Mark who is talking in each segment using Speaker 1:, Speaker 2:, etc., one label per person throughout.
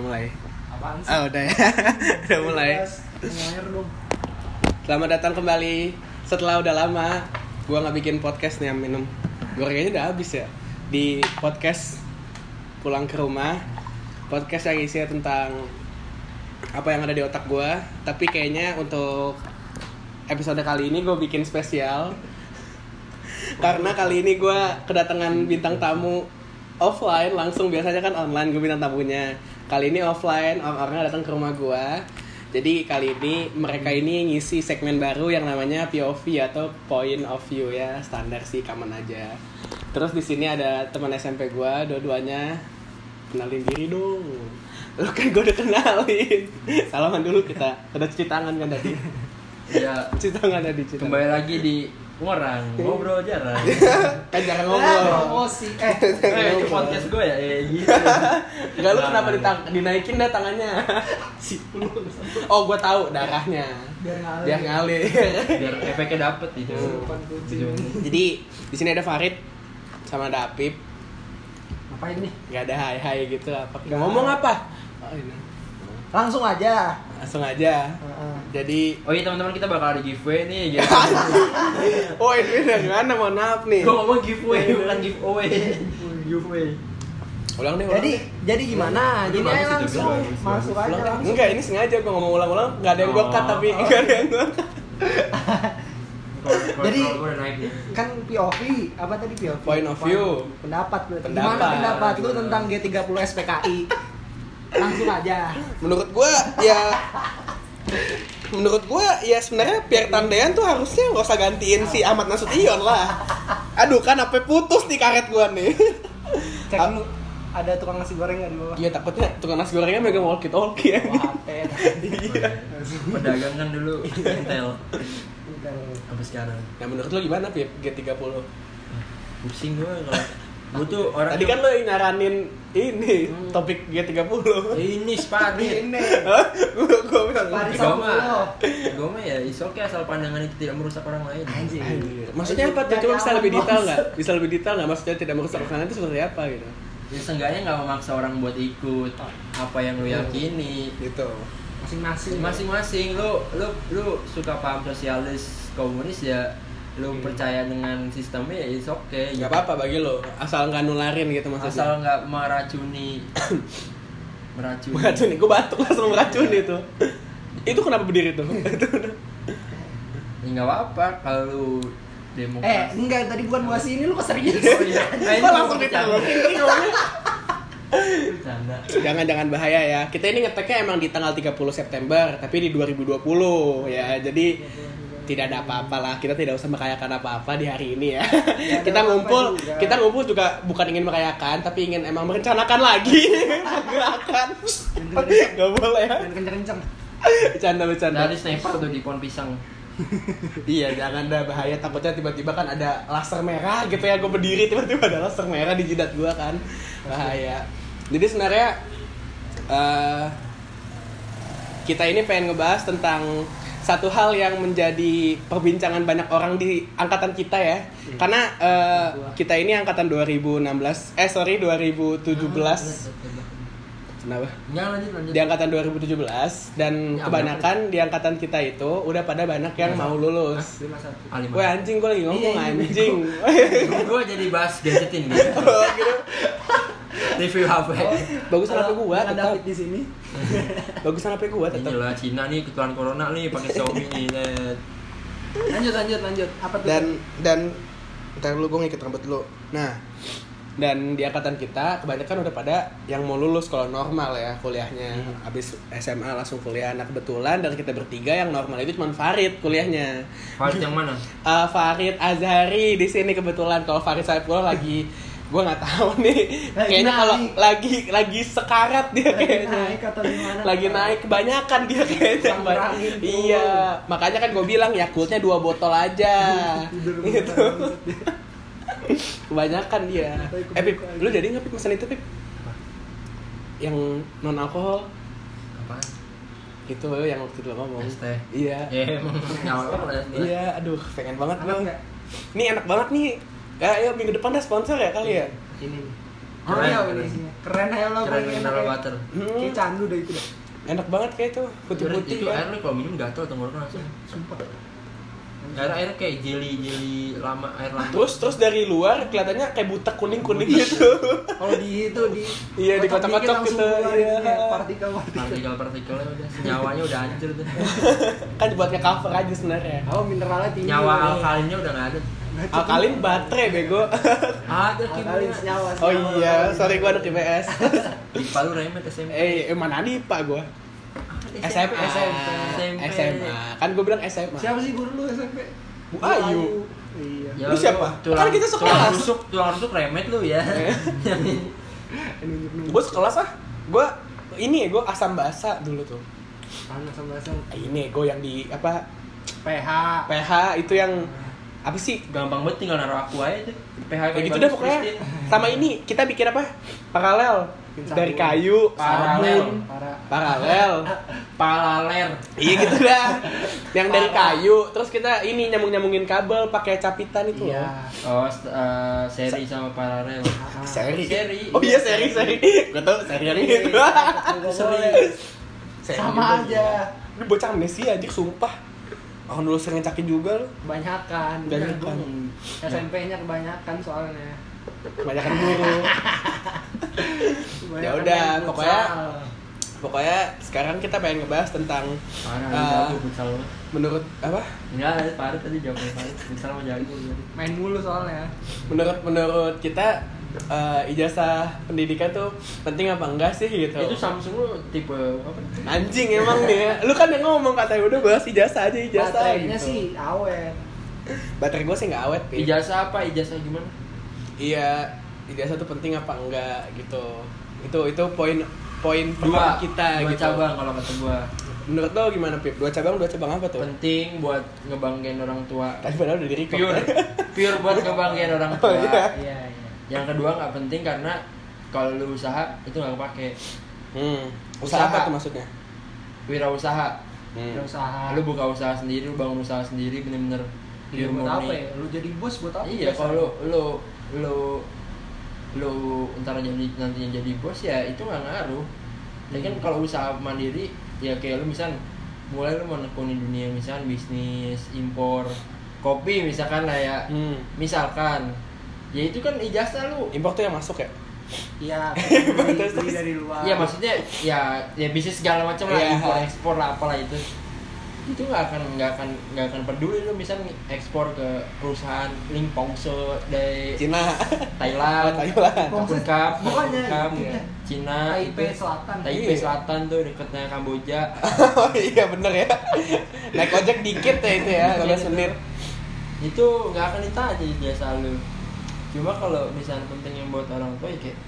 Speaker 1: mulai.
Speaker 2: Apaan sih?
Speaker 1: Ah, udah ya. udah mulai.
Speaker 2: Mulai dong.
Speaker 1: Selamat datang kembali. Setelah udah lama gua nggak bikin podcast nih yang minum. Gorengannya udah habis ya. Di podcast pulang ke rumah. Podcast yang isinya tentang apa yang ada di otak gua, tapi kayaknya untuk episode kali ini gue bikin spesial karena kali ini gue kedatangan bintang tamu offline langsung biasanya kan online gue bintang tamunya kali ini offline orang-orangnya datang ke rumah gue jadi kali ini mereka ini ngisi segmen baru yang namanya POV atau Point of View ya standar sih kaman aja terus di sini ada teman SMP gue dua-duanya kenalin diri dong lu kan gue udah kenalin salaman dulu kita udah cuci tangan kan tadi
Speaker 3: Ya,
Speaker 1: cuci tangan tadi cuci tangan.
Speaker 3: kembali lagi di orang ngobrol jarang.
Speaker 1: kan jangan
Speaker 2: Ah,
Speaker 1: ngomong
Speaker 2: promosi. Eh,
Speaker 3: Eh, itu podcast gue ya, eh gitu.
Speaker 1: Enggak lu kenapa ditang- dinaikin dah tangannya?
Speaker 2: si lu
Speaker 1: Oh, gua tahu darahnya.
Speaker 2: biar ngalir.
Speaker 1: Biar ngalir.
Speaker 3: Biar efeknya dapet gitu. itu.
Speaker 2: Depan kucing.
Speaker 1: Jadi di sini ada Farid sama ada Apip.
Speaker 2: Ngapain nih?
Speaker 1: Nggak ada hai-hai gitu apa. Nggak ngomong apa? Oh, ini.
Speaker 2: Langsung aja.
Speaker 1: Langsung aja.
Speaker 2: Heeh.
Speaker 1: Jadi
Speaker 3: Oh iya teman-teman kita bakal ada giveaway nih gitu.
Speaker 1: Oh, ini dari mana? Mohon maaf nih.
Speaker 3: Gue ngomong giveaway bukan giveaway. giveaway.
Speaker 1: Ulang deh, ulang.
Speaker 2: Jadi jadi gimana? Jadi
Speaker 3: Itu bagus
Speaker 2: aja
Speaker 3: itu,
Speaker 2: langsung
Speaker 3: bagus,
Speaker 2: masuk
Speaker 1: Ulang.
Speaker 2: aja langsung.
Speaker 1: Enggak, ini sengaja gua ngomong ulang-ulang, nggak ada yang gua cut
Speaker 3: Oh.
Speaker 1: tapi nggak ada yang gua cut.
Speaker 3: Jadi
Speaker 2: Jadi-
Speaker 3: gue udah naik ya. nih.
Speaker 2: Kan POV, apa tadi POV?
Speaker 1: Point of view.
Speaker 2: Pendapat berarti.
Speaker 1: Pendapat.
Speaker 2: Gimana pendapat lu tentang G30 SPKI? langsung aja.
Speaker 1: menurut gua ya menurut gua ya sebenarnya Pierre Tandean tuh harusnya nggak usah gantiin si Ahmad Nasution lah aduh kan apa putus nih karet gua nih Ah.
Speaker 2: Cek lu ada tukang nasi goreng nggak di bawah?
Speaker 1: iya takutnya tukang nasi gorengnya megang walkie talkie
Speaker 2: Wah, teh.
Speaker 3: Pedagang kan dulu intel sampai sekarang.
Speaker 1: nah menurut lo gimana Pip G30
Speaker 3: Pusing gue kalau gue tuh orang
Speaker 1: tadi kan lo yang Hmm. nyaranin ini topik G30
Speaker 3: Eh, ini sparring.
Speaker 2: Ini.
Speaker 1: Hah? gua gua bilang
Speaker 2: Lari
Speaker 3: Gue
Speaker 2: sama lo.
Speaker 3: mah, gue mah ya is okay asal pandangan itu tidak merusak orang lain.
Speaker 2: Anjing.
Speaker 1: Anjir. Maksudnya apa tuh? Coba bisa lebih detail nggak? Bisa lebih detail nggak? Maksudnya tidak merusak makanan itu seperti apa gitu?
Speaker 3: Ya seenggaknya nggak memaksa orang buat ikut apa yang lu yakini.
Speaker 1: Gitu.
Speaker 2: Masing-masing.
Speaker 3: Masing-masing lu lu lu suka paham sosialis komunis ya lu percaya dengan sistemnya ya it's okay.
Speaker 1: Gak Hmm. apa-apa bagi lo, asal nggak nularin gitu maksudnya.
Speaker 3: Asal nggak meracuni. meracuni.
Speaker 1: meracuni gue batuk langsung meracuni itu itu kenapa berdiri tuh itu
Speaker 3: Ya nggak apa-apa kalau lu
Speaker 2: Eh,
Speaker 3: demokrasi.
Speaker 2: enggak tadi bukan bahas ini lu keserius.
Speaker 3: Oh, iya.
Speaker 1: Kok langsung ditanggapi?
Speaker 3: Bercanda.
Speaker 1: jangan jangan bahaya ya kita ini ngeteknya emang di tanggal 30 September tapi di 2020 ya jadi tidak ada apa-apa lah kita tidak usah merayakan apa-apa di hari ini ya
Speaker 2: ada
Speaker 1: kita
Speaker 2: apa-apa
Speaker 1: ngumpul
Speaker 2: juga.
Speaker 1: kita ngumpul juga bukan ingin merayakan tapi ingin emang merencanakan lagi gerakan nggak boleh ya
Speaker 2: Dan kenceng-kenceng.
Speaker 1: bercanda bercanda
Speaker 3: Dari sniper tuh di pohon pisang.
Speaker 1: Iya jangan dah bahaya takutnya tiba-tiba kan ada laser merah gitu ya gue berdiri tiba-tiba ada laser merah di jidat gue kan bahaya. Jadi sebenarnya eh, kita ini pengen ngebahas tentang satu hal yang menjadi perbincangan banyak orang di angkatan kita ya karena eh, kita ini angkatan 2016 eh sorry 2017 kenapa
Speaker 3: Jangan lanjut lanjut.
Speaker 1: di angkatan 2017 dan
Speaker 3: Ya,
Speaker 1: kebanyakan di angkatan kita itu udah pada banyak yang mau lulus
Speaker 3: Alim.
Speaker 1: Woi anjing gue lagi ngomong
Speaker 2: Iya, iya,
Speaker 1: anjing.
Speaker 3: gue jadi bahas gadgetin gitu. Review HP.
Speaker 1: Bagusan HP gua
Speaker 2: Ada
Speaker 1: tetap.
Speaker 2: David di sini.
Speaker 1: Bagusan HP gua
Speaker 3: Ini
Speaker 1: tetap.
Speaker 3: lah Cina nih ketuan corona nih pakai Xiaomi nih. net.
Speaker 2: Lanjut lanjut lanjut. Apa tuh?
Speaker 1: Dan dan ntar lu gue ngikut rambut lu. Nah, dan di angkatan kita kebanyakan udah pada yang mau lulus kalau normal ya kuliahnya
Speaker 2: Hmm.
Speaker 1: habis SMA langsung kuliah nah kebetulan dari kita bertiga yang normal itu cuma Farid kuliahnya
Speaker 3: File yang mana?
Speaker 1: Eh, Farid Azhari di sini kebetulan kalau Farid Saifullah lagi gue nggak tahu nih
Speaker 2: Lagi
Speaker 1: kayaknya kalau
Speaker 2: naik.
Speaker 1: lagi lagi sekarat dia
Speaker 2: lagi
Speaker 1: kayaknya
Speaker 2: naik atau gimana?
Speaker 1: lagi naik kebanyakan dia kayaknya
Speaker 2: Kurang
Speaker 1: Mbak.
Speaker 2: kurangin tuh.
Speaker 1: iya makanya kan gue bilang yakultnya dua botol aja
Speaker 2: Tidur
Speaker 1: gitu
Speaker 2: banget.
Speaker 1: kebanyakan dia
Speaker 2: Tapi
Speaker 1: eh pip
Speaker 2: kebukaan.
Speaker 1: lu jadi nggak pip pesan itu pip yang non alkohol
Speaker 3: Apa?
Speaker 1: itu yang waktu itu lo ngomong
Speaker 3: Es teh.
Speaker 1: iya
Speaker 3: Ya emang nyawa kan ada sebelah.
Speaker 1: iya aduh pengen banget
Speaker 2: Enak
Speaker 1: gue
Speaker 2: nggak?
Speaker 1: Eh, ini enak banget nih Ya, ayo minggu depan dah sponsor ya kali ya.
Speaker 2: Ini. nih. Oh
Speaker 3: Keren,
Speaker 2: iya
Speaker 3: keren.
Speaker 2: isinya. Keren aja lo
Speaker 3: Keren
Speaker 2: paling
Speaker 3: mineral water.
Speaker 1: Hmm.
Speaker 2: Kayak candu dah itu dah.
Speaker 1: enak banget kayak itu putih
Speaker 3: Itu-
Speaker 1: putih
Speaker 3: Itu air
Speaker 1: kan
Speaker 3: lu kalau minum gatel tenggorokan langsung.
Speaker 2: Sumpah.
Speaker 3: Air air kayak jelly jelly lama air lama.
Speaker 1: Ah, terus terus dari luar kelihatannya kayak butek kuning kuning gitu
Speaker 2: Kalau di itu di
Speaker 1: Iya, di
Speaker 2: kotak
Speaker 1: kotak-kotak gitu,
Speaker 2: dikit langsung keluar
Speaker 1: iya.
Speaker 2: ininya, Partikel-partikel.
Speaker 3: Partikel-partikelnya udah nyawanya udah hancur
Speaker 1: Oh,
Speaker 3: tuh.
Speaker 1: kan buatnya cover aja sebenarnya
Speaker 2: Oh mineralnya tinggi.
Speaker 3: Nyawa
Speaker 2: Iya.
Speaker 3: alkalinnya udah nggak ada.
Speaker 1: alkalin baterai bego
Speaker 3: Ada
Speaker 2: Alkalin
Speaker 3: kimia.
Speaker 2: senyawa.
Speaker 1: oh
Speaker 2: senyawa.
Speaker 1: iya sorry gua anak IPS
Speaker 3: Di Palu remet SMP.
Speaker 1: eh eh, mana di pak gua SMP
Speaker 3: SMP.
Speaker 1: SMA kan gua bilang SMA
Speaker 2: Siapa sih guru lu SMP?
Speaker 1: Bu Ayu.
Speaker 2: Iya.
Speaker 1: Lu siapa?
Speaker 3: Ya, Tulang,
Speaker 1: Kan kita
Speaker 3: Tulang
Speaker 1: sekelas.
Speaker 3: rusuk, tulang rusuk remet lu ya.
Speaker 2: Nunjuk-nunjuk.
Speaker 1: gua sekelas ah gua ini ya gua asam basa dulu tuh
Speaker 2: Panas sama asam.
Speaker 1: ini gue yang di apa
Speaker 2: PH.
Speaker 1: PH itu yang apa sih
Speaker 3: Gampang banget tinggal naruh aku aja tuh. PH
Speaker 1: kayak
Speaker 3: kayak
Speaker 1: gitu
Speaker 3: bagus,
Speaker 1: dah pokoknya
Speaker 3: Christine.
Speaker 1: sama ini kita bikin apa paralel
Speaker 2: Bikin
Speaker 1: dari
Speaker 2: sabun.
Speaker 1: kayu
Speaker 3: Paralel.
Speaker 1: sabun.
Speaker 2: Para.
Speaker 1: paralel
Speaker 3: Palaler.
Speaker 1: iya gitu dah yang dari kayu terus kita ini nyambung nyambungin kabel pakai capitan itu
Speaker 2: Iya.
Speaker 1: loh
Speaker 3: Oh, st- eh, seri sama paralel.
Speaker 1: seri
Speaker 3: Seri.
Speaker 1: oh iya seri seri gue tau seri yang
Speaker 2: Iya,
Speaker 1: itu
Speaker 2: nggak
Speaker 1: Seri.
Speaker 2: boleh.
Speaker 1: Seri juga,
Speaker 2: Sama aja.
Speaker 1: gila. ini bocah amnesia anjir sumpah Orang dulu sering cakin juga lo
Speaker 2: Kebanyakan.
Speaker 1: Kebanyakan.
Speaker 3: Hmm.
Speaker 2: SMP-nya kebanyakan soalnya.
Speaker 1: Kebanyakan guru
Speaker 2: Kebanyakan
Speaker 1: Ya udah,
Speaker 2: main
Speaker 1: pokoknya
Speaker 2: futsal.
Speaker 1: Pokoknya sekarang kita pengen ngebahas tentang
Speaker 3: Parah,
Speaker 1: Ah.
Speaker 3: jago futsal lu.
Speaker 1: menurut apa
Speaker 3: Enggak, Farid tadi jawabnya Farid. Futsal sama jago. jadi.
Speaker 2: main mulu soalnya.
Speaker 1: menurut menurut kita eh, ijazah pendidikan tuh penting apa enggak sih gitu
Speaker 3: Itu Samsung lu tipe apa?
Speaker 1: anjing emang nih ya. lu kan yang ngomong katanya udah bahas ijazah aja ijazah
Speaker 2: Baterainya
Speaker 1: gitu.
Speaker 2: sih awet.
Speaker 1: baterai gue sih nggak awet Pi.
Speaker 3: Ijazah apa? Ijazah gimana?
Speaker 1: iya ijazah tuh penting apa enggak gitu itu itu poin poin pertama kita
Speaker 3: dua
Speaker 1: gitu
Speaker 3: cabang kalau kata gua.
Speaker 1: menurut lo gimana pip dua cabang dua cabang apa tuh
Speaker 3: Penting buat ngebanggain orang tua.
Speaker 1: tadi padahal udah di
Speaker 3: Pure, pure buat ngebanggain orang tua.
Speaker 1: Oh, iya.
Speaker 2: Iya, iya.
Speaker 3: Yang kedua nggak penting karena kalau lu usaha itu nggak kepake.
Speaker 1: hmm.
Speaker 3: Usaha.
Speaker 1: usaha apa tuh maksudnya
Speaker 3: Wirausaha.
Speaker 1: Hmm.
Speaker 2: Ada usaha.
Speaker 3: Nah, Lu buka usaha sendiri, lu bangun usaha sendiri bener-bener
Speaker 2: Iya, buat
Speaker 3: pure murni.
Speaker 2: apa ya? Lu jadi bos buat apa?
Speaker 3: Iya,
Speaker 2: biasa?
Speaker 3: kalau lu lu lu lu ntar jadi nantinya jadi bos ya itu nggak ngaruh. Ya kan kalau usaha mandiri ya kayak lu misal mulai lu menekuni dunia misal bisnis impor kopi misalkan lah ya
Speaker 1: hmm.
Speaker 3: misalkan ya itu kan ijazah lu
Speaker 1: impor tuh yang masuk ya
Speaker 2: Iya, beli,
Speaker 1: Terus,
Speaker 2: beli
Speaker 1: terus.
Speaker 2: dari luar.
Speaker 3: ya maksudnya ya ya bisnis segala macam lah
Speaker 1: Iya.
Speaker 3: impor ekspor lah apalah itu itu nggak akan nggak akan nggak akan peduli lu misal ekspor ke perusahaan Limpongso dari
Speaker 1: Cina Oh,
Speaker 3: Thailand,
Speaker 1: Thailand.
Speaker 3: Kapungkap,
Speaker 2: Pokoknya
Speaker 3: Kapungkap,
Speaker 2: iya.
Speaker 3: ya. Cina,
Speaker 2: Taipei
Speaker 3: itu.
Speaker 2: Selatan.
Speaker 3: Taipei
Speaker 1: Iya.
Speaker 3: Selatan tuh deketnya Kamboja.
Speaker 1: oh iya bener ya naik ojek dikit ya itu ya
Speaker 3: Iya,
Speaker 1: 15 menit
Speaker 3: Itu nggak akan ditanya biasa lu. Cuma kalau misalnya penting yang buat orang tua ya kayak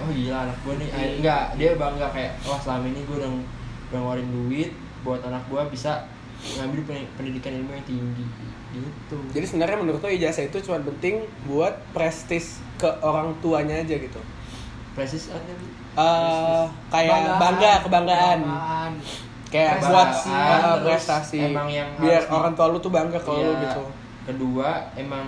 Speaker 3: oh gila anak gue nih
Speaker 2: Iya.
Speaker 3: enggak dia bangga kayak wah selama ini gue udah udah ngeluarin duit buat anak gue bisa ngambil pen- pendidikan ilmu yang tinggi gitu
Speaker 1: jadi sebenarnya menurut lo ijazah itu cuma penting buat prestis ke orang tuanya aja gitu
Speaker 3: presis ada
Speaker 1: Eh kayak bangga kebanggaan
Speaker 2: kebanggaan.
Speaker 1: kayak
Speaker 2: Prestasi.
Speaker 1: buat
Speaker 2: Banggaan,
Speaker 1: eh,
Speaker 3: terus
Speaker 1: prestasi
Speaker 3: emang yang
Speaker 1: biar
Speaker 3: harus di-
Speaker 1: orang tua lu tuh bangga kalau lu
Speaker 3: Iya.
Speaker 1: gitu
Speaker 3: kedua emang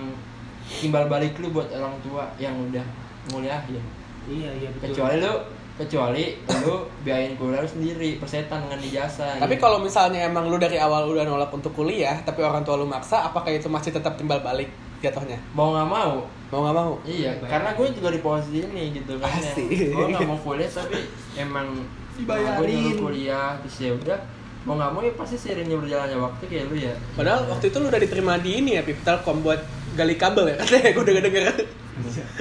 Speaker 3: timbal balik lu buat orang tua yang udah nguliah ya
Speaker 2: Iya, iya betul.
Speaker 3: kecuali lu kecuali lu biayain kuliah lu sendiri persetan dengan ijazah
Speaker 1: tapi
Speaker 3: gitu.
Speaker 1: kalau misalnya emang lu dari awal udah nolak untuk kuliah tapi orang tua lu maksa apakah itu masih tetap timbal balik jatuhnya
Speaker 3: mau nggak mau
Speaker 1: mau nggak mau
Speaker 3: iya
Speaker 2: Baik.
Speaker 3: karena gue juga di posisi ini gitu kan ya.
Speaker 1: Pasti.
Speaker 3: gue nggak mau kuliah tapi emang
Speaker 2: Dibayarin.
Speaker 3: gue nyuruh kuliah terus ya udah mau nggak mau ya pasti seiringnya berjalannya waktu kayak lu ya
Speaker 1: padahal waktu itu lu udah diterima di ini ya Pip Telkom buat gali kabel ya katanya gue udah denger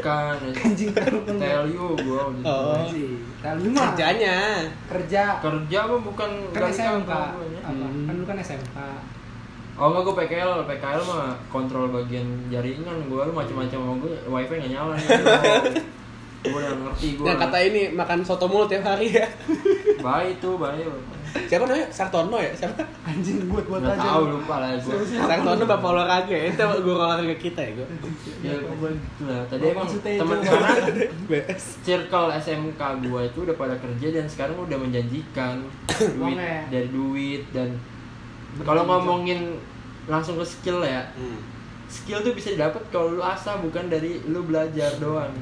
Speaker 3: kan
Speaker 2: Anjing telepon.
Speaker 3: tell you gue gitu
Speaker 1: Oh.
Speaker 2: Sih. Kalau mah
Speaker 1: kerjanya
Speaker 2: kerja
Speaker 3: kerja apa bukan
Speaker 2: kan
Speaker 3: dari
Speaker 2: SMK.
Speaker 3: kantor gua ya.
Speaker 2: Apa? Kan lu kan SMK.
Speaker 3: Oh enggak gue PKL, PKL mah kontrol bagian jaringan gue lu macam-macam sama gue wifi nggak nyala nih. gue udah ngerti gue.
Speaker 1: Yang kata ini makan soto mulut tiap hari ya.
Speaker 3: Baik tuh, baik.
Speaker 1: Siapa namanya? Sartono ya? Siapa?
Speaker 2: Anjing buat buat
Speaker 3: Nggak
Speaker 2: aja.
Speaker 3: tahu lupa lah gue.
Speaker 1: Sartono bapak olahraga ya. Itu guru olahraga kita ya, gue.
Speaker 3: Ya, gua gitu lah. Tadi
Speaker 2: Iya,
Speaker 3: emang
Speaker 2: Ya, Maksudnya itu.
Speaker 3: teman karena
Speaker 1: BS.
Speaker 3: circle SMK gue itu udah pada kerja dan sekarang udah menjanjikan duit
Speaker 2: Uangnya.
Speaker 3: dari duit dan kalau ngomongin langsung ke skill ya
Speaker 1: Hmm,
Speaker 3: skill tuh bisa didapat kalau lu asah bukan dari lu belajar doang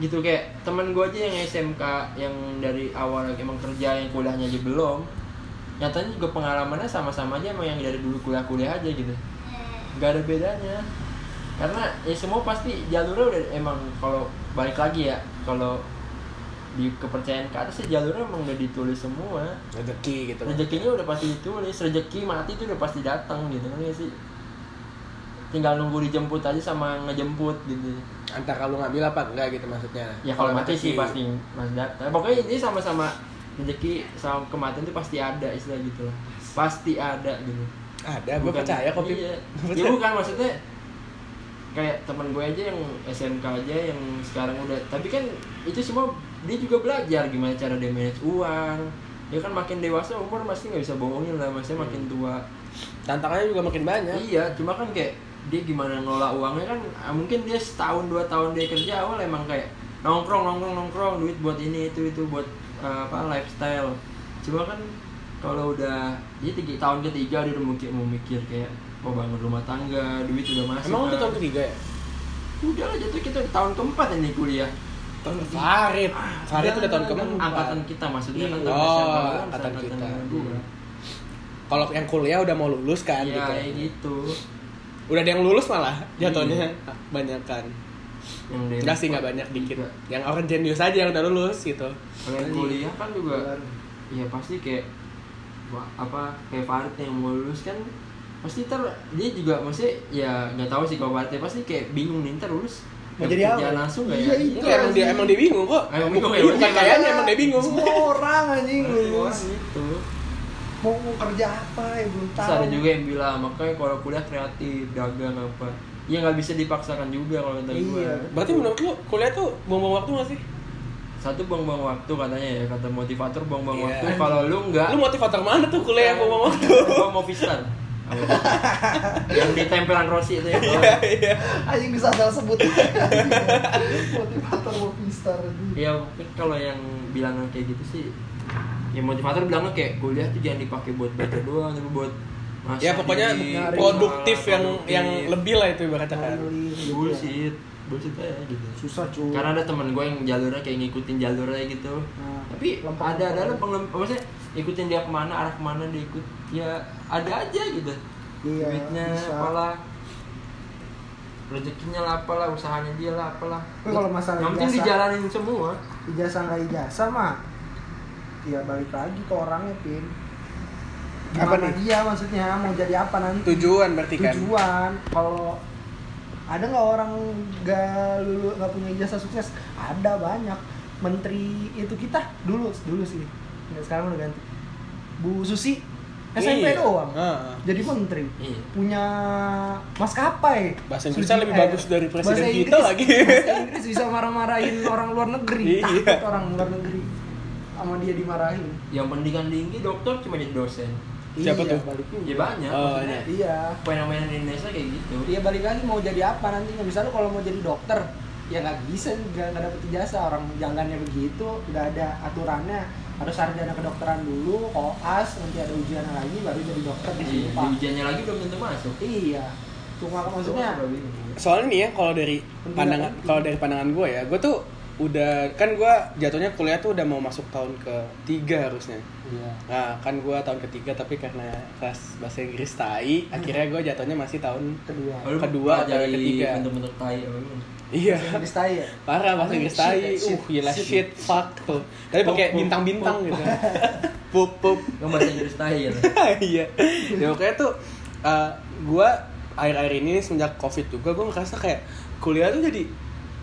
Speaker 3: gitu kayak teman gue aja yang SMK yang dari awal emang kerja yang kuliahnya aja belum nyatanya juga pengalamannya sama-sama aja emang yang dari dulu kuliah-kuliah aja gitu nggak ada bedanya karena ya semua pasti jalurnya udah emang kalau balik lagi ya kalau di kepercayaan ke atas ya jalurnya emang udah ditulis semua
Speaker 1: rezeki gitu
Speaker 3: rezekinya udah pasti ditulis rezeki mati itu udah pasti datang gitu kan ya sih tinggal nunggu dijemput aja sama ngejemput gitu
Speaker 1: antar kalau ngambil apa enggak gitu maksudnya
Speaker 3: ya kalau mati sih pasti masih datang pokoknya ini sama-sama rezeki sama kematian itu pasti ada istilah gitu lah pasti ada gitu
Speaker 1: ada gue Ya, percaya kok Pip. Gua
Speaker 3: iya. ya
Speaker 1: percaya.
Speaker 3: bukan maksudnya kayak teman gue aja yang SMK aja yang sekarang udah tapi kan itu semua dia juga belajar gimana cara dia manage uang ya kan makin dewasa umur masih nggak bisa bohongin lah maksudnya makin
Speaker 1: Iya.
Speaker 3: tua
Speaker 1: tantangannya juga makin banyak
Speaker 3: iya cuma kan kayak dia gimana ngelola uangnya kan ah, mungkin dia setahun dua tahun dia kerja awal emang kayak nongkrong nongkrong nongkrong duit buat ini itu itu buat eh, apa lifestyle cuma kan kalau udah ya tiga, tahun ketiga dia udah mungkin mau mikir kayak mau bangun rumah tangga duit udah masuk
Speaker 1: emang udah
Speaker 3: kan.
Speaker 1: tahun ketiga ya
Speaker 3: udah lah jatuh kita udah tahun keempat ini kuliah Kan
Speaker 1: tahun Farid Farid udah tahun keempat
Speaker 3: angkatan kita maksudnya kan
Speaker 1: Iya.
Speaker 3: tahun
Speaker 1: Oh,
Speaker 3: SMA,
Speaker 1: angkatan kita.
Speaker 3: kedua.
Speaker 1: kalau yang kuliah udah mau lulus kan
Speaker 3: Iya,
Speaker 1: gitu
Speaker 3: kayak gitu
Speaker 1: udah ada yang lulus malah jatuhnya
Speaker 3: Iya.
Speaker 1: banyakan
Speaker 3: yang dari-
Speaker 1: enggak sih nggak banyak dikit
Speaker 3: Tiga.
Speaker 1: yang orang jenius aja yang udah lulus gitu
Speaker 3: Kalau yang kuliah kan juga ya pasti kayak wah, apa kayak Farid yang mau lulus kan pasti ter dia juga maksudnya ya nggak tahu sih kalau Farid pasti kayak bingung nih ntar lulus
Speaker 2: Mau jadi
Speaker 3: dapet
Speaker 2: apa?
Speaker 3: kerjaan langsung nggak
Speaker 2: Iya,
Speaker 3: ya?
Speaker 2: itu.
Speaker 1: Itu emang dia emang dia bingung kok.
Speaker 3: Emang bingung ya,
Speaker 1: Bukan
Speaker 3: berarti.
Speaker 1: kayaknya emang dia bingung.
Speaker 2: Iya, Semua orang anjing lulus.
Speaker 3: itu.
Speaker 2: Mau, mau kerja apa ya belum
Speaker 3: gitu. Terus
Speaker 2: tahu.
Speaker 3: ada juga yang bilang makanya kalau kuliah kreatif dagang apa ya nggak bisa dipaksakan juga kalau kata gue
Speaker 2: Iya.
Speaker 1: Berarti menurut lu kuliah tuh buang-buang waktu gak sih?
Speaker 3: satu buang-buang waktu katanya ya kata motivator buang-buang
Speaker 1: Iya.
Speaker 3: waktu kalau lu nggak
Speaker 1: Lu motivator mana tuh kuliah yang buang-buang waktu?
Speaker 3: Gua mau fistan yang ditempelan Rossi itu ya
Speaker 1: Iya, iya.
Speaker 2: Anjing bisa salah sebut. Motivator mau pistar.
Speaker 3: ya mungkin kalau yang bilangan kayak gitu sih ya motivator bilangnya kayak kuliah tuh jangan dipakai buat baca doang tapi buat masak
Speaker 1: Ya pokoknya
Speaker 3: diri,
Speaker 1: produktif
Speaker 3: masak,
Speaker 1: yang
Speaker 3: produktif.
Speaker 1: yang lebih lah itu ibaratnya kan.
Speaker 3: bullshit bullshit aja gitu
Speaker 2: Susah cuy.
Speaker 3: karena ada teman gue yang jalurnya kayak ngikutin jalurnya gitu
Speaker 2: Nah,
Speaker 3: tapi
Speaker 2: lempeng-
Speaker 3: ada ada lempeng lempeng maksudnya ikutin dia kemana arah kemana dia ikut ya ada aja gitu
Speaker 2: Iya,
Speaker 3: duitnya
Speaker 2: bisa.
Speaker 3: apalah rezekinya lah apalah usahanya dia lah apalah
Speaker 2: Tapi kalau masalah
Speaker 3: yang penting
Speaker 2: ijazah-
Speaker 3: dijalanin semua
Speaker 2: ijazah nggak ijazah mah ya balik lagi ke orangnya pin
Speaker 1: Apa
Speaker 2: gimana
Speaker 1: nih?
Speaker 2: dia maksudnya mau jadi apa nanti
Speaker 1: Tujuan berarti kan.
Speaker 2: tujuan kalau ada nggak orang nggak lulu nggak punya ijazah sukses ada banyak menteri itu kita dulu dulu sih Nggak, sekarang udah ganti Bu Susi SMP
Speaker 1: Iya.
Speaker 2: doang
Speaker 1: Heeh.
Speaker 2: jadi menteri
Speaker 3: Iya.
Speaker 2: punya maskapai
Speaker 1: Bahasa Inggrisnya
Speaker 2: Suji-
Speaker 1: lebih
Speaker 2: eh,
Speaker 1: bagus dari presiden
Speaker 2: bahasa
Speaker 1: kita
Speaker 2: Inggris-
Speaker 1: lagi.
Speaker 2: bahasa Inggris bisa marah-marahin orang luar negeri
Speaker 1: Iya.
Speaker 2: takut orang luar negeri sama dia dimarahin
Speaker 3: yang pendidikan tinggi dokter cuma jadi dosen
Speaker 1: Siapa
Speaker 2: iya,
Speaker 1: tuh?
Speaker 2: balik
Speaker 3: ya banyak
Speaker 1: Oh,
Speaker 3: maksudnya
Speaker 1: iya.
Speaker 2: iya
Speaker 3: fenomena di Indonesia kayak gitu
Speaker 2: iya balik lagi mau jadi apa nantinya misalnya kalau mau jadi dokter ya nggak bisa nggak nggak dapet ijazah orang jalannya begitu nggak ada aturannya harus sarjana kedokteran dulu koas nanti ada ujian lagi baru jadi dokter di
Speaker 3: Iya, di ujiannya lagi belum tentu masuk gitu.
Speaker 2: iya cuma maksudnya
Speaker 3: Cuma bingung.
Speaker 1: soalnya nih ya kalau dari pandangan kalau dari pandangan gue ya gue tuh udah kan gue jatuhnya kuliah tuh udah mau masuk tahun ketiga harusnya
Speaker 2: iya
Speaker 1: nah kan gue tahun ketiga tapi karena kelas bahasa Inggris tai akhirnya gue jatuhnya masih tahun
Speaker 2: kedua
Speaker 3: Lalu
Speaker 1: Kedua atau
Speaker 3: pelajari
Speaker 1: ketiga?
Speaker 3: bentuk-bentuk tai apa gitu. gimana?
Speaker 1: iya
Speaker 2: Inggris tai ya
Speaker 1: parah bahasa Inggris tai
Speaker 2: Shit,
Speaker 1: uh gila
Speaker 2: shit.
Speaker 1: shit fuck tuh tapi pakai
Speaker 3: Pup, pup,
Speaker 1: bintang-bintang
Speaker 3: pup.
Speaker 1: gitu pup pup
Speaker 3: Nggak bahasa Inggris tai ya
Speaker 1: iya ya pokoknya tuh eh, gua gue akhir-akhir ini semenjak covid juga gue ngerasa kayak kuliah tuh jadi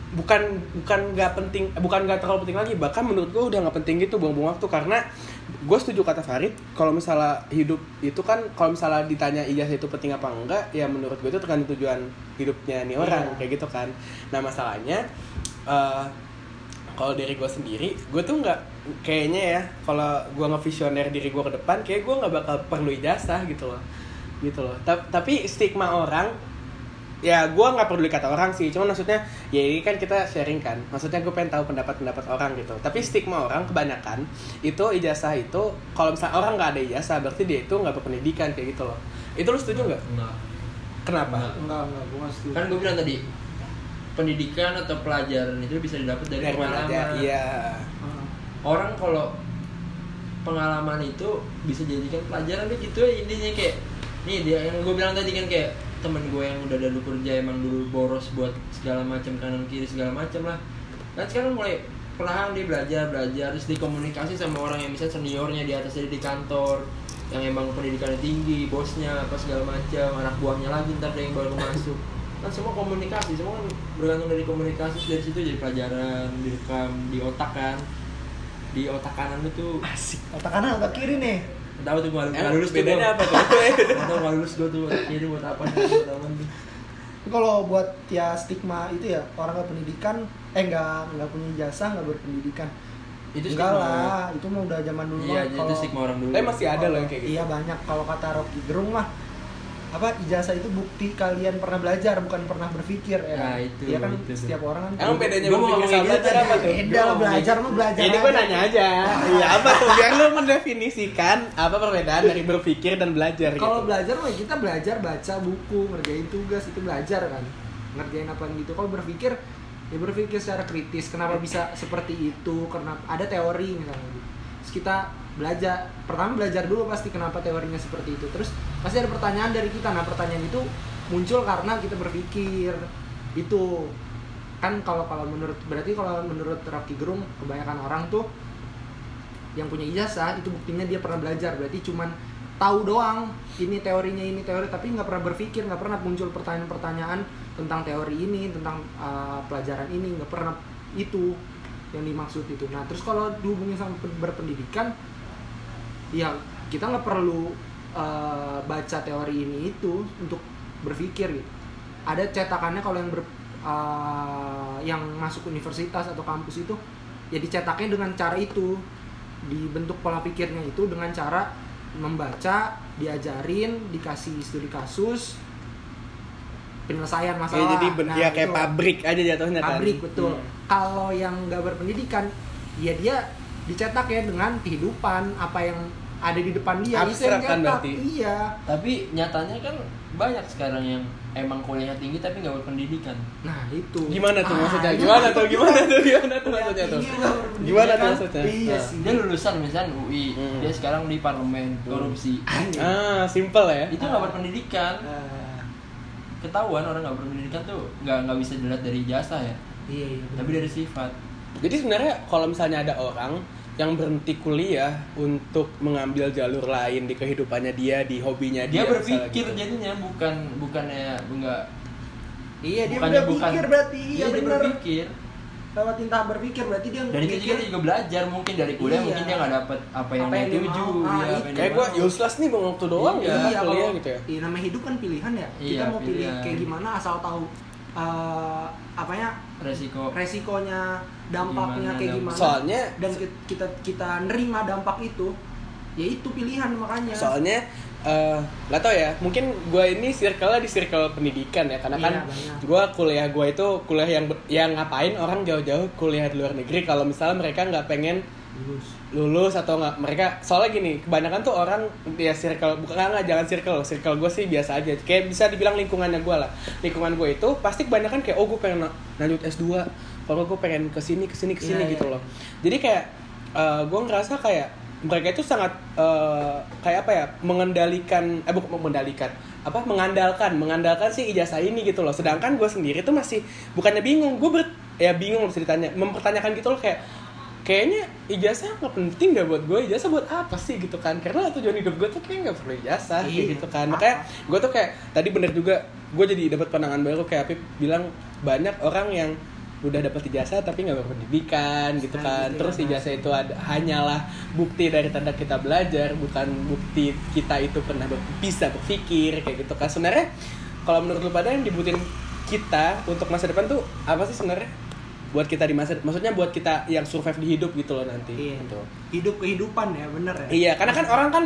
Speaker 1: bukan bukan nggak penting eh, bukan nggak terlalu penting lagi bahkan menurut gue udah nggak penting gitu buang-buang waktu karena gue setuju kata Farid kalau misalnya hidup itu kan kalau misalnya ditanya ijazah itu penting apa enggak ya menurut gue itu tergantung tujuan hidupnya nih orang
Speaker 2: Iya.
Speaker 1: kayak gitu kan nah masalahnya eh, kalau dari gue sendiri gue tuh nggak kayaknya ya kalau gue ngevisioner diri gue ke depan kayak gue nggak bakal perlu ijazah gitu loh gitu loh Ta- tapi stigma orang ya gue nggak peduli kata orang sih cuman maksudnya ya ini kan kita sharing kan maksudnya gue pengen tahu pendapat-pendapat orang gitu tapi stigma orang kebanyakan itu ijazah itu kalau misalnya orang nggak ada ijazah berarti dia itu nggak berpendidikan kayak gitu loh itu lu setuju nggak
Speaker 3: Enggak
Speaker 1: kenapa
Speaker 2: enggak enggak gua nggak setuju
Speaker 3: Kan gue bilang tadi pendidikan atau pelajaran itu bisa didapat dari,
Speaker 1: Dari mana
Speaker 3: pengalaman.
Speaker 1: aja? Iya.
Speaker 2: Heeh.
Speaker 3: Orang kalau pengalaman itu bisa jadikan pelajaran tuh gitu ya intinya kayak nih dia yang gue bilang tadi kan kayak temen gue yang udah dulu kerja emang dulu boros buat segala macam kanan kiri segala macam lah kan sekarang mulai perlahan dia belajar belajar terus dikomunikasi sama orang yang misalnya seniornya di atas dia di kantor yang emang pendidikannya tinggi bosnya apa segala macam anak buahnya lagi ntar ada yang baru masuk kan semua komunikasi semua kan bergantung dari komunikasi terus dari situ jadi pelajaran direkam di otak kan di otak kanan itu tuh
Speaker 1: Asik.
Speaker 2: otak kanan otak kiri nih
Speaker 3: Nggak tahu tuh gua nggak
Speaker 1: Emang
Speaker 3: lulus tuh
Speaker 1: Eh, bedanya
Speaker 3: gua.
Speaker 1: apa tuh?
Speaker 3: Nggak tahu nggak lulus gua tuh jadi buat apa nih buat apa nih
Speaker 2: Tapi kalau buat ya stigma itu ya orang nggak pendidikan eh nggak nggak punya jasa nggak berpendidikan
Speaker 3: itu
Speaker 2: enggak
Speaker 3: stigma. ya.
Speaker 2: lah itu mah udah zaman dulu
Speaker 3: iya
Speaker 2: banget
Speaker 3: itu stigma orang dulu
Speaker 1: Tapi masih ada loh yang kayak gitu.
Speaker 2: iya banyak kalau kata Rocky Gerung mah apa ijazah itu bukti kalian pernah belajar bukan pernah berpikir ya
Speaker 3: Nah, itu,
Speaker 2: Iya kan
Speaker 3: itu.
Speaker 2: setiap orang kan
Speaker 1: Emang bedanya
Speaker 3: Gua mau
Speaker 1: berpikir
Speaker 3: ngomongin
Speaker 1: sama
Speaker 3: dia
Speaker 1: belajar
Speaker 3: tadi.
Speaker 1: apa tuh?
Speaker 2: beda lah belajar mah belajar
Speaker 1: gitu. Ini gue
Speaker 2: aja.
Speaker 1: nanya aja. Iya apa tuh? Biar lu mendefinisikan apa perbedaan dari berpikir dan belajar gitu.
Speaker 2: kalau belajar mah kita belajar baca buku ngerjain tugas itu belajar kan ngerjain apa gitu kalau berpikir ya berpikir secara kritis kenapa bisa seperti itu kenapa ada teori misalnya gitu. terus kita belajar pertama belajar dulu pasti kenapa teorinya seperti itu terus pasti ada pertanyaan dari kita nah pertanyaan itu muncul karena kita berpikir itu kan kalau kalau menurut berarti kalau menurut Rocky Gerung kebanyakan orang tuh yang punya ijazah itu buktinya dia pernah belajar berarti cuman tahu doang ini teorinya ini teori tapi nggak pernah berpikir nggak pernah muncul pertanyaan-pertanyaan tentang teori ini tentang uh, pelajaran ini nggak pernah itu yang dimaksud itu nah terus kalau dihubungin sama pen- berpendidikan ya kita nggak perlu uh, baca teori ini itu untuk berpikir gitu ada cetakannya kalau yang ber, uh, yang masuk universitas atau kampus itu ya dicetaknya dengan cara itu dibentuk pola pikirnya itu dengan cara membaca diajarin dikasih studi kasus penyelesaian
Speaker 1: Ya,
Speaker 2: masalah
Speaker 1: jadi ben-
Speaker 2: Nah,
Speaker 1: ya kayak
Speaker 2: itu
Speaker 1: pabrik aja jatuhnya kan.
Speaker 2: pabrik betul
Speaker 1: Hmm.
Speaker 2: kalau yang nggak berpendidikan ya dia dicetak ya dengan kehidupan apa yang ada di depan dia itu
Speaker 1: Abstrak
Speaker 2: yang
Speaker 1: kan
Speaker 2: cetak.
Speaker 1: berarti?
Speaker 2: iya
Speaker 3: tapi nyatanya kan banyak sekarang yang emang kuliahnya tinggi tapi nggak berpendidikan
Speaker 2: nah itu
Speaker 1: Gimana tuh
Speaker 2: Ah,
Speaker 1: maksudnya?
Speaker 2: itu
Speaker 1: Gimana
Speaker 2: berarti
Speaker 1: tuh? Gimana tuh? Gimana tuh maksudnya tuh?
Speaker 2: Iya, nggak berpendidikan.
Speaker 1: Gimana tuh maksudnya?
Speaker 2: iya
Speaker 1: Ah.
Speaker 2: sih
Speaker 3: dia lulusan misalnya UI
Speaker 1: Hmm.
Speaker 3: dia sekarang di parlemen korupsi
Speaker 2: Anjing.
Speaker 1: Ah, simple ya.
Speaker 3: itu nggak berpendidikan
Speaker 2: Ah,
Speaker 3: ketahuan orang nggak berpendidikan tuh nggak nggak bisa dilihat dari jasa ya
Speaker 2: iya iya
Speaker 3: tapi dari sifat
Speaker 1: Jadi sebenarnya kalau misalnya ada orang yang berhenti kuliah untuk mengambil jalur lain di kehidupannya dia, di hobinya dia.
Speaker 3: dia
Speaker 1: misalnya
Speaker 3: berpikir
Speaker 1: gitu.
Speaker 3: jadinya bukan bukannya enggak
Speaker 2: iya dia
Speaker 3: bukannya
Speaker 2: udah pikir berarti iya
Speaker 3: dia
Speaker 2: bener
Speaker 3: berpikir
Speaker 2: lewatin tahap berpikir berarti dia
Speaker 3: dari itu juga
Speaker 2: mikir
Speaker 3: dia juga belajar mungkin dari kuliah
Speaker 2: Iya.
Speaker 3: mungkin dia nggak dapet apa yang
Speaker 2: Apa
Speaker 3: dia
Speaker 2: yang dia
Speaker 3: tuju
Speaker 2: mau. Ah,
Speaker 3: iya,
Speaker 2: itu.
Speaker 3: apa yang dia
Speaker 1: Kayak gue
Speaker 3: mau.
Speaker 1: useless nih buang waktu doang
Speaker 3: Iya,
Speaker 1: ya kuliah gitu ya.
Speaker 2: Iya, namanya hidup kan pilihan ya.
Speaker 3: Iya,
Speaker 2: kita mau pilih
Speaker 3: pilihan.
Speaker 2: kayak gimana asal tahu eh apanya
Speaker 3: resiko
Speaker 2: resikonya, dampaknya
Speaker 3: Gimana
Speaker 2: kayak
Speaker 3: dampak-
Speaker 2: gimana.
Speaker 1: Soalnya-
Speaker 2: dan ki- kita kita nerima dampak itu, ya itu pilihan makanya.
Speaker 1: soalnya eh, nggak tau ya mungkin gue ini circle di circle pendidikan ya karena kan
Speaker 2: Iya, banyak.
Speaker 1: gue kuliah gue itu kuliah yang ber- yang ngapain orang jauh-jauh kuliah di luar negeri kalau misalnya mereka nggak pengen lulus atau nggak mereka soalnya gini kebanyakan tuh orang ya circle bukan nggak nggak, jangan circle loh. circle gue sih biasa aja kayak bisa dibilang lingkungannya gue lah lingkungan gue itu pasti kebanyakan kayak oh gue pengen na- lanjut S 2 kalau gue pengen kesini kesini kesini
Speaker 2: Iya,
Speaker 1: gitu
Speaker 2: iya.
Speaker 1: loh jadi kayak gue ngerasa kayak mereka itu sangat eh, kayak apa ya mengendalikan eh bukan mengendalikan apa mengandalkan mengandalkan si ijazah ini gitu loh sedangkan gue sendiri tuh masih bukannya bingung gue ber- ya bingung bisa ditanya mempertanyakan gitu loh kayak kayaknya ijazah nggak penting dah buat gue ijazah buat apa sih gitu kan karena tujuan hidup gue tuh kayak nggak perlu ijazah kayak
Speaker 2: Iya.
Speaker 1: gitu kan makanya gue tuh kayak tadi bener juga gue jadi dapat pandangan baru kayak Apip bilang banyak orang yang udah dapat ijazah tapi nggak berpendidikan gitu kan
Speaker 2: Nah, gitu ya,
Speaker 1: terus
Speaker 2: Mas.
Speaker 1: ijazah itu ada, hanyalah bukti dari tanda kita belajar bukan bukti kita itu pernah ber- bisa berpikir kayak gitu kan sebenarnya kalau menurut lu pada yang dibutuhin kita untuk masa depan tuh apa sih sebenarnya buat kita di masa maksudnya buat kita yang survive di hidup gitu loh nanti
Speaker 2: Iya.
Speaker 1: gitu.
Speaker 2: Hidup kehidupan ya, bener ya.
Speaker 1: Iya, karena kan orang kan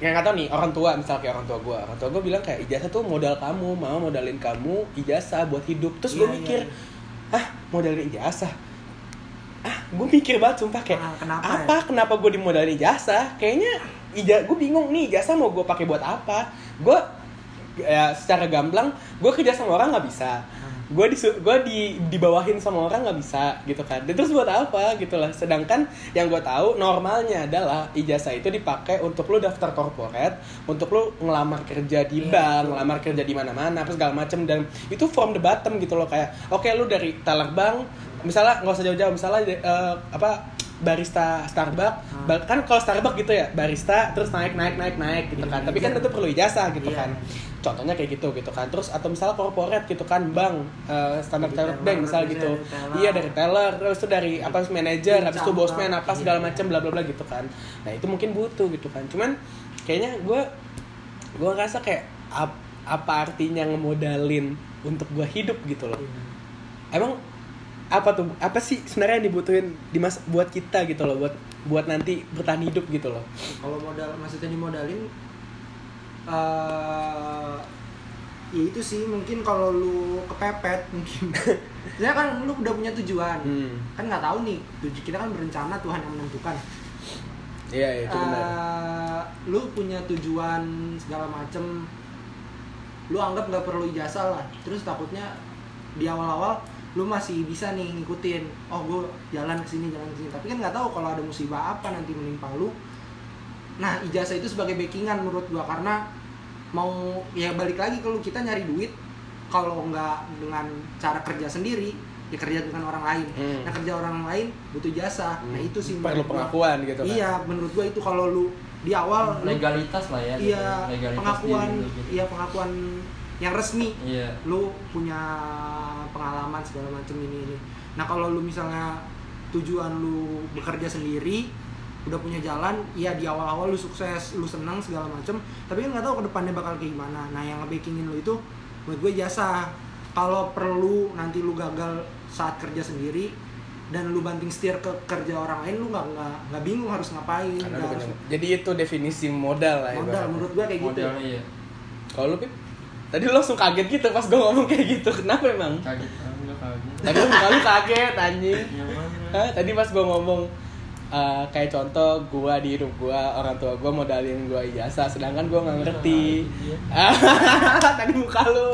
Speaker 1: kayak nggak tahu nih orang tua misal kayak orang tua gue orang tua gue bilang kayak ijazah tuh modal kamu mau modalin kamu ijazah buat hidup terus gue
Speaker 2: Iya, iya,
Speaker 1: mikir
Speaker 2: iya.
Speaker 1: ah modalin ijazah ah gue mikir banget sumpah kayak
Speaker 2: Ah, kenapa
Speaker 1: apa kenapa gue dimodalin ijazah kayaknya ija gue bingung nih ijazah mau gue pakai buat apa gue ya secara gamblang gue kerja sama orang nggak bisa gue di gue di dibawahin sama orang nggak bisa gitu kan Dan terus buat apa gitu lah sedangkan yang gue tahu normalnya adalah ijazah itu dipakai untuk lu daftar korporat untuk lu ngelamar kerja di bank ngelamar kerja di mana-mana terus segala macem dan itu from the bottom gitu loh kayak oke lu dari teller bank misalnya nggak usah jauh-jauh misalnya eh, apa barista Starbucks
Speaker 2: Hmm.
Speaker 1: kan kalau Starbucks gitu ya barista terus naik naik naik naik gitu kan tapi kan itu perlu ijazah gitu
Speaker 2: Iya.
Speaker 1: kan contohnya kayak gitu gitu kan terus atau misalnya korporat gitu kan bank eh, standar
Speaker 2: Dari
Speaker 1: chartered
Speaker 2: teller,
Speaker 1: bank misal
Speaker 2: terus
Speaker 1: gitu
Speaker 2: dari teller.
Speaker 1: iya dari teller terus itu dari apa manajer habis itu
Speaker 2: Cabang,
Speaker 1: bosman apa
Speaker 2: iya.
Speaker 1: segala macam bla bla bla gitu kan nah itu mungkin butuh gitu kan cuman kayaknya gue gue ngerasa kayak ap- apa artinya ngemodalin untuk gue hidup gitu loh emang apa tuh apa sih sebenarnya yang dibutuhin dimas buat kita gitu loh buat buat nanti bertahan hidup gitu loh
Speaker 2: kalau modal maksudnya dimodalin eh ya itu sih mungkin kalau lu kepepet mungkin ya kan lu udah punya tujuan
Speaker 1: Hmm.
Speaker 2: kan nggak tahu nih tujuan kita kan berencana Tuhan yang menentukan
Speaker 1: iya
Speaker 2: Eh, lu punya tujuan segala macem lu anggap nggak perlu ijazah lah terus takutnya di awal-awal lu masih bisa nih ngikutin oh gue jalan ke sini jalan ke sini tapi kan nggak tahu kalau ada musibah apa nanti menimpa lu nah ijazah itu sebagai backingan menurut gua karena mau ya balik lagi kalau kita nyari duit kalau nggak dengan cara kerja sendiri ya kerja dengan orang lain
Speaker 1: Hmm.
Speaker 2: nah kerja orang lain butuh jasa nah itu sih
Speaker 1: perlu
Speaker 2: menurut gua.
Speaker 1: pengakuan gitu kan Hmm,
Speaker 2: Iya, menurut gua itu kalau lu di awal lu-
Speaker 3: legalitas lah ya
Speaker 2: iya
Speaker 1: gitu,
Speaker 3: legalitas
Speaker 2: pengakuan
Speaker 3: diri lu gitu.
Speaker 2: iya pengakuan yang resmi
Speaker 3: iya
Speaker 2: lu punya pengalaman segala macam ini ini. Nah, kalau lu misalnya tujuan lu bekerja sendiri udah punya jalan, ya di awal-awal lu sukses, lu senang segala macam, tapi kan nggak tahu ke depannya bakal kayak gimana. Nah, yang ngebackingin lu itu menurut gue jasa. Kalau perlu nanti lu gagal saat kerja sendiri dan lu banting setir ke kerja orang lain, lu nggak nggak nggak bingung harus ngapain,
Speaker 1: Karena
Speaker 2: nggak
Speaker 1: lu
Speaker 2: harus
Speaker 1: punya- jadi itu definisi modal lah
Speaker 2: modal.
Speaker 1: ibaratnya.
Speaker 2: Menurut gue kayak gitu.
Speaker 3: modalnya iya
Speaker 1: kalau lu Pip? tadi lu langsung kaget gitu pas gue ngomong kayak gitu kenapa emang
Speaker 3: kaget enggak kaget
Speaker 1: tadi lu muka lu kaget anjing
Speaker 3: yang mana
Speaker 1: Hah? tadi pas gue ngomong eh, kayak contoh gua di hidup gua orang tua gua modalin gua ijazah sedangkan gua nggak ngerti
Speaker 3: Iya.
Speaker 1: tadi muka lu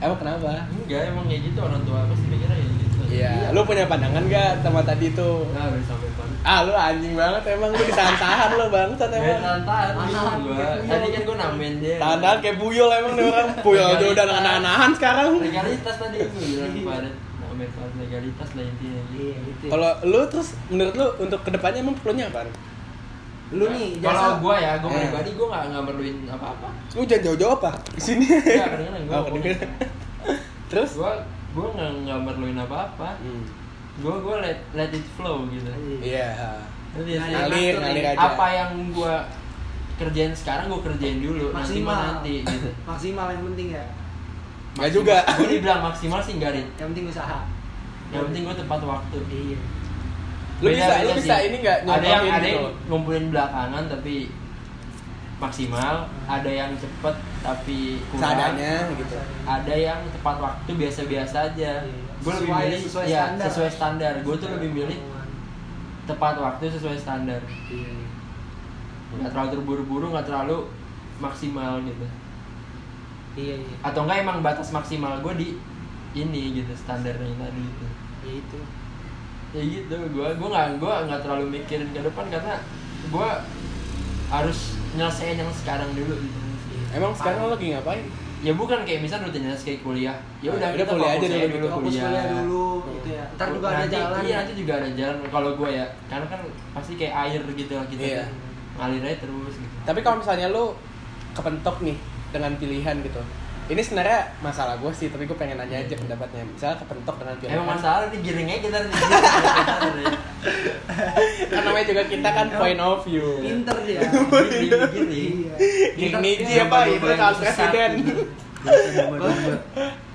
Speaker 1: emang kenapa
Speaker 3: enggak emang kayak gitu orang tua pasti mikirnya kayak gitu
Speaker 1: Iya, lu punya pandangan gak sama tadi tuh?
Speaker 3: Nah, udah sampai pan
Speaker 1: Ah, lu anjing banget emang lu ditahan-tahan lu bangsat
Speaker 3: Gak
Speaker 1: emang.
Speaker 3: tahan
Speaker 2: Tahan,
Speaker 3: iya, gua.
Speaker 2: kayak
Speaker 3: Tadi
Speaker 2: puyol.
Speaker 3: kan gua nambahin dia.
Speaker 1: Tahan-tahan kayak puyol emang nih orang. Puyol aja udah nahan-nahan sekarang.
Speaker 3: Legalitas tadi gua bilang kemarin. Nambahin pan legalitas lah intinya.
Speaker 2: Iya, gitu.
Speaker 1: Kalau lu terus menurut lu untuk kedepannya emang perlunya apa?
Speaker 2: lu nih
Speaker 3: Kalau
Speaker 2: jasa
Speaker 3: gua ya, gua
Speaker 1: Eh.
Speaker 3: pribadi gua nggak nggak perluin apa-apa.
Speaker 1: Lu jangan jauh-jauh apa? Di sini.
Speaker 3: Enggak, kadang-kadang Iya, gua.
Speaker 1: Oh, kedengeran. Terus?
Speaker 3: Gua gua nggak nggak perluin apa-apa.
Speaker 1: Hmm,
Speaker 3: Gua gua let let it flow gitu.
Speaker 1: Iya.
Speaker 3: Itu biasanya.
Speaker 1: Ngalir, ngalir aja.
Speaker 3: Apa ya? yang gua kerjain sekarang gua kerjain dulu nanti
Speaker 2: Maksimal.
Speaker 3: mah nanti gitu.
Speaker 2: maksimal yang penting ya
Speaker 1: Enggak juga.
Speaker 3: Gua dibilang maksimal sih enggak, Rit.
Speaker 2: yang penting usaha
Speaker 3: Yang penting gua tepat waktu.
Speaker 2: iya
Speaker 1: Lu bisa, lu
Speaker 3: Beda-beda
Speaker 1: bisa
Speaker 3: sih.
Speaker 1: ini enggak
Speaker 3: ada yang
Speaker 1: nyontohin
Speaker 3: ada
Speaker 1: gitu
Speaker 3: yang
Speaker 1: loh.
Speaker 3: ngumpulin belakangan tapi maksimal ada yang cepet tapi kurang
Speaker 1: Seadanya gitu.
Speaker 2: ya.
Speaker 3: ada yang tepat waktu biasa-biasa aja
Speaker 1: Iya.
Speaker 3: gue lebih
Speaker 2: Sesuai-
Speaker 3: milih
Speaker 2: sesuai
Speaker 3: ya,
Speaker 2: standar.
Speaker 3: sesuai standar gue tuh lebih milih tepat waktu sesuai standar
Speaker 2: Iya.
Speaker 3: nggak terlalu terburu-buru nggak terlalu maksimal gitu
Speaker 2: iya iya
Speaker 3: atau enggak emang batas maksimal gue di ini gitu standarnya yang tadi gitu
Speaker 2: Ya itu
Speaker 3: ya gitu gue gue nggak gue nggak terlalu mikirin ke depan karena gue harus nyelesain yang sekarang dulu gitu
Speaker 1: Emang sekarang lu lagi ngapain?
Speaker 3: ya bukan kayak misal rutinitas kayak kuliah ya udah
Speaker 1: Udah
Speaker 3: kita
Speaker 1: kuliah aja
Speaker 3: fokus aja
Speaker 1: dulu
Speaker 3: dulu
Speaker 1: gitu.
Speaker 2: fokus
Speaker 3: kuliah,
Speaker 2: kuliah dulu
Speaker 1: Hmm.
Speaker 2: gitu ya ntar juga ada
Speaker 3: Nanti-
Speaker 2: jalan
Speaker 3: iya nanti juga ada jalan kalau gue ya karena kan pasti kayak air gitu lah kita
Speaker 1: Iya.
Speaker 3: kan. ngalir aja terus gitu
Speaker 1: Tapi kalau misalnya lu kepentok nih dengan pilihan gitu. Ini sebenarnya masalah gue sih, tapi gue pengen nanya aja pendapatnya. Misalnya kepentok dengan pilihan.
Speaker 3: emang masalah nih giring aja kita nih, giring aja kita nih.
Speaker 1: kan namanya juga kita kan point of view.
Speaker 2: pinter dia
Speaker 3: giring giring
Speaker 2: iya
Speaker 1: Giring
Speaker 2: Pinter
Speaker 1: Niji
Speaker 2: dia.
Speaker 1: apa
Speaker 3: Iya,
Speaker 1: itu
Speaker 3: iya,
Speaker 1: calon
Speaker 3: iya,
Speaker 1: presiden.
Speaker 3: iya, iya, iya, iya.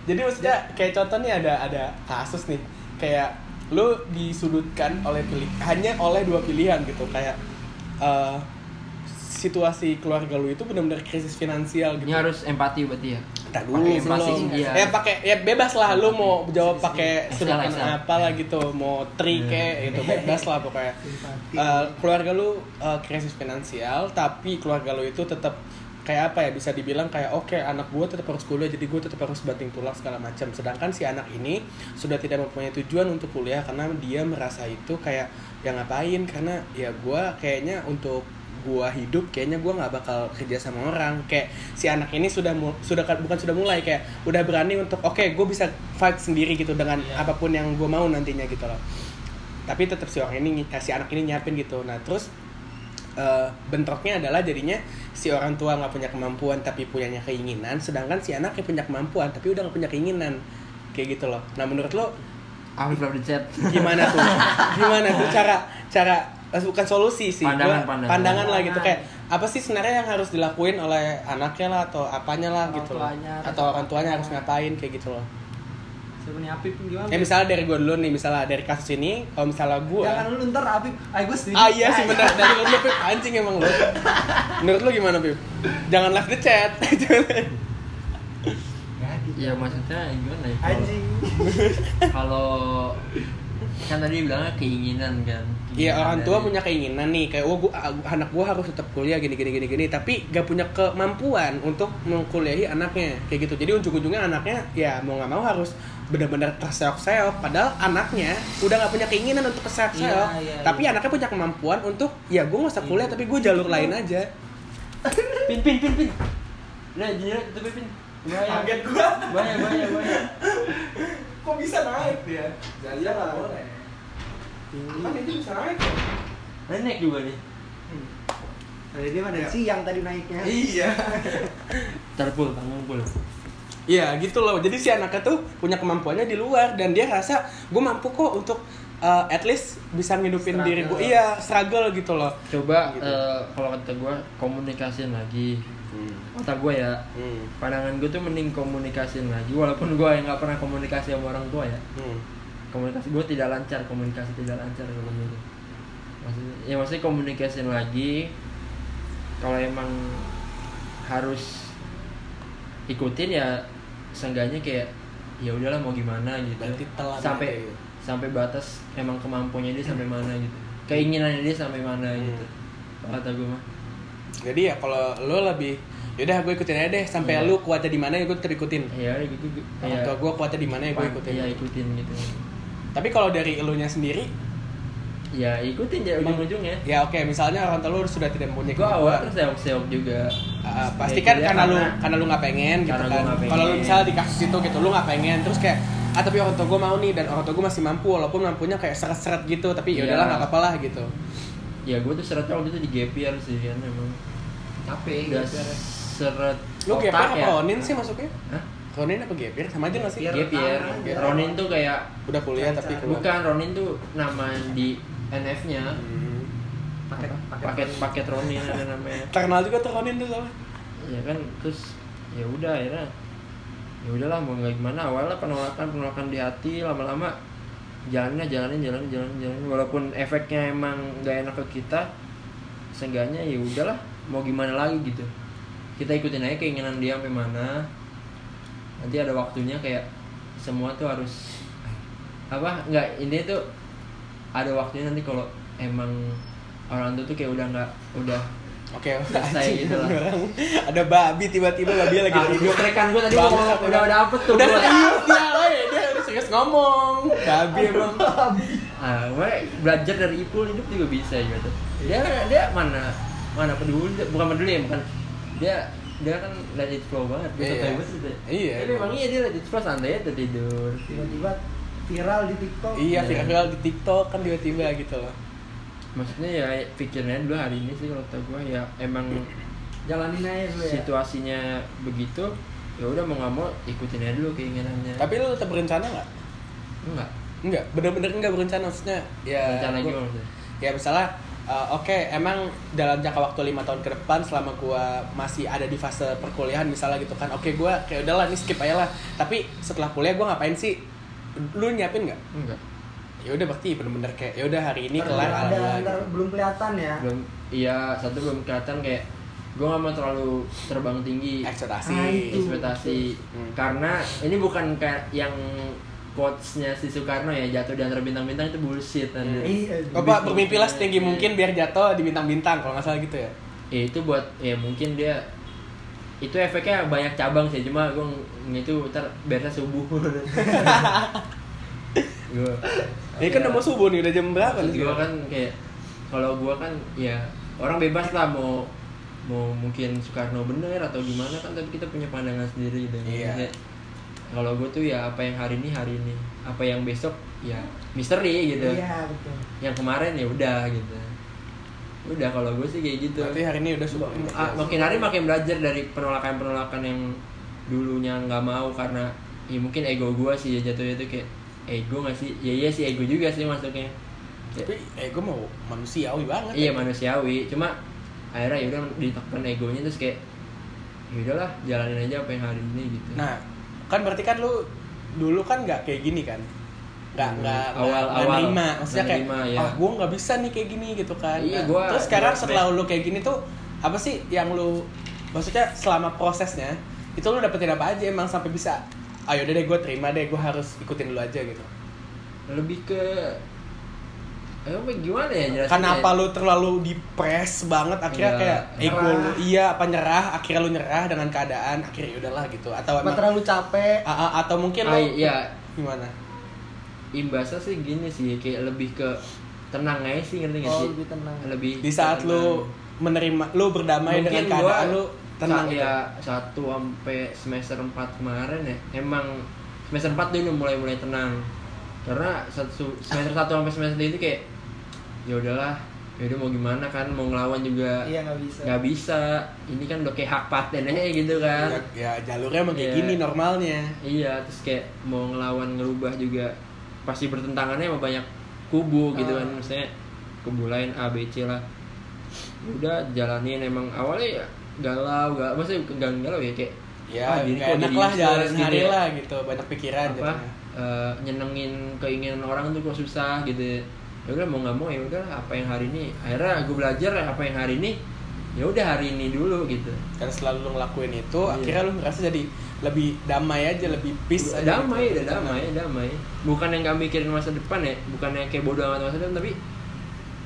Speaker 1: Jadi maksudnya kayak contoh nih ada ada kasus nih kayak lu disudutkan oleh pilih hanya oleh dua pilihan gitu kayak eh, situasi keluarga lu itu benar-benar krisis finansial gitu.
Speaker 3: ini harus empati berarti ya
Speaker 1: Entar dulu
Speaker 3: Pakai
Speaker 1: belum.
Speaker 3: plastik, iya.
Speaker 1: Ya pakai ya bebas lah lu mau jawab pakai
Speaker 3: Excel,
Speaker 1: sebutan
Speaker 3: Excel.
Speaker 1: apa lah gitu, mau tri kek
Speaker 3: Iya.
Speaker 1: gitu bebas lah
Speaker 3: Ah.
Speaker 1: pokoknya. Eh, keluarga lu eh, krisis finansial tapi keluarga lu itu tetap kayak apa ya bisa dibilang kayak oke anak gue tetap harus kuliah jadi gue tetap harus banting tulang segala macam sedangkan si anak ini sudah tidak mempunyai tujuan untuk kuliah karena dia merasa itu kayak ya ngapain karena ya gue kayaknya untuk gue hidup kayaknya gue nggak bakal kerja sama orang kayak si anak ini sudah mul- sudah bukan sudah mulai kayak udah berani untuk oke gue bisa fight sendiri gitu dengan
Speaker 3: Iya.
Speaker 1: apapun yang gue mau nantinya gitu loh tapi tetap si orang ini eh, si anak ini nyiapin gitu nah terus eh, bentroknya adalah jadinya si orang tua nggak punya kemampuan tapi punyanya keinginan sedangkan si anaknya punya kemampuan tapi udah nggak punya keinginan kayak gitu loh nah menurut lo
Speaker 3: Afif love the chat.
Speaker 1: gimana tuh gimana tuh cara cara eh, bukan solusi sih
Speaker 3: Pandangan,
Speaker 1: Gua-
Speaker 3: pandangan.
Speaker 1: lah gitu kayak apa sih sebenarnya yang harus dilakuin oleh anaknya lah atau apanya lah
Speaker 2: Orang
Speaker 1: gitu loh
Speaker 2: tuanya.
Speaker 1: atau orang tuanya harus ngapain kayak gitu loh
Speaker 2: Sebenarnya Apip gimana?
Speaker 1: ya misalnya dari gue dulu nih misalnya dari kasus ini kalau misalnya gue
Speaker 2: Jangan lu ntar Apip, ah gue sendiri.
Speaker 1: Ah iya sih benar. Dari menurut lu Pip anjing emang lu. Menurut lu gimana Pip? Jangan left the chat. Jangan-
Speaker 3: ya maksudnya gimana ya? Kalau-
Speaker 2: Iya. Anjing.
Speaker 3: Kalau kan tadi bilangnya keinginan kan.
Speaker 1: Iya
Speaker 3: Keinginan
Speaker 1: orang tua
Speaker 3: dari-
Speaker 1: punya keinginan nih kayak wah gua, ah, anak gua harus tetap kuliah gini gini gini gini tapi gak punya kemampuan untuk mengkuliahi anaknya kayak gitu. Jadi ujung-ujungnya anaknya ya mau nggak mau harus benar-benar terseok-seok padahal anaknya udah nggak punya keinginan untuk terseok-seok
Speaker 2: Iya, iya,
Speaker 1: tapi anaknya punya kemampuan untuk ya gua nggak usah kuliah tapi gua jalur lain aja
Speaker 3: Pin pin pin pin. Udah jadi Nah, itu pin pin. Bahaya.
Speaker 2: gua.
Speaker 3: Bahaya bahaya bahaya.
Speaker 2: Kok bisa naik dia? Jalan lah boleh. Kan itu bisa naik kok.
Speaker 3: Nenek juga nih.
Speaker 2: Dari dia
Speaker 3: Ya.
Speaker 2: mana Nah, siang tadi naiknya.
Speaker 3: Iya. Terpul, bangun pul.
Speaker 1: Iya gitu loh. Jadi si anaknya tuh punya kemampuannya di luar dan dia rasa gue mampu kok untuk uh, at least bisa ngidupin
Speaker 2: Struggle.
Speaker 1: diri gue. Iya struggle gitu loh.
Speaker 3: Coba
Speaker 1: Gitu.
Speaker 3: eh, kalau kata gue komunikasiin lagi. Kata gue ya,
Speaker 1: Hmm.
Speaker 3: pandangan gue tuh mending komunikasiin lagi walaupun gue yang nggak pernah komunikasi sama orang tua ya
Speaker 1: Hmm.
Speaker 3: komunikasi gue tidak lancar komunikasi tidak lancar kalau gitu maksudnya ya maksudnya komunikasiin lagi kalau emang harus ikutin ya seenggaknya kayak ya udahlah mau gimana gitu
Speaker 1: Berarti telan aja
Speaker 3: sampai
Speaker 1: gitu.
Speaker 3: sampai batas emang kemampuannya dia sampai mana gitu keinginannya dia sampai mana
Speaker 1: Hmm.
Speaker 3: gitu Kalau kata gue mah
Speaker 1: Jadi ya kalau lo lebih yaudah gue ikutin aja deh sampai
Speaker 3: Iya.
Speaker 1: lu kuatnya di mana ya gue tetap ikutin.
Speaker 3: ya gitu gitu
Speaker 1: Orang tua gue kuatnya di mana ya gue ikutin.
Speaker 3: ya ikutin gitu
Speaker 1: Tapi kalau dari elunya sendiri,
Speaker 3: ya ikutin ya
Speaker 1: Emang-
Speaker 3: ujung-ujungnya
Speaker 1: ya oke misalnya orang tua lu sudah tidak mempunyai
Speaker 3: gue awal
Speaker 1: kemampuan.
Speaker 3: terseok-seok juga
Speaker 1: Uh, pasti
Speaker 3: Ya,
Speaker 1: kan
Speaker 3: iya,
Speaker 1: karena lu karena lu nggak pengen gitu
Speaker 3: Karena gua
Speaker 1: kan
Speaker 3: nggak pengen.
Speaker 1: kalau lu misalnya di kasus itu gitu lu nggak pengen terus kayak ah tapi orang tua gue mau nih dan orang tua gue masih mampu walaupun mampunya kayak seret-seret gitu tapi ya
Speaker 3: Iya.
Speaker 1: udahlah nggak apa-apa lah gitu
Speaker 3: ya gue tuh seretnya waktu itu di gap year sih kan emang
Speaker 2: Capek
Speaker 3: udah
Speaker 2: gitu.
Speaker 3: seret
Speaker 1: lu
Speaker 3: otak
Speaker 1: geber apa
Speaker 3: ya.
Speaker 1: Ronin sih masuknya
Speaker 3: Hah?
Speaker 1: Ronin apa geber sama aja nggak sih
Speaker 2: Geber.
Speaker 3: gap year
Speaker 1: Geber.
Speaker 3: Ronin tuh kayak
Speaker 1: udah kuliah tapi keluar
Speaker 3: bukan Ronin tuh nama di NF nya
Speaker 1: Hmm.
Speaker 2: Paket
Speaker 3: paket paket Ronin ada namanya
Speaker 1: terkenal juga tuh Ronin tuh sama
Speaker 3: ya kan terus ya udah akhirnya ya udahlah mau nggak gimana awalnya penolakan penolakan di hati lama-lama jalannya jalanin jalanin jalanin jalanin walaupun efeknya emang nggak enak ke kita seenggaknya ya udahlah mau gimana lagi gitu kita ikutin aja keinginan dia sampai mana nanti ada waktunya kayak semua tuh harus apa nggak ini tuh ada waktunya nanti kalau emang orang tuh tuh kayak udah nggak udah
Speaker 1: oke
Speaker 3: Selesai
Speaker 1: anjing,
Speaker 3: gitu lah.
Speaker 1: orang. ada babi tiba-tiba babi lagi
Speaker 3: Ah,
Speaker 1: tidur
Speaker 3: rekan gue tadi ngomong
Speaker 1: Bangsat,
Speaker 3: udah udah dapet tuh
Speaker 1: udah
Speaker 3: gua.
Speaker 1: serius dia woy. dia udah serius ngomong babi emang
Speaker 3: Ah, gue belajar dari Ipul hidup juga bisa gitu. Dia dia mana mana peduli bukan peduli ya bukan. Dia dia kan let it flow banget. Dia
Speaker 1: Iya.
Speaker 3: santai banget gitu.
Speaker 1: Iya.
Speaker 3: Tapi emang iya dia let it flow santai aja tidur.
Speaker 2: Tiba-tiba viral di TikTok.
Speaker 1: iya
Speaker 3: Iya.
Speaker 1: viral di TikTok kan tiba-tiba gitu loh
Speaker 3: Maksudnya ya pikirnya dulu hari ini sih kalau kata gue ya emang
Speaker 2: Jalanin aja dulu ya.
Speaker 3: situasinya begitu ya udah mau nggak mau ikutin aja dulu keinginannya.
Speaker 1: tapi lu tetap berencana nggak
Speaker 3: enggak.
Speaker 1: Enggak, bener-bener enggak berencana maksudnya ya gua-
Speaker 3: Rencana gimana maksudnya?
Speaker 1: ya misalnya uh, oke emang dalam jangka waktu lima tahun ke depan selama gua masih ada di fase perkuliahan misalnya gitu kan oke gua kayak udahlah ini skip aja lah tapi setelah kuliah gua ngapain sih lu nyiapin nggak
Speaker 3: Enggak.
Speaker 1: ya udah berarti bener-bener kayak ya udah hari ini
Speaker 2: Ntar
Speaker 1: kelar
Speaker 2: ada-
Speaker 1: alhamdulillah
Speaker 2: ntar
Speaker 1: gitu.
Speaker 2: belum kelihatan ya.
Speaker 3: belum iya satu belum kelihatan kayak gue gak mau terlalu terbang tinggi
Speaker 1: ekspektasi
Speaker 2: Ah, itu.
Speaker 3: ekspektasi
Speaker 1: Hmm.
Speaker 3: Gitu. karena ini bukan kayak yang quotesnya si Soekarno ya jatuh di antara bintang-bintang itu bullshit kan
Speaker 1: Hmm.
Speaker 2: Iya.
Speaker 1: Bapak bermimpilah setinggi mungkin biar jatuh di bintang-bintang kalau nggak salah gitu ya
Speaker 3: ya itu buat ya mungkin dia itu efeknya banyak cabang sih cuma gue itu ntar biasa subuh gue
Speaker 1: Ini
Speaker 3: ya.
Speaker 1: kan udah mau subuh nih, udah jam berapa
Speaker 3: Maksud
Speaker 1: nih?
Speaker 3: gua kan kayak kalau gua kan ya orang bebas lah mau mau mungkin Soekarno bener atau gimana kan tapi kita punya pandangan sendiri gitu.
Speaker 1: Iya.
Speaker 3: Maksudnya, Kalau gua tuh ya apa yang hari ini hari ini, apa yang besok ya misteri gitu.
Speaker 2: Iya betul.
Speaker 3: Yang kemarin ya udah gitu. Udah kalau gua sih kayak gitu.
Speaker 1: Berarti ya, hari ini udah Iya, subuh.
Speaker 3: Ah, makin hari makin belajar dari penolakan-penolakan yang dulunya nggak mau karena ya mungkin ego gua sih ya jatuhnya tuh kayak ego nggak sih ya iya sih ego juga sih masuknya Ya,
Speaker 1: Tapi ego mau manusiawi banget.
Speaker 3: iya manusiawi cuma akhirnya ya udah ditekan egonya terus kayak ya udahlah jalanin aja apa yang hari ini gitu
Speaker 1: Nah, kan berarti kan lu dulu kan nggak kayak gini kan? Nggak
Speaker 3: Hmm,
Speaker 1: nggak
Speaker 3: awal-
Speaker 1: nggak
Speaker 3: awal.
Speaker 1: nerima. maksudnya
Speaker 3: Nggak
Speaker 1: kayak
Speaker 3: nerima, ya.
Speaker 1: ah gue nggak bisa nih kayak gini gitu kan.
Speaker 3: Iya,
Speaker 1: Nah,
Speaker 3: gua-
Speaker 1: Terus sekarang
Speaker 3: gua-
Speaker 1: setelah lu kayak gini tuh apa sih yang lu maksudnya selama prosesnya itu lu dapetin apa aja emang sampai bisa ayo deh gue terima deh gue harus ikutin lu aja gitu
Speaker 3: lebih ke eh apa gimana ya jelasin
Speaker 1: Kenapa lu terlalu dipres banget akhirnya
Speaker 3: Iya.
Speaker 1: kayak ego
Speaker 2: Nyerah.
Speaker 1: lu iya apa nyerah akhirnya lu nyerah dengan keadaan akhirnya ya udahlah gitu atau
Speaker 2: Apa
Speaker 1: emang-
Speaker 2: terlalu capek?
Speaker 3: Ah,
Speaker 1: A- a- atau mungkin lu
Speaker 3: ya
Speaker 1: gimana?
Speaker 3: imbasnya sih gini sih kayak lebih ke tenang aja sih ngerti nggak
Speaker 2: Oh,
Speaker 3: sih
Speaker 2: lebih tenang.
Speaker 3: lebih
Speaker 1: Di saat lu menerima lu berdamai
Speaker 3: Iya, Mungkin
Speaker 1: dengan keadaan
Speaker 3: gua
Speaker 1: lu tenang
Speaker 3: saat
Speaker 1: gitu.
Speaker 3: ya satu sampai semester 4 kemarin ya emang semester 4 dulu mulai mulai tenang karena satu semester satu sampai semester itu kayak ya udahlah ya udah mau gimana kan mau ngelawan juga
Speaker 2: Iya nggak bisa.
Speaker 3: nggak bisa ini kan udah kayak hak paten aja gitu kan
Speaker 1: Ya, ya jalurnya emang kayak
Speaker 3: Iya.
Speaker 1: gini normalnya.
Speaker 3: iya terus kayak mau ngelawan ngerubah juga pasti bertentangannya sama banyak kubu gitu kan
Speaker 2: Ah.
Speaker 3: misalnya kubu lain A B C lah udah jalanin emang awalnya ya galau galau maksudnya bukan galau ya kayak
Speaker 1: Ya
Speaker 3: ah, diri
Speaker 1: nggak enak
Speaker 3: kok jadi
Speaker 1: lah
Speaker 3: useless
Speaker 1: jalan
Speaker 3: gitu
Speaker 1: hari
Speaker 3: ya.
Speaker 1: lah gitu banyak pikiran
Speaker 3: apa
Speaker 1: jadinya.
Speaker 3: eh, nyenengin keinginan orang tuh kok susah gitu ya udah mau nggak mau ya udah apa yang hari ini akhirnya gue belajar apa yang hari ini ya udah hari ini dulu gitu
Speaker 1: Dan selalu lu ngelakuin itu
Speaker 3: Iya.
Speaker 1: akhirnya lu ngerasa jadi lebih damai aja lebih peace aja.
Speaker 3: damai
Speaker 1: gitu.
Speaker 3: udah damai damai bukan yang gak mikirin masa depan ya bukan yang kayak bodoh amat masa depan tapi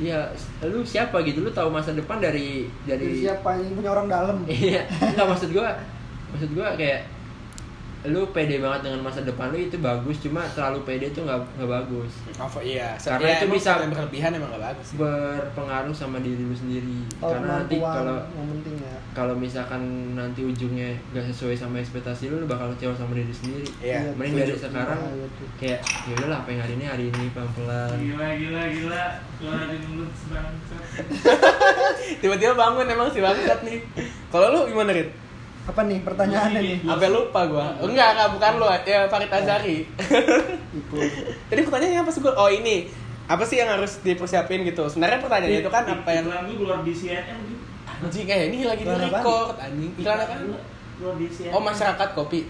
Speaker 3: ya lu siapa gitu lu tahu masa depan dari
Speaker 2: Jadi
Speaker 3: dari
Speaker 2: siapa yang punya orang dalam?
Speaker 3: iya nggak maksud gua maksud gua kayak lu pede banget dengan masa depan lu itu bagus cuma terlalu pede itu nggak nggak bagus
Speaker 1: Apa iya,
Speaker 3: Karena itu
Speaker 1: emang
Speaker 3: bisa-
Speaker 1: yang berlebihan emang gak bagus. sih.
Speaker 3: berpengaruh sama diri lu sendiri
Speaker 2: Kalau
Speaker 3: karena nanti
Speaker 2: Oh, kemampuan
Speaker 3: kalau
Speaker 2: yang penting ya.
Speaker 3: kalau misalkan nanti ujungnya gak sesuai sama ekspektasi lu lu bakal kecewa sama diri sendiri
Speaker 1: Iya.
Speaker 2: Iya,
Speaker 3: mending
Speaker 2: setuju.
Speaker 3: dari sekarang
Speaker 2: Iya, iya, tuh.
Speaker 3: kayak ya udahlah apa yang hari ini hari ini pelan pelan
Speaker 4: Gila, gila, gila. Keluar dari mulut bangsat.
Speaker 1: Tiba-tiba bangun emang sih bangsat nih. Kalau lu gimana Rit?
Speaker 2: Apa nih
Speaker 3: Iya,
Speaker 2: pertanyaannya nih?
Speaker 1: Sampai lupa gua. Enggak, enggak bukan lu. Ya Farid Azari.
Speaker 2: Itu.
Speaker 1: Tadi pertanyaannya apa sih Gul? Oh ini apa sih yang harus dipersiapin gitu? Sebenarnya pertanyaannya itu kan apa yang
Speaker 4: Iklan lu keluar di CNN gitu.
Speaker 1: anjing eh ini lagi di
Speaker 2: Iklan apaan?
Speaker 1: record anjing. Iklan apa?
Speaker 4: lu Keluar di CNN.
Speaker 1: Oh masyarakat kopi.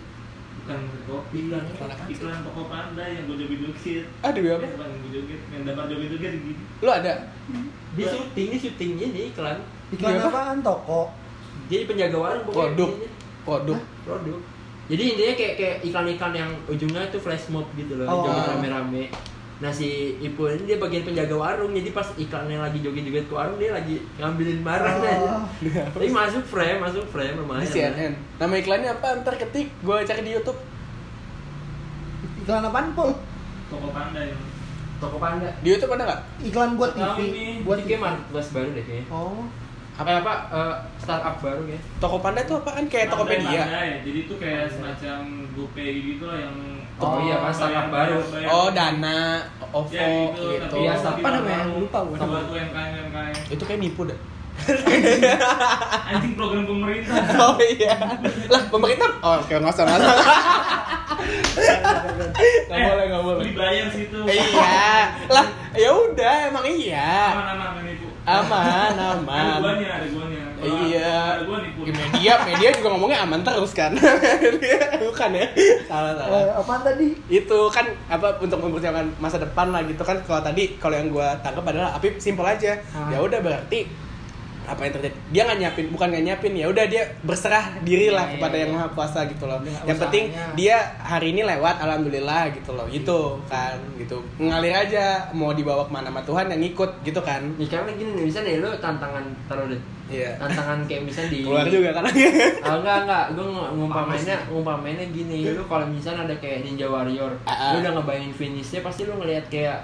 Speaker 4: Bukan kopi.
Speaker 1: Iklan apa sih?
Speaker 4: Iklan toko panda yang gue joget joget.
Speaker 1: Aduh
Speaker 4: Ya,
Speaker 1: Ah, apa?
Speaker 4: bukan gue joget. Yang dapat joget joget gitu.
Speaker 1: Lu ada?
Speaker 3: dia syuting dia syuting dia di iklan
Speaker 2: Iklan
Speaker 1: Iya, apa?
Speaker 2: apaan toko?
Speaker 3: jadi penjaga warung pokoknya
Speaker 1: Produk.
Speaker 3: intinya.
Speaker 1: Produk.
Speaker 3: produk jadi intinya kayak kayak iklan-iklan yang ujungnya itu flash mob gitu loh
Speaker 2: Oh.
Speaker 3: joget rame-rame nah si Ipul ini dia bagian penjaga warung jadi pas iklannya lagi joget-joget ke warung dia lagi ngambilin barang aja
Speaker 2: Oh.
Speaker 3: tapi masuk frame masuk frame lumayan
Speaker 1: Di CNN. Nama iklannya apa? Ntar ketik gua cari di YouTube.
Speaker 2: Iklan apaan, Pol?
Speaker 4: Toko panda yang.
Speaker 3: toko panda
Speaker 1: Di YouTube ada nggak?
Speaker 2: Iklan buat
Speaker 4: Tahu
Speaker 2: TV,
Speaker 4: ini,
Speaker 2: buat
Speaker 3: buat kayak marketplace baru deh kayaknya
Speaker 2: Oh,
Speaker 3: apa apa eh, startup baru ya
Speaker 1: Toko Panda itu apaan? Kayak Tokopedia.
Speaker 4: Pandai. ya. Jadi itu kayak semacam GoPay gitu lah yang.
Speaker 3: Oh, iya, pas startup baru.
Speaker 4: bayar-
Speaker 1: Oh, Dana, OVO
Speaker 4: Ya, gitu,
Speaker 1: gitu.
Speaker 4: tapi
Speaker 3: Iya,
Speaker 4: yang
Speaker 3: startup
Speaker 2: apa namanya?
Speaker 4: baru.
Speaker 2: Lupa gua.
Speaker 4: Buat UMKM UMKM.
Speaker 1: Itu kayak nipu dah.
Speaker 4: Anjing program pemerintah.
Speaker 1: Oh iya. Lah pemerintah oh kayak nggak usah nggak usah. Nggak
Speaker 4: Eh,
Speaker 1: boleh nggak boleh.
Speaker 4: Dibayar situ.
Speaker 1: Iya. Lah ya udah emang iya.
Speaker 4: Aman aman ini bu.
Speaker 1: Aman
Speaker 4: Ada
Speaker 1: aman.
Speaker 4: guanya, ada guanya. Kalau
Speaker 1: Iya.
Speaker 4: Ada gua nih pun.
Speaker 1: Di media media juga ngomongnya aman terus kan. Bukan ya. Salah salah.
Speaker 2: eh, apaan tadi?
Speaker 1: itu kan apa untuk mempersiapkan masa depan lah gitu kan kalau tadi kalau yang gua tangkap adalah Apip simpel aja
Speaker 3: Ah.
Speaker 1: ya udah berarti apa yang terjadi dia nggak nyiapin bukan nggak nyiapin ya udah dia berserah dirilah
Speaker 3: Iya,
Speaker 1: kepada
Speaker 3: iya,
Speaker 1: yang
Speaker 3: iya.
Speaker 1: maha kuasa gitu loh
Speaker 2: Dengan
Speaker 1: yang penting
Speaker 2: usahanya.
Speaker 1: dia hari ini lewat alhamdulillah gitu loh gitu kan gitu ngalir aja mau dibawa kemana sama Tuhan yang ngikut gitu kan
Speaker 3: Ya, karena gini nih, bisa deh lo tantangan taruh deh.
Speaker 1: Iya.
Speaker 3: Tantangan kayak bisa di
Speaker 1: keluar juga kan
Speaker 3: Ah, enggak enggak, gue ngumpamainnya ngumpamainnya gini, lu kalau misalnya ada kayak Ninja Warrior,
Speaker 1: Ah, ah.
Speaker 3: lu udah ngebayangin finishnya pasti lu ngelihat kayak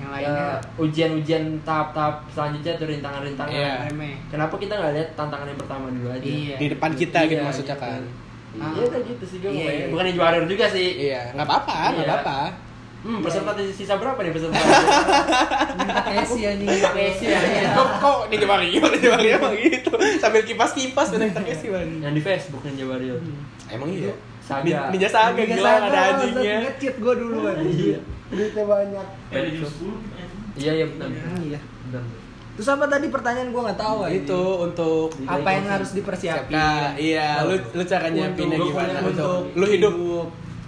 Speaker 2: yang
Speaker 3: eh,
Speaker 2: lainnya
Speaker 3: ujian-ujian tahap-tahap selanjutnya tuh rintangan-rintangan.
Speaker 1: Iya.
Speaker 2: remeh
Speaker 3: Kenapa kita nggak lihat tantangan yang pertama dulu aja?
Speaker 2: Iya.
Speaker 1: di depan kita gitu
Speaker 3: Iya,
Speaker 1: maksudnya
Speaker 3: gitu.
Speaker 1: kan
Speaker 3: Iya,
Speaker 2: Ah.
Speaker 3: udah gitu sih gue
Speaker 2: Iya, iya.
Speaker 3: Bukan Ninja Warrior juga sih.
Speaker 1: iya nggak apa-apa nggak
Speaker 3: Iya.
Speaker 1: apa-apa
Speaker 3: Hmm, peserta sisa berapa nih peserta?
Speaker 2: minta kesi anjing
Speaker 3: Kesi, ya, iya.
Speaker 1: kok kok di Mario di Mario emang gitu sambil kipas kipas dan terkes sih Bang.
Speaker 3: Yang di Facebook Ninja Warrior.
Speaker 1: emang iya
Speaker 3: Saga.
Speaker 1: Ninja Saga
Speaker 2: Liga
Speaker 1: gila
Speaker 2: Satu,
Speaker 1: ada
Speaker 2: Ustaz,
Speaker 1: anjingnya
Speaker 2: ngecit gue dulu anjing
Speaker 3: Iya.
Speaker 2: duitnya banyak
Speaker 4: Dari jam 10 kita anjing.
Speaker 3: Iya, iya benar.
Speaker 2: Hmm, iya
Speaker 3: Benar.
Speaker 2: terus apa tadi pertanyaan gue nggak tahu anjing.
Speaker 1: itu untuk
Speaker 2: apa yang harus dipersiapkan
Speaker 1: Nah, iya, lu lu cara
Speaker 3: Untuk-
Speaker 1: nyiapinnya
Speaker 3: untuk-
Speaker 1: gimana
Speaker 3: untuk
Speaker 1: untuk lu hidup.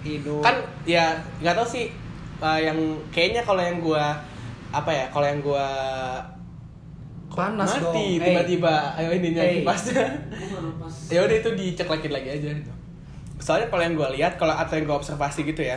Speaker 2: hidup
Speaker 1: Kan ya nggak tahu sih eh, yang kayaknya kalau yang gua apa ya, kalau yang gua
Speaker 2: panas dong
Speaker 1: mati
Speaker 2: Hey.
Speaker 1: tiba-tiba ayo ininya
Speaker 2: Hey.
Speaker 1: kipasnya.
Speaker 4: Gua baru pas.
Speaker 1: ya udah itu diceklekin lagi aja gitu. soalnya kalau yang gue lihat kalau atau yang gue observasi gitu ya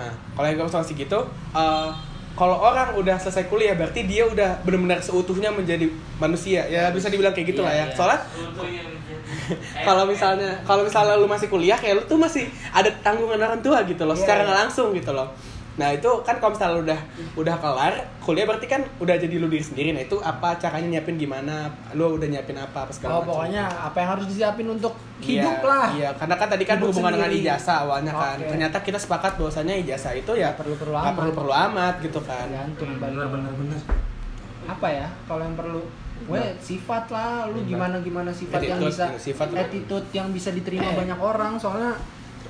Speaker 1: nah, kalau yang gue observasi gitu eh, kalau orang udah selesai kuliah berarti dia udah benar-benar seutuhnya menjadi manusia ya bisa dibilang kayak gitu lah ya
Speaker 3: Iya, iya.
Speaker 1: soalnya
Speaker 4: Untungnya menjadi.
Speaker 1: kalau misalnya kalau misalnya lu masih kuliah kayak lu tuh masih ada tanggungan orang tua gitu loh
Speaker 2: Iya,
Speaker 1: secara
Speaker 2: iya.
Speaker 1: nggak langsung gitu loh nah itu kan kalau misalnya lu udah udah kelar kuliah berarti kan udah jadi lu diri sendiri nah itu apa caranya nyiapin gimana lu udah nyiapin apa apa segala
Speaker 2: oh
Speaker 1: macam.
Speaker 2: pokoknya apa yang harus disiapin untuk hidup
Speaker 1: Iya,
Speaker 2: lah
Speaker 1: Iya, karena kan tadi kan
Speaker 2: Hidup
Speaker 1: berhubungan dengan
Speaker 2: sendiri.
Speaker 1: ijazah awalnya kan.
Speaker 2: Oke.
Speaker 1: Ternyata kita sepakat bahwasannya ijazah itu ya
Speaker 2: Nggak perlu-perlu
Speaker 1: nggak
Speaker 2: amat. Iya.
Speaker 1: perlu-perlu amat gitu kan.
Speaker 2: tergantung
Speaker 3: Benar benar benar.
Speaker 2: apa ya kalau yang perlu gue sifat lah lu
Speaker 3: Sifat.
Speaker 2: gimana gimana sifat yang
Speaker 1: Attitude,
Speaker 2: bisa
Speaker 1: sifat. Eh.
Speaker 2: attitude yang bisa diterima banyak orang soalnya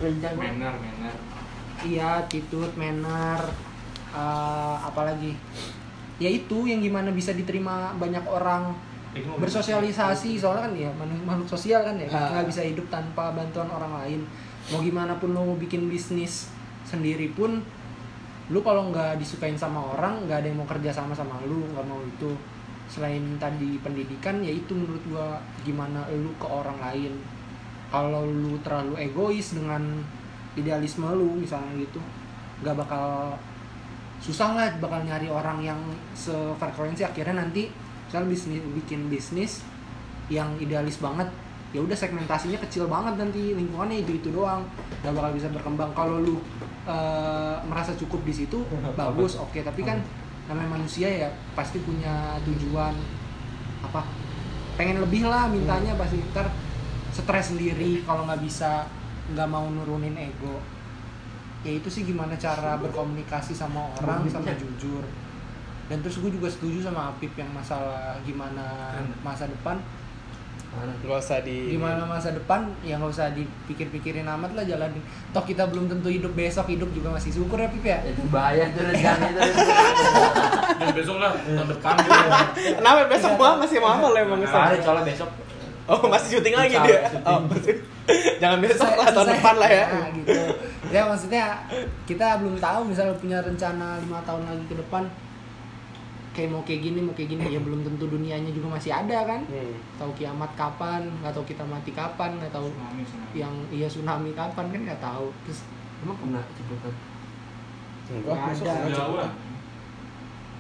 Speaker 3: Manner, manner.
Speaker 2: iya attitude manner eh, apalagi ya itu yang gimana bisa diterima banyak orang bersosialisasi soalnya kan ya manu- makhluk sosial kan ya
Speaker 1: Ah.
Speaker 2: nggak bisa hidup tanpa bantuan orang lain mau gimana pun lo mau bikin bisnis sendiri pun lu kalau nggak disukain sama orang nggak ada yang mau kerja sama sama lu nggak mau itu selain tadi pendidikan ya itu menurut gua gimana lu ke orang lain kalau lu terlalu egois dengan idealisme lu misalnya gitu nggak bakal susah lah bakal nyari orang yang sefrekuensi akhirnya nanti misalnya bisnis bikin bisnis yang idealis banget ya udah segmentasinya kecil banget nanti lingkungannya itu itu doang nggak bakal bisa berkembang kalau lu eh, merasa cukup di situ bagus oke tapi kan namanya manusia ya pasti punya tujuan apa pengen lebih lah mintanya pasti ntar stres sendiri kalau nggak bisa nggak mau nurunin ego ya itu sih gimana cara berkomunikasi sama orang sama jujur dan terus gue juga setuju sama Apip yang masalah gimana masa depan
Speaker 1: Gak usah di
Speaker 2: gimana masa depan ya nggak usah dipikir-pikirin amat lah jalanin toh kita belum tentu hidup besok hidup juga masih syukur ya Pip ya
Speaker 3: Itu bahaya tuh gitu, rencana itu.
Speaker 1: Eh,
Speaker 4: Dan besok lah, tahun depan gitu.
Speaker 1: Kenapa besok gua masih mahal loh emang
Speaker 3: Nah,
Speaker 1: kesana?
Speaker 3: ada soalnya besok.
Speaker 1: Oh, masih syuting lagi
Speaker 3: Insya
Speaker 1: dia.
Speaker 3: Allah, syuting.
Speaker 1: Oh, masih- Jangan besok
Speaker 2: Selesai-
Speaker 1: lah tahun
Speaker 2: selesai.
Speaker 1: depan lah ya.
Speaker 2: Nah, gitu. Ya maksudnya kita belum tahu misalnya punya rencana lima tahun lagi ke depan kayak mau kayak gini mau kayak gini ya belum tentu dunianya juga masih ada kan
Speaker 1: Hmm.
Speaker 2: tahu kiamat kapan nggak tahu kita mati kapan nggak tahu yang iya tsunami kapan kan nggak tahu terus
Speaker 3: Emang kena ciputat
Speaker 1: Enggak,
Speaker 2: Nggak
Speaker 1: besok
Speaker 2: ada.
Speaker 1: nggak
Speaker 4: Jauh
Speaker 1: cukup.
Speaker 4: lah.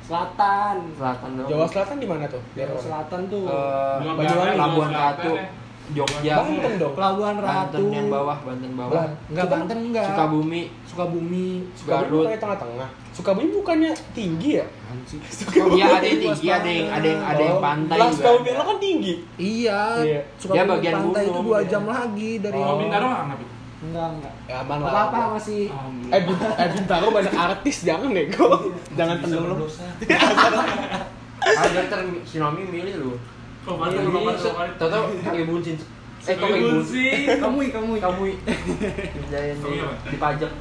Speaker 2: selatan
Speaker 3: selatan dong.
Speaker 1: Jawa Selatan di mana tuh?
Speaker 2: Jawa selatan tuh
Speaker 3: Eh,
Speaker 4: Jawa
Speaker 1: Banyuwangi, ya.
Speaker 4: Barat,
Speaker 3: Labuan
Speaker 4: Jawa
Speaker 3: Ratu,
Speaker 4: Selatan,
Speaker 3: Jogja,
Speaker 1: Banten
Speaker 4: Iya,
Speaker 1: dong.
Speaker 2: pelabuhan ratu
Speaker 3: Banten yang bawah, Banten bawah,
Speaker 2: Ba- nggak Banten nggak
Speaker 3: Sukabumi,
Speaker 2: Sukabumi
Speaker 1: Sukabumi
Speaker 3: Garut.
Speaker 1: bukannya tengah-tengah. Sukabumi bukannya tinggi ya?
Speaker 3: Iya ada yang tinggi, ada yang ada yang ada yang
Speaker 1: Oh,
Speaker 3: pantai
Speaker 1: Lah
Speaker 3: juga.
Speaker 1: Sukabumi lo
Speaker 3: ada.
Speaker 1: kan tinggi.
Speaker 2: iya
Speaker 1: Iya.
Speaker 2: Sukabumi
Speaker 3: Ya, bagian
Speaker 2: pantai
Speaker 3: gunung,
Speaker 2: itu dua
Speaker 3: iya.
Speaker 2: jam lagi dari
Speaker 1: Oh.
Speaker 4: Oh, Bintaro anak itu.
Speaker 2: enggak enggak
Speaker 1: Ya, aman
Speaker 2: apa
Speaker 1: lah.
Speaker 2: apa masih
Speaker 1: Eh, Bint- eh, Bintaro banyak artis, jangan
Speaker 3: Iya.
Speaker 1: nego. Jangan tenggelam. Iya,
Speaker 3: Ada ter Sinomi milih lu.
Speaker 4: Kok
Speaker 3: Milih,
Speaker 4: mantap, kok mantap, kok mantap.
Speaker 3: Tahu kayak buncin. Eh kok
Speaker 4: Kayak
Speaker 3: kayak buncin.
Speaker 4: buncin.
Speaker 2: kamu kamu
Speaker 3: Kamu kerjain
Speaker 4: Kamu apa?
Speaker 3: dipajak.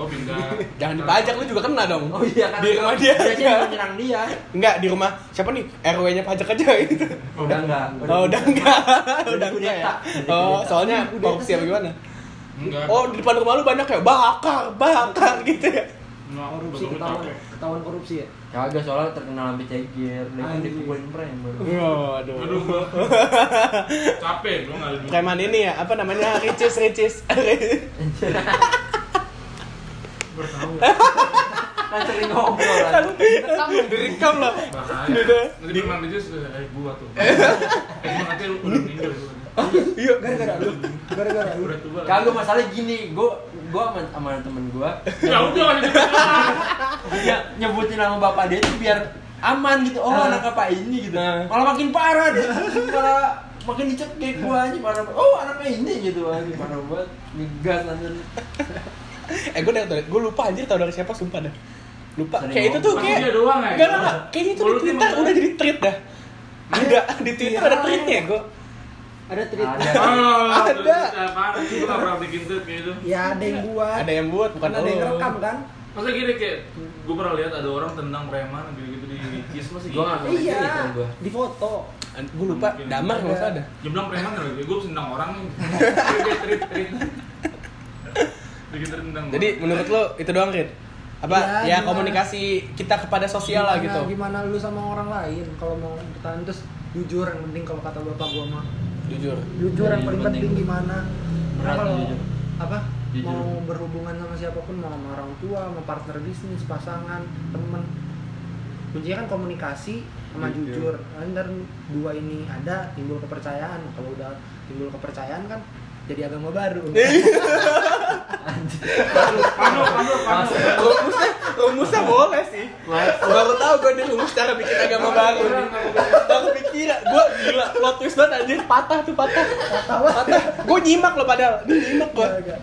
Speaker 4: Oh, pindah.
Speaker 1: Jangan dipajak lu juga kena dong.
Speaker 3: Oh iya kan.
Speaker 1: Di rumah dia.
Speaker 3: Biasanya yang nyerang dia.
Speaker 1: Enggak, di rumah siapa nih? RW-nya pajak aja gitu.
Speaker 3: Udah enggak.
Speaker 1: Oh, udah enggak. udah enggak ya.
Speaker 3: kudeta.
Speaker 1: Oh,
Speaker 3: Udah
Speaker 1: soalnya
Speaker 2: kudeta.
Speaker 1: korupsi apa gimana?
Speaker 4: Enggak.
Speaker 1: Oh, di depan rumah lu banyak ya bakar, bakar gitu ya.
Speaker 4: Enggak,
Speaker 2: korupsi
Speaker 4: betul-betul
Speaker 2: ketahuan
Speaker 4: capek.
Speaker 2: ketahuan korupsi ya
Speaker 3: Kagak soalnya terkenal sampai ceger, dia kan
Speaker 2: Anjing.
Speaker 3: dipukulin preman.
Speaker 1: Waduh.
Speaker 4: Aduh, gua capek gua nggak lebih.
Speaker 1: Preman ini ya, apa namanya? Ricis, Ricis.
Speaker 4: Bertahu.
Speaker 3: Kan sering ngobrol kan.
Speaker 1: Direkam loh.
Speaker 4: Bahaya.
Speaker 3: Gitu
Speaker 1: Udah.
Speaker 3: ya?
Speaker 4: Nanti preman itu eh gua tuh. Eh gua nanti lu udah meninggal gua.
Speaker 2: Iya,
Speaker 1: kan
Speaker 2: gara-gara lu. Gara-gara lu.
Speaker 4: Udah tua.
Speaker 3: Kagak masalah gini, gua gua sama, sama temen gua
Speaker 4: Ya udah kalau gitu.
Speaker 3: dia nyebutin nama bapak dia tuh biar aman gitu. Oh, anak apa ini gitu.
Speaker 1: Nah.
Speaker 3: Malah makin parah dia. Malah makin dicekik gua anjing parah. banget. Oh, anaknya ini gitu anjing parah banget. Ngegas anjir.
Speaker 1: Eh gue dari gue lupa anjir tau dari siapa sumpah dah. Lupa.
Speaker 3: Sering
Speaker 1: Kayak itu tuh
Speaker 4: ngomong.
Speaker 1: kayak
Speaker 4: Dia doang ya?
Speaker 1: Enggak enggak, enggak. Kayaknya itu di
Speaker 4: Mulutnya
Speaker 1: Twitter
Speaker 4: masalah.
Speaker 1: udah jadi tweet dah. Ada di Twitter ada
Speaker 2: Iya.
Speaker 1: tweetnya gue.
Speaker 2: Ada tweet.
Speaker 3: Ada.
Speaker 4: Ah,
Speaker 1: Ada.
Speaker 4: udah, udah, Parah sih gua nggak pernah bikin tweet kayak gitu.
Speaker 2: Ya ada yang buat.
Speaker 1: Ada yang buat bukan Oh.
Speaker 2: ada yang
Speaker 1: lo.
Speaker 2: rekam kan?
Speaker 4: Masa gini kayak gua pernah lihat ada orang tendang preman gitu-gitu di Cis masih
Speaker 3: Gua nggak-
Speaker 2: Iya.
Speaker 3: Ini kan gua.
Speaker 2: Di foto.
Speaker 1: Gue lupa
Speaker 4: Mungkin.
Speaker 1: damar nggak usah ada.
Speaker 4: Dia bilang preman kan gue tendang orang nih. Tweet, tweet, tweet. Bikin tendang.
Speaker 1: Jadi menurut lo itu doang Rit? Apa
Speaker 2: Iya,
Speaker 1: ya,
Speaker 2: gimana?
Speaker 1: komunikasi kita kepada sosial lah
Speaker 2: Gimana-
Speaker 1: gitu.
Speaker 2: Gimana lu sama orang lain kalau mau bertahan terus jujur yang penting kalau kata bapak gua mah.
Speaker 1: Jujur.
Speaker 2: Jujur yang paling
Speaker 3: Jujur penting.
Speaker 2: penting gimana? Karena
Speaker 3: Berat
Speaker 2: kalau
Speaker 3: jujur.
Speaker 2: apa?
Speaker 3: Jujur.
Speaker 2: Mau berhubungan sama siapapun mau sama orang tua, mau partner bisnis, pasangan, temen kuncinya kan komunikasi sama jujur.
Speaker 3: Jujur.
Speaker 2: Nah, Ntar dua ini ada timbul kepercayaan. Kalau udah timbul kepercayaan kan jadi agama baru.
Speaker 4: Panu, panu, panu.
Speaker 1: Rumusnya
Speaker 2: Oh,
Speaker 1: rumusnya boleh sih. Baru tahu gue nih rumus cara bikin agama baru. nih. Baru pikiran, gue gila plot twist banget anjir patah tuh patah.
Speaker 2: Patah banget.
Speaker 1: Patah. Gue nyimak lo padahal. Dia nyimak gue.
Speaker 2: Agak-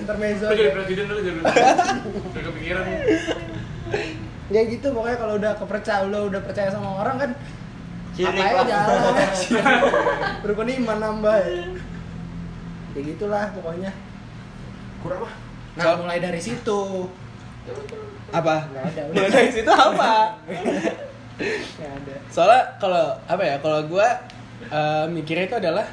Speaker 2: Intermezzo.
Speaker 4: Lu
Speaker 2: aja.
Speaker 4: jadi presiden dulu jadi presiden. Udah kepikiran lu.
Speaker 2: ya gitu pokoknya kalau udah kepercaya lo udah percaya sama orang kan
Speaker 3: Sirik
Speaker 2: apa
Speaker 3: lah.
Speaker 2: aja rukun iman nambah ya. ya gitulah pokoknya kurang mah nah
Speaker 1: So-
Speaker 2: mulai dari situ
Speaker 1: Apa?
Speaker 2: nggak ada udah
Speaker 1: Mulai dari situ apa?
Speaker 2: nggak Ya ada
Speaker 1: soalnya kalau apa ya kalau gue mikirnya itu adalah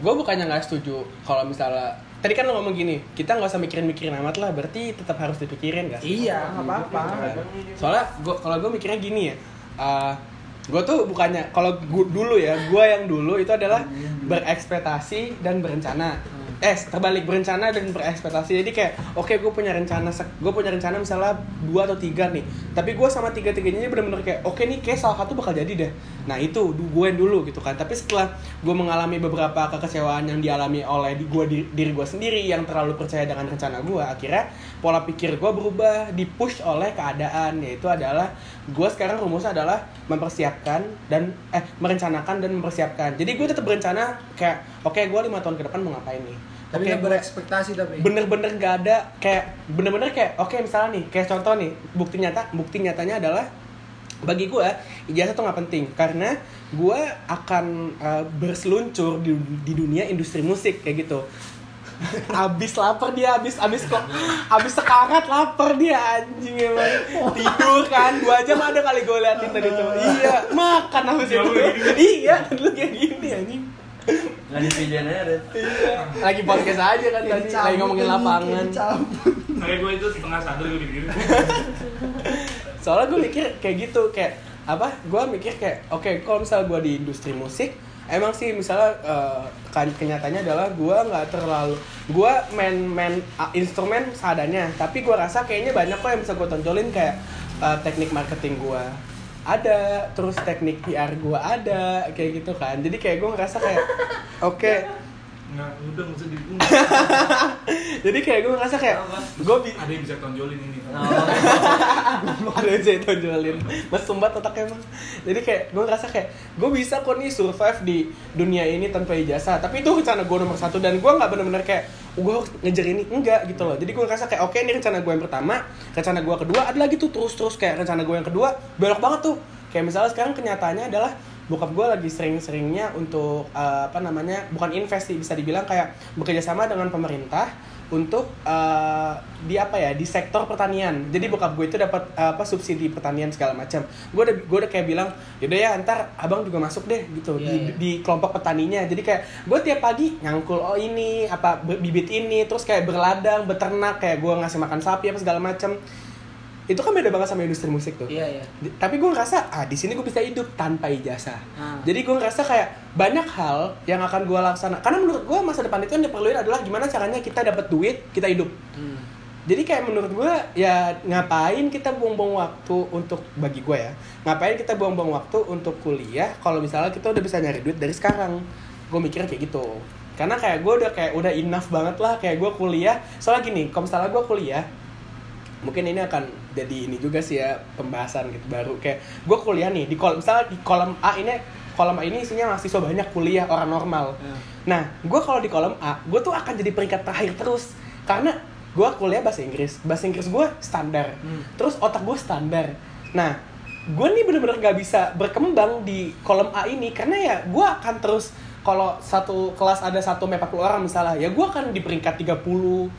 Speaker 1: gue bukannya nggak setuju kalau misalnya tadi kan lo ngomong gini kita nggak usah mikirin-mikirin amat lah berarti tetap harus dipikirin nggak sih?
Speaker 2: iya nggak apa-apa
Speaker 1: soalnya gua kalau gue mikirnya gini ya gue tuh bukannya kalau gua dulu ya gue yang dulu itu adalah berekspektasi dan berencana eh terbalik berencana dan berekspektasi jadi kayak oke gue punya rencana gue punya rencana misalnya dua atau tiga nih tapi gue sama tiga tiganya bener-bener kayak oke nih kayak salah satu bakal jadi deh nah itu gue dulu gitu kan tapi setelah gue mengalami beberapa kekecewaan yang dialami oleh di gue diri gue sendiri yang terlalu percaya dengan rencana gue akhirnya pola pikir gue berubah dipush oleh keadaan yaitu adalah gue sekarang rumusnya adalah mempersiapkan dan eh merencanakan dan mempersiapkan jadi gue tetap berencana kayak oke gue lima tahun ke depan mau ngapain nih
Speaker 2: tapi
Speaker 1: Oke,
Speaker 2: nggak
Speaker 1: gua-
Speaker 2: berekspektasi tapi
Speaker 1: bener-bener nggak ada kayak bener-bener kayak oke misalnya nih kayak contoh nih bukti nyata bukti nyatanya adalah bagi gue ijazah tuh nggak penting karena gue akan eh, berseluncur di, di dunia industri musik kayak gitu abis lapar dia abis abis kok abis sekarat lapar dia anjing emang tidur kan dua jam ada kali gue liatin tadi tuh iya makan habis
Speaker 4: Jauh
Speaker 1: itu
Speaker 4: lagi
Speaker 1: iya lu kayak gini anjing
Speaker 3: Enggak dipilihin aja. Red.
Speaker 1: lagi podcast aja kan tadi
Speaker 2: Kayak
Speaker 1: lagi
Speaker 2: dicabut
Speaker 1: ngomongin
Speaker 2: ini, kayak
Speaker 1: lapangan
Speaker 2: dicabut.
Speaker 4: Kayak gue itu setengah sadar gue pikirin.
Speaker 1: soalnya gue mikir kayak gitu kayak apa gue mikir kayak oke kalau misalnya gue di industri musik emang sih misalnya eh, kan- kenyataannya adalah gue nggak terlalu gue main main ah, instrumen seadanya tapi gue rasa kayaknya banyak kok yang bisa gue tonjolin kayak eh, teknik marketing gue ada terus teknik PR gue ada kayak gitu kan jadi kayak gue ngerasa kayak oke
Speaker 4: Nggak, udah nggak usah dibunuh.
Speaker 1: jadi kayak gue ngerasa kayak gue
Speaker 4: Ada yang bisa tonjolin ini.
Speaker 3: Oh.
Speaker 1: ada aja yang tonjolin mas sumbat otaknya emang jadi kayak gue ngerasa kayak gue bisa kok nih survive di dunia ini tanpa ijazah tapi itu rencana gue nomor satu dan gue nggak bener-bener kayak gue harus ngejar ini enggak gitu loh jadi gue ngerasa kayak oke ini rencana gue yang pertama rencana gue kedua ada lagi tuh terus-terus kayak rencana gue yang kedua belok banget tuh kayak misalnya sekarang kenyataannya adalah bokap gue lagi sering-seringnya untuk eh, apa namanya bukan invest sih, bisa dibilang kayak bekerja sama dengan pemerintah untuk eh, di apa ya di sektor pertanian jadi bokap gue itu dapat eh, apa subsidi pertanian segala macam gue udah gue udah kayak bilang yaudah ya ntar abang juga masuk deh gitu di,
Speaker 2: Iya, iya.
Speaker 1: di kelompok petaninya jadi kayak gue tiap pagi nyangkul oh ini apa be- bibit ini terus kayak berladang beternak kayak gue ngasih makan sapi apa segala macam itu kan beda banget sama industri musik tuh
Speaker 2: Iya, iya.
Speaker 1: Di- tapi gue ngerasa ah di sini gue bisa hidup tanpa ijazah
Speaker 2: Ah.
Speaker 1: jadi gue ngerasa kayak banyak hal yang akan gue laksanakan karena menurut gue masa depan itu yang diperluin adalah gimana caranya kita dapat duit kita hidup
Speaker 2: Hmm.
Speaker 1: jadi kayak menurut gue ya ngapain kita buang-buang waktu untuk bagi gue ya ngapain kita buang-buang waktu untuk kuliah kalau misalnya kita udah bisa nyari duit dari sekarang gue mikir kayak gitu karena kayak gue udah kayak udah enough banget lah kayak gue kuliah soalnya gini kalau misalnya gue kuliah mungkin ini akan jadi ini juga sih ya pembahasan gitu baru kayak gue kuliah nih di kolom misalnya di kolom A ini kolom A ini isinya mahasiswa banyak kuliah orang normal
Speaker 2: Hmm.
Speaker 1: Nah, gue kalau di kolom A, gue tuh akan jadi peringkat terakhir terus karena gue kuliah bahasa Inggris, bahasa Inggris gue standar,
Speaker 2: Hmm.
Speaker 1: terus otak gue standar. Nah, gue nih bener-bener nggak bisa berkembang di kolom A ini karena ya gue akan terus kalau satu kelas ada satu 40 orang misalnya, ya gue akan di peringkat 30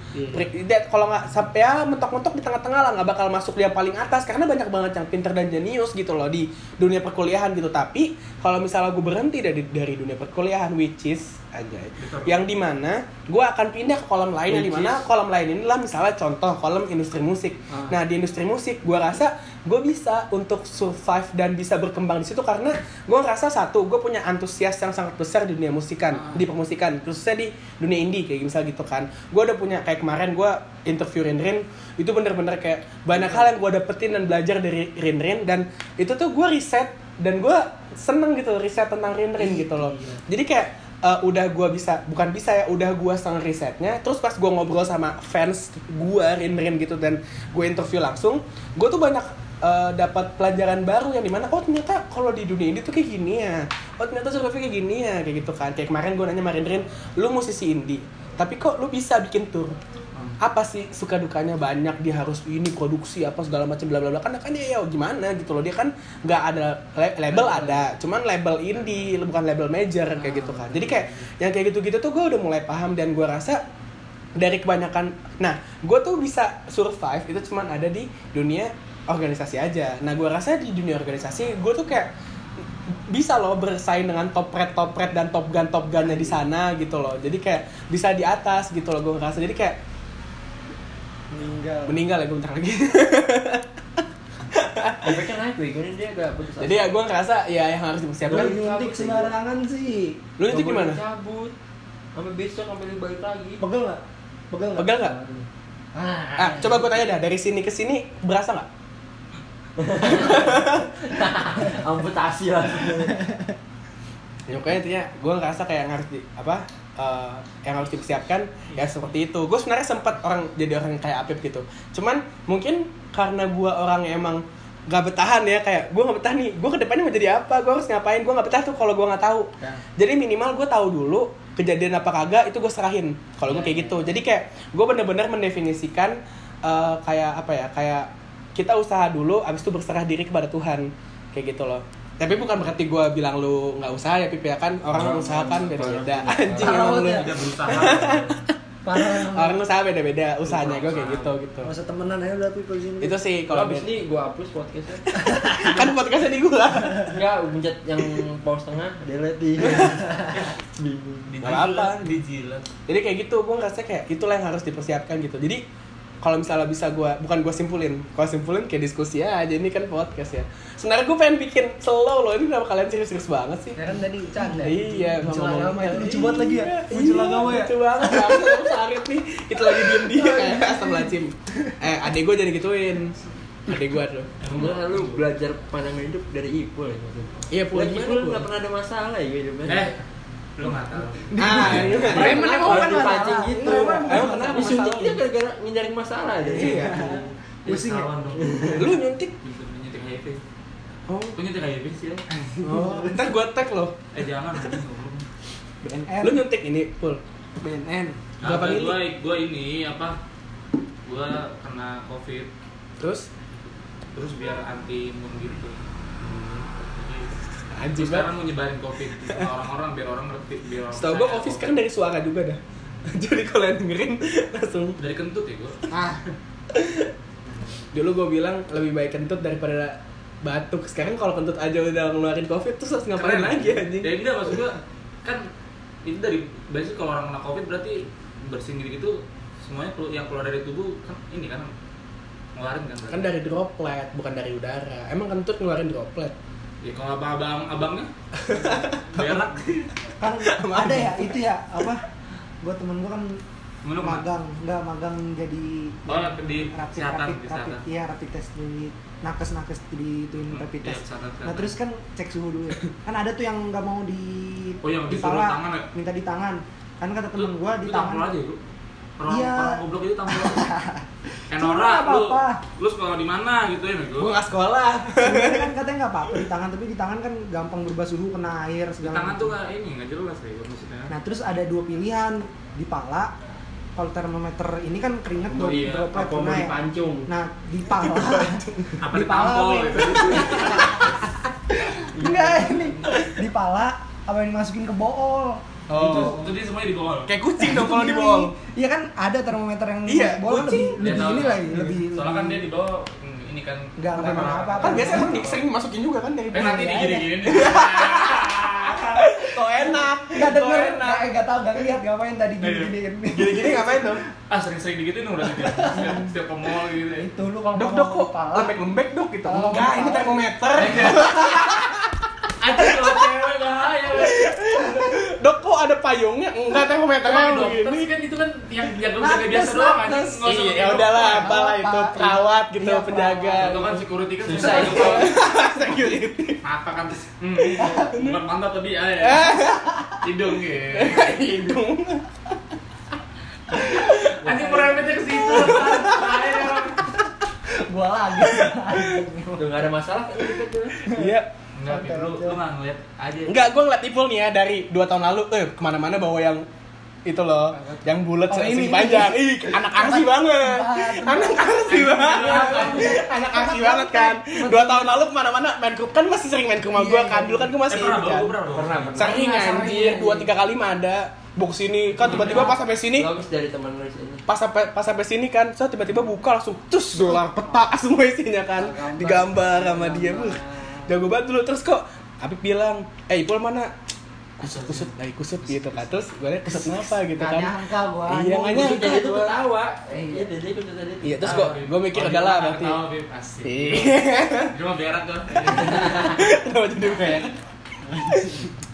Speaker 2: Iya.
Speaker 1: Peri- dia- kalau nggak sampai ya mentok-mentok di tengah-tengah lah nggak bakal masuk yang paling atas karena banyak banget yang pinter dan jenius gitu loh di dunia perkuliahan gitu tapi kalau misalnya gue berhenti dari dari dunia perkuliahan which is aja ya. yang dimana gue akan pindah ke kolom lain yang
Speaker 3: Which
Speaker 1: dimana
Speaker 3: is?
Speaker 1: kolom lain inilah misalnya contoh kolom industri musik
Speaker 2: Ah.
Speaker 1: nah di industri musik gue rasa gue bisa untuk survive dan bisa berkembang di situ karena gue ngerasa satu gue punya antusias yang sangat besar di dunia musikan
Speaker 2: Ah.
Speaker 1: di permusikan khususnya di dunia indie kayak misalnya gitu kan gue udah punya kayak kemarin gue interview Rinrin itu bener-bener kayak banyak hal yang gue dapetin dan belajar dari Rinrin dan itu tuh gue riset dan gue seneng gitu riset tentang Rinrin gitu loh jadi kayak eh, udah gue bisa bukan bisa ya udah gue seneng risetnya terus pas gue ngobrol sama fans gue Rinrin gitu dan gue interview langsung gue tuh banyak eh, dapat pelajaran baru yang dimana oh ternyata kalau di dunia ini tuh kayak gini ya oh ternyata survei kayak gini ya kayak gitu kan kayak kemarin gue nanya sama Rinrin lu musisi indie tapi kok lu bisa bikin tour apa sih suka dukanya banyak dia harus ini produksi apa segala macam bla bla bla kan kan dia ya gimana gitu loh dia kan nggak ada le- label ada cuman label indie bukan label major kayak gitu kan jadi kayak yang kayak gitu gitu tuh gue udah mulai paham dan gue rasa dari kebanyakan nah gue tuh bisa survive itu cuman ada di dunia organisasi aja nah gue rasa di dunia organisasi gue tuh kayak bisa loh bersaing dengan top red top red dan top gun top gunnya di sana gitu loh jadi kayak bisa di atas gitu loh gue ngerasa jadi kayak
Speaker 2: Meninggal.
Speaker 1: meninggal ya gue bentar lagi
Speaker 3: Efeknya naik gue, ini dia agak putus asa.
Speaker 1: jadi ya gue ngerasa ya yang harus
Speaker 2: Lu
Speaker 1: dipersiapkan
Speaker 2: nyuntik sembarangan sih.
Speaker 1: lu itu
Speaker 3: Nggak boleh
Speaker 1: gimana
Speaker 3: Cabut. Sampai besok sampai lu balik lagi.
Speaker 2: Pegel nggak? Pegel nggak?
Speaker 1: Pegel nggak? ah
Speaker 3: Ah,
Speaker 1: coba gue tanya dah dari sini ke sini berasa nggak
Speaker 3: amputasi lah.
Speaker 1: Ya, pokoknya intinya gue ngerasa kayak yang harus di apa eh, yang harus dipersiapkan ya seperti itu gue sebenarnya sempat orang jadi orang kayak Apip gitu cuman mungkin karena gue orang yang emang gak bertahan ya kayak gue gak betah nih gue kedepannya mau jadi apa gue harus ngapain gue gak betah tuh kalau gue nggak tahu
Speaker 2: Ya.
Speaker 1: jadi minimal gue tahu dulu kejadian apa kagak itu gue serahin kalau gue kayak gitu jadi kayak gue bener-bener mendefinisikan eh, kayak apa ya kayak kita usaha dulu abis itu berserah diri kepada Tuhan kayak gitu loh tapi bukan berarti gue bilang lu nggak usaha ya Pip ya kan orang
Speaker 4: Orang-
Speaker 1: usaha kan
Speaker 4: orang-
Speaker 1: beda-beda
Speaker 4: orang-
Speaker 1: anjing
Speaker 2: orang-
Speaker 1: emang lu.
Speaker 2: orang-
Speaker 4: tidak berusaha
Speaker 2: Parah.
Speaker 1: orang usaha beda-beda usahanya gue kayak gitu gitu
Speaker 2: Masa temenan aja berarti kalau di sini.
Speaker 1: itu sih
Speaker 3: Kalau
Speaker 1: kalau
Speaker 3: abis
Speaker 1: dari-
Speaker 3: ini gue hapus podcastnya.
Speaker 1: kan podcastnya di gue
Speaker 3: Enggak, gue pencet yang pause tengah, delete
Speaker 2: iya.
Speaker 3: di.
Speaker 4: Iya.
Speaker 3: Bingung.
Speaker 1: Nggak apa-apa.
Speaker 4: dijilat dijilat
Speaker 1: jadi kayak gitu gue ngerasa kayak itulah yang harus dipersiapkan gitu jadi kalau misalnya bisa gue bukan gue simpulin kalau simpulin kayak diskusi aja ini kan podcast ya sebenarnya gue pengen bikin slow loh ini kenapa kalian serius-serius banget sih
Speaker 2: Ya kan tadi canda.
Speaker 1: Iya,
Speaker 2: muncul
Speaker 1: ngomong-
Speaker 2: agama itu lucu
Speaker 1: Iya,
Speaker 2: banget lagi ya.
Speaker 1: iya,
Speaker 2: Muncul agama ya.
Speaker 1: Lucu banget, langsung sarit nih. Kita lagi diem diem. Eh, astagfirullahaladzim. Eh, adik gue jadi gituin. Adik gue tuh.
Speaker 3: Enggak, lu
Speaker 4: Eh,
Speaker 3: belajar pandangan hidup dari Ipul ya maksudnya.
Speaker 1: Iya, Pul,
Speaker 3: Dan
Speaker 1: gimana,
Speaker 3: Ipul
Speaker 1: Pul?
Speaker 3: nggak pernah ada masalah ya hidupnya.
Speaker 4: eh lu nggak tahu
Speaker 1: Ah, ini mah.
Speaker 2: Preman emang
Speaker 3: Orang
Speaker 2: bukan
Speaker 3: dipancing
Speaker 2: masalah.
Speaker 3: gitu.
Speaker 2: Preman bukan
Speaker 3: Emang
Speaker 1: masalah.
Speaker 3: kenapa disuntiknya gara-gara ngindarin masalah aja.
Speaker 1: Iya.
Speaker 2: Pusing ya?
Speaker 4: Ketahuan dong.
Speaker 1: Lu nyuntik?
Speaker 4: Gitu, nyuntik HIV
Speaker 1: Oh,
Speaker 4: Kok nyuntik HIV sih lo
Speaker 1: oh. Ntar gue tag loh.
Speaker 4: ya. eh jangan anjing, goblok.
Speaker 2: BNN.
Speaker 1: Lu nyuntik ini, full. gitu?
Speaker 2: BNN.
Speaker 1: Berapa
Speaker 4: Kagak,
Speaker 1: mili?
Speaker 4: gua gua ini apa gua kena covid
Speaker 1: Terus?
Speaker 4: terus biar anti imun gitu
Speaker 1: Hmm.
Speaker 4: Jadi,
Speaker 1: Anjing
Speaker 4: terus sekarang mau nyebarin covid ke orang-orang biar orang ngerti biar orang
Speaker 1: Setahu gue
Speaker 4: percaya
Speaker 1: office kan dari suara juga dah. Jadi kalau yang dengerin langsung
Speaker 4: dari kentut ya gua
Speaker 2: Ah,
Speaker 1: dulu gue bilang lebih baik kentut daripada batuk. Sekarang kalau kentut aja udah ngeluarin covid terus harus ngapain
Speaker 4: Keren.
Speaker 1: lagi anjing?
Speaker 4: Ya enggak maksud gua kan itu dari biasanya kalau orang kena covid berarti bersin gitu gitu semuanya kelu- yang keluar dari tubuh kan ini kan ngeluarin kan
Speaker 1: Kan dari droplet, bukan dari udara. Emang kentut ngeluarin droplet.
Speaker 4: ya kalau abang abang abangnya berak
Speaker 2: kan ada ya itu ya apa buat temen gua kan
Speaker 4: Menurut
Speaker 2: magang nggak magang jadi
Speaker 4: Oh, di
Speaker 2: rapid
Speaker 4: kesehatan,
Speaker 2: rapid rapid
Speaker 4: di kesehatan.
Speaker 2: iya rapid test di nakes nakes di
Speaker 4: Hmm,
Speaker 2: tuin rapid
Speaker 4: iya,
Speaker 2: test
Speaker 4: kesehatan,
Speaker 2: nah
Speaker 4: kesehatan.
Speaker 2: terus kan cek suhu dulu ya kan ada tuh yang nggak mau di
Speaker 4: Oh, yang
Speaker 2: di
Speaker 4: disuruh
Speaker 2: pala,
Speaker 4: tangan ya?
Speaker 2: minta di tangan kan kata temen
Speaker 4: Lu-
Speaker 2: gua di
Speaker 4: lu tampol
Speaker 2: tangan
Speaker 4: aja lu orang
Speaker 2: Iya.
Speaker 4: orang goblok itu tampol
Speaker 2: Cuma
Speaker 4: Enora
Speaker 2: nggak
Speaker 4: lu
Speaker 2: apa-apa.
Speaker 4: lu sekolah di mana gitu ya bego
Speaker 1: Gua nggak sekolah.
Speaker 2: sebenarnya kan katanya nggak apa-apa di tangan tapi di tangan kan gampang berubah suhu kena air
Speaker 4: di
Speaker 2: segala
Speaker 4: tangan
Speaker 2: macam.
Speaker 4: tuh nggak ini nggak jelas ya maksudnya
Speaker 2: Nah terus ada dua pilihan di pala kalau termometer ini kan keringet
Speaker 4: Oh,
Speaker 2: buat
Speaker 4: iya.
Speaker 2: droplet
Speaker 3: Apa mau
Speaker 2: kena ya.
Speaker 3: dipancung?
Speaker 2: Nah di pala
Speaker 4: apa
Speaker 2: Di pala,
Speaker 4: ditampol
Speaker 2: Wi.
Speaker 4: gitu
Speaker 2: enggak ini di pala apa yang dimasukin ke bool?
Speaker 4: itu itu dia semuanya di bawah
Speaker 1: Oh. Kayak kucing dong kalau di bol.
Speaker 2: Iya kan ada termometer yang
Speaker 1: Iya,
Speaker 2: bool lebih,
Speaker 1: kucing.
Speaker 4: Dia
Speaker 2: lebih
Speaker 4: tahu
Speaker 2: ini
Speaker 4: lah.
Speaker 2: lagi lebih
Speaker 4: soalnya kan dia di bawah hmm, ini kan
Speaker 2: Nggak, nggak
Speaker 4: apa-
Speaker 2: kenapa.
Speaker 1: Kan biasanya emang di- sering masukin juga kan dari
Speaker 4: eh nanti
Speaker 2: Iya,
Speaker 4: digini-gini
Speaker 1: Kok enak.
Speaker 2: Gak
Speaker 1: Kok
Speaker 2: denger,
Speaker 1: enak.
Speaker 2: eh, gak tau, gak lihat ngapain tadi
Speaker 4: Iya.
Speaker 2: gini-giniin
Speaker 1: Gini-gini ngapain dong?
Speaker 4: ah sering-sering digituin udah setiap setiap- setiap ke mall gitu ya
Speaker 2: Itu lu kalau
Speaker 1: Dok
Speaker 2: mau
Speaker 1: dok kok
Speaker 2: di pala,
Speaker 1: lembek-lembek dok gitu.
Speaker 2: Kalau mau
Speaker 1: Enggak, ini
Speaker 2: kepala.
Speaker 1: termometer.
Speaker 4: Anjir kalau cewek bahaya
Speaker 1: Dok kok ada payungnya? Enggak termometernya
Speaker 4: Emang dokter
Speaker 1: begini.
Speaker 4: sih kan itu kan yang yang
Speaker 2: Nakes,
Speaker 4: jaga biasa doang anjing.
Speaker 2: nakes.
Speaker 4: Nggak usah
Speaker 1: Iya,
Speaker 4: pakai
Speaker 1: ya udahlah,
Speaker 4: dokter.
Speaker 1: apalah
Speaker 2: Apa?
Speaker 1: itu perawat gitu,
Speaker 2: Iya,
Speaker 1: penjaga.
Speaker 4: Itu kan security kan
Speaker 3: Susah
Speaker 1: ya.
Speaker 4: susah
Speaker 3: itu.
Speaker 1: Security.
Speaker 4: Apa kan hmm, bukan pantat tadi ay. Hidung ya.
Speaker 1: Hidung.
Speaker 4: Anjing meremetnya ke situ. Bahaya, orang.
Speaker 2: gua lagi
Speaker 3: Udah nggak ada masalah kan gitu tuh.
Speaker 1: Iya.
Speaker 4: Enggak, Pi, lu lu nggak ngeliat aja.
Speaker 1: Enggak, gue ngeliat Ipul nih ya dari 2 tahun lalu, eh kemana-mana bawa yang itu loh, yang bulat
Speaker 2: Oh,
Speaker 1: oh,
Speaker 2: ini, ini.
Speaker 1: panjang. Ih, anak arsi banget. Anak arsi banget. Anak arsi banget kan. 2 tahun lalu kemana-mana main grup kan masih sering main ke rumah gue kan. Dulu kan gue masih
Speaker 4: Eh,
Speaker 1: ini
Speaker 4: pernah
Speaker 1: kan.
Speaker 4: bau, pernah bau.
Speaker 3: Pernah, pernah.
Speaker 1: Sering
Speaker 2: Pernah,
Speaker 1: anjir,
Speaker 2: sering.
Speaker 1: 2 3 kali mah ada. Bok sini kan tiba-tiba pas sampai sini
Speaker 3: Bagus dari teman lu sini.
Speaker 1: pas sampai pas sampai sini kan saya tiba-tiba buka langsung terus dolar peta semua isinya kan
Speaker 2: Gambar.
Speaker 1: digambar sama dia
Speaker 2: Gambar.
Speaker 1: Wah, jago banget dulu terus kok Habib bilang eh Ipul mana kusut kusut eh kusut gitu kan terus gue liat kusut kenapa gitu
Speaker 2: Gak
Speaker 1: kan
Speaker 2: nyangka gua gitu,
Speaker 1: Iya,
Speaker 2: anjing.
Speaker 1: makanya
Speaker 3: Makanya
Speaker 1: itu
Speaker 3: itu
Speaker 1: gua-
Speaker 3: ketawa. Eh, Iya, dede itu tadi.
Speaker 1: iya terus
Speaker 3: ketawa.
Speaker 1: gue gue mikir
Speaker 4: Oh,
Speaker 1: udah lah
Speaker 4: dia
Speaker 1: berarti
Speaker 4: ketawa, Pi. Asik.
Speaker 1: Iya.
Speaker 4: Dia mah berak tuh.
Speaker 1: kenapa jadi kayak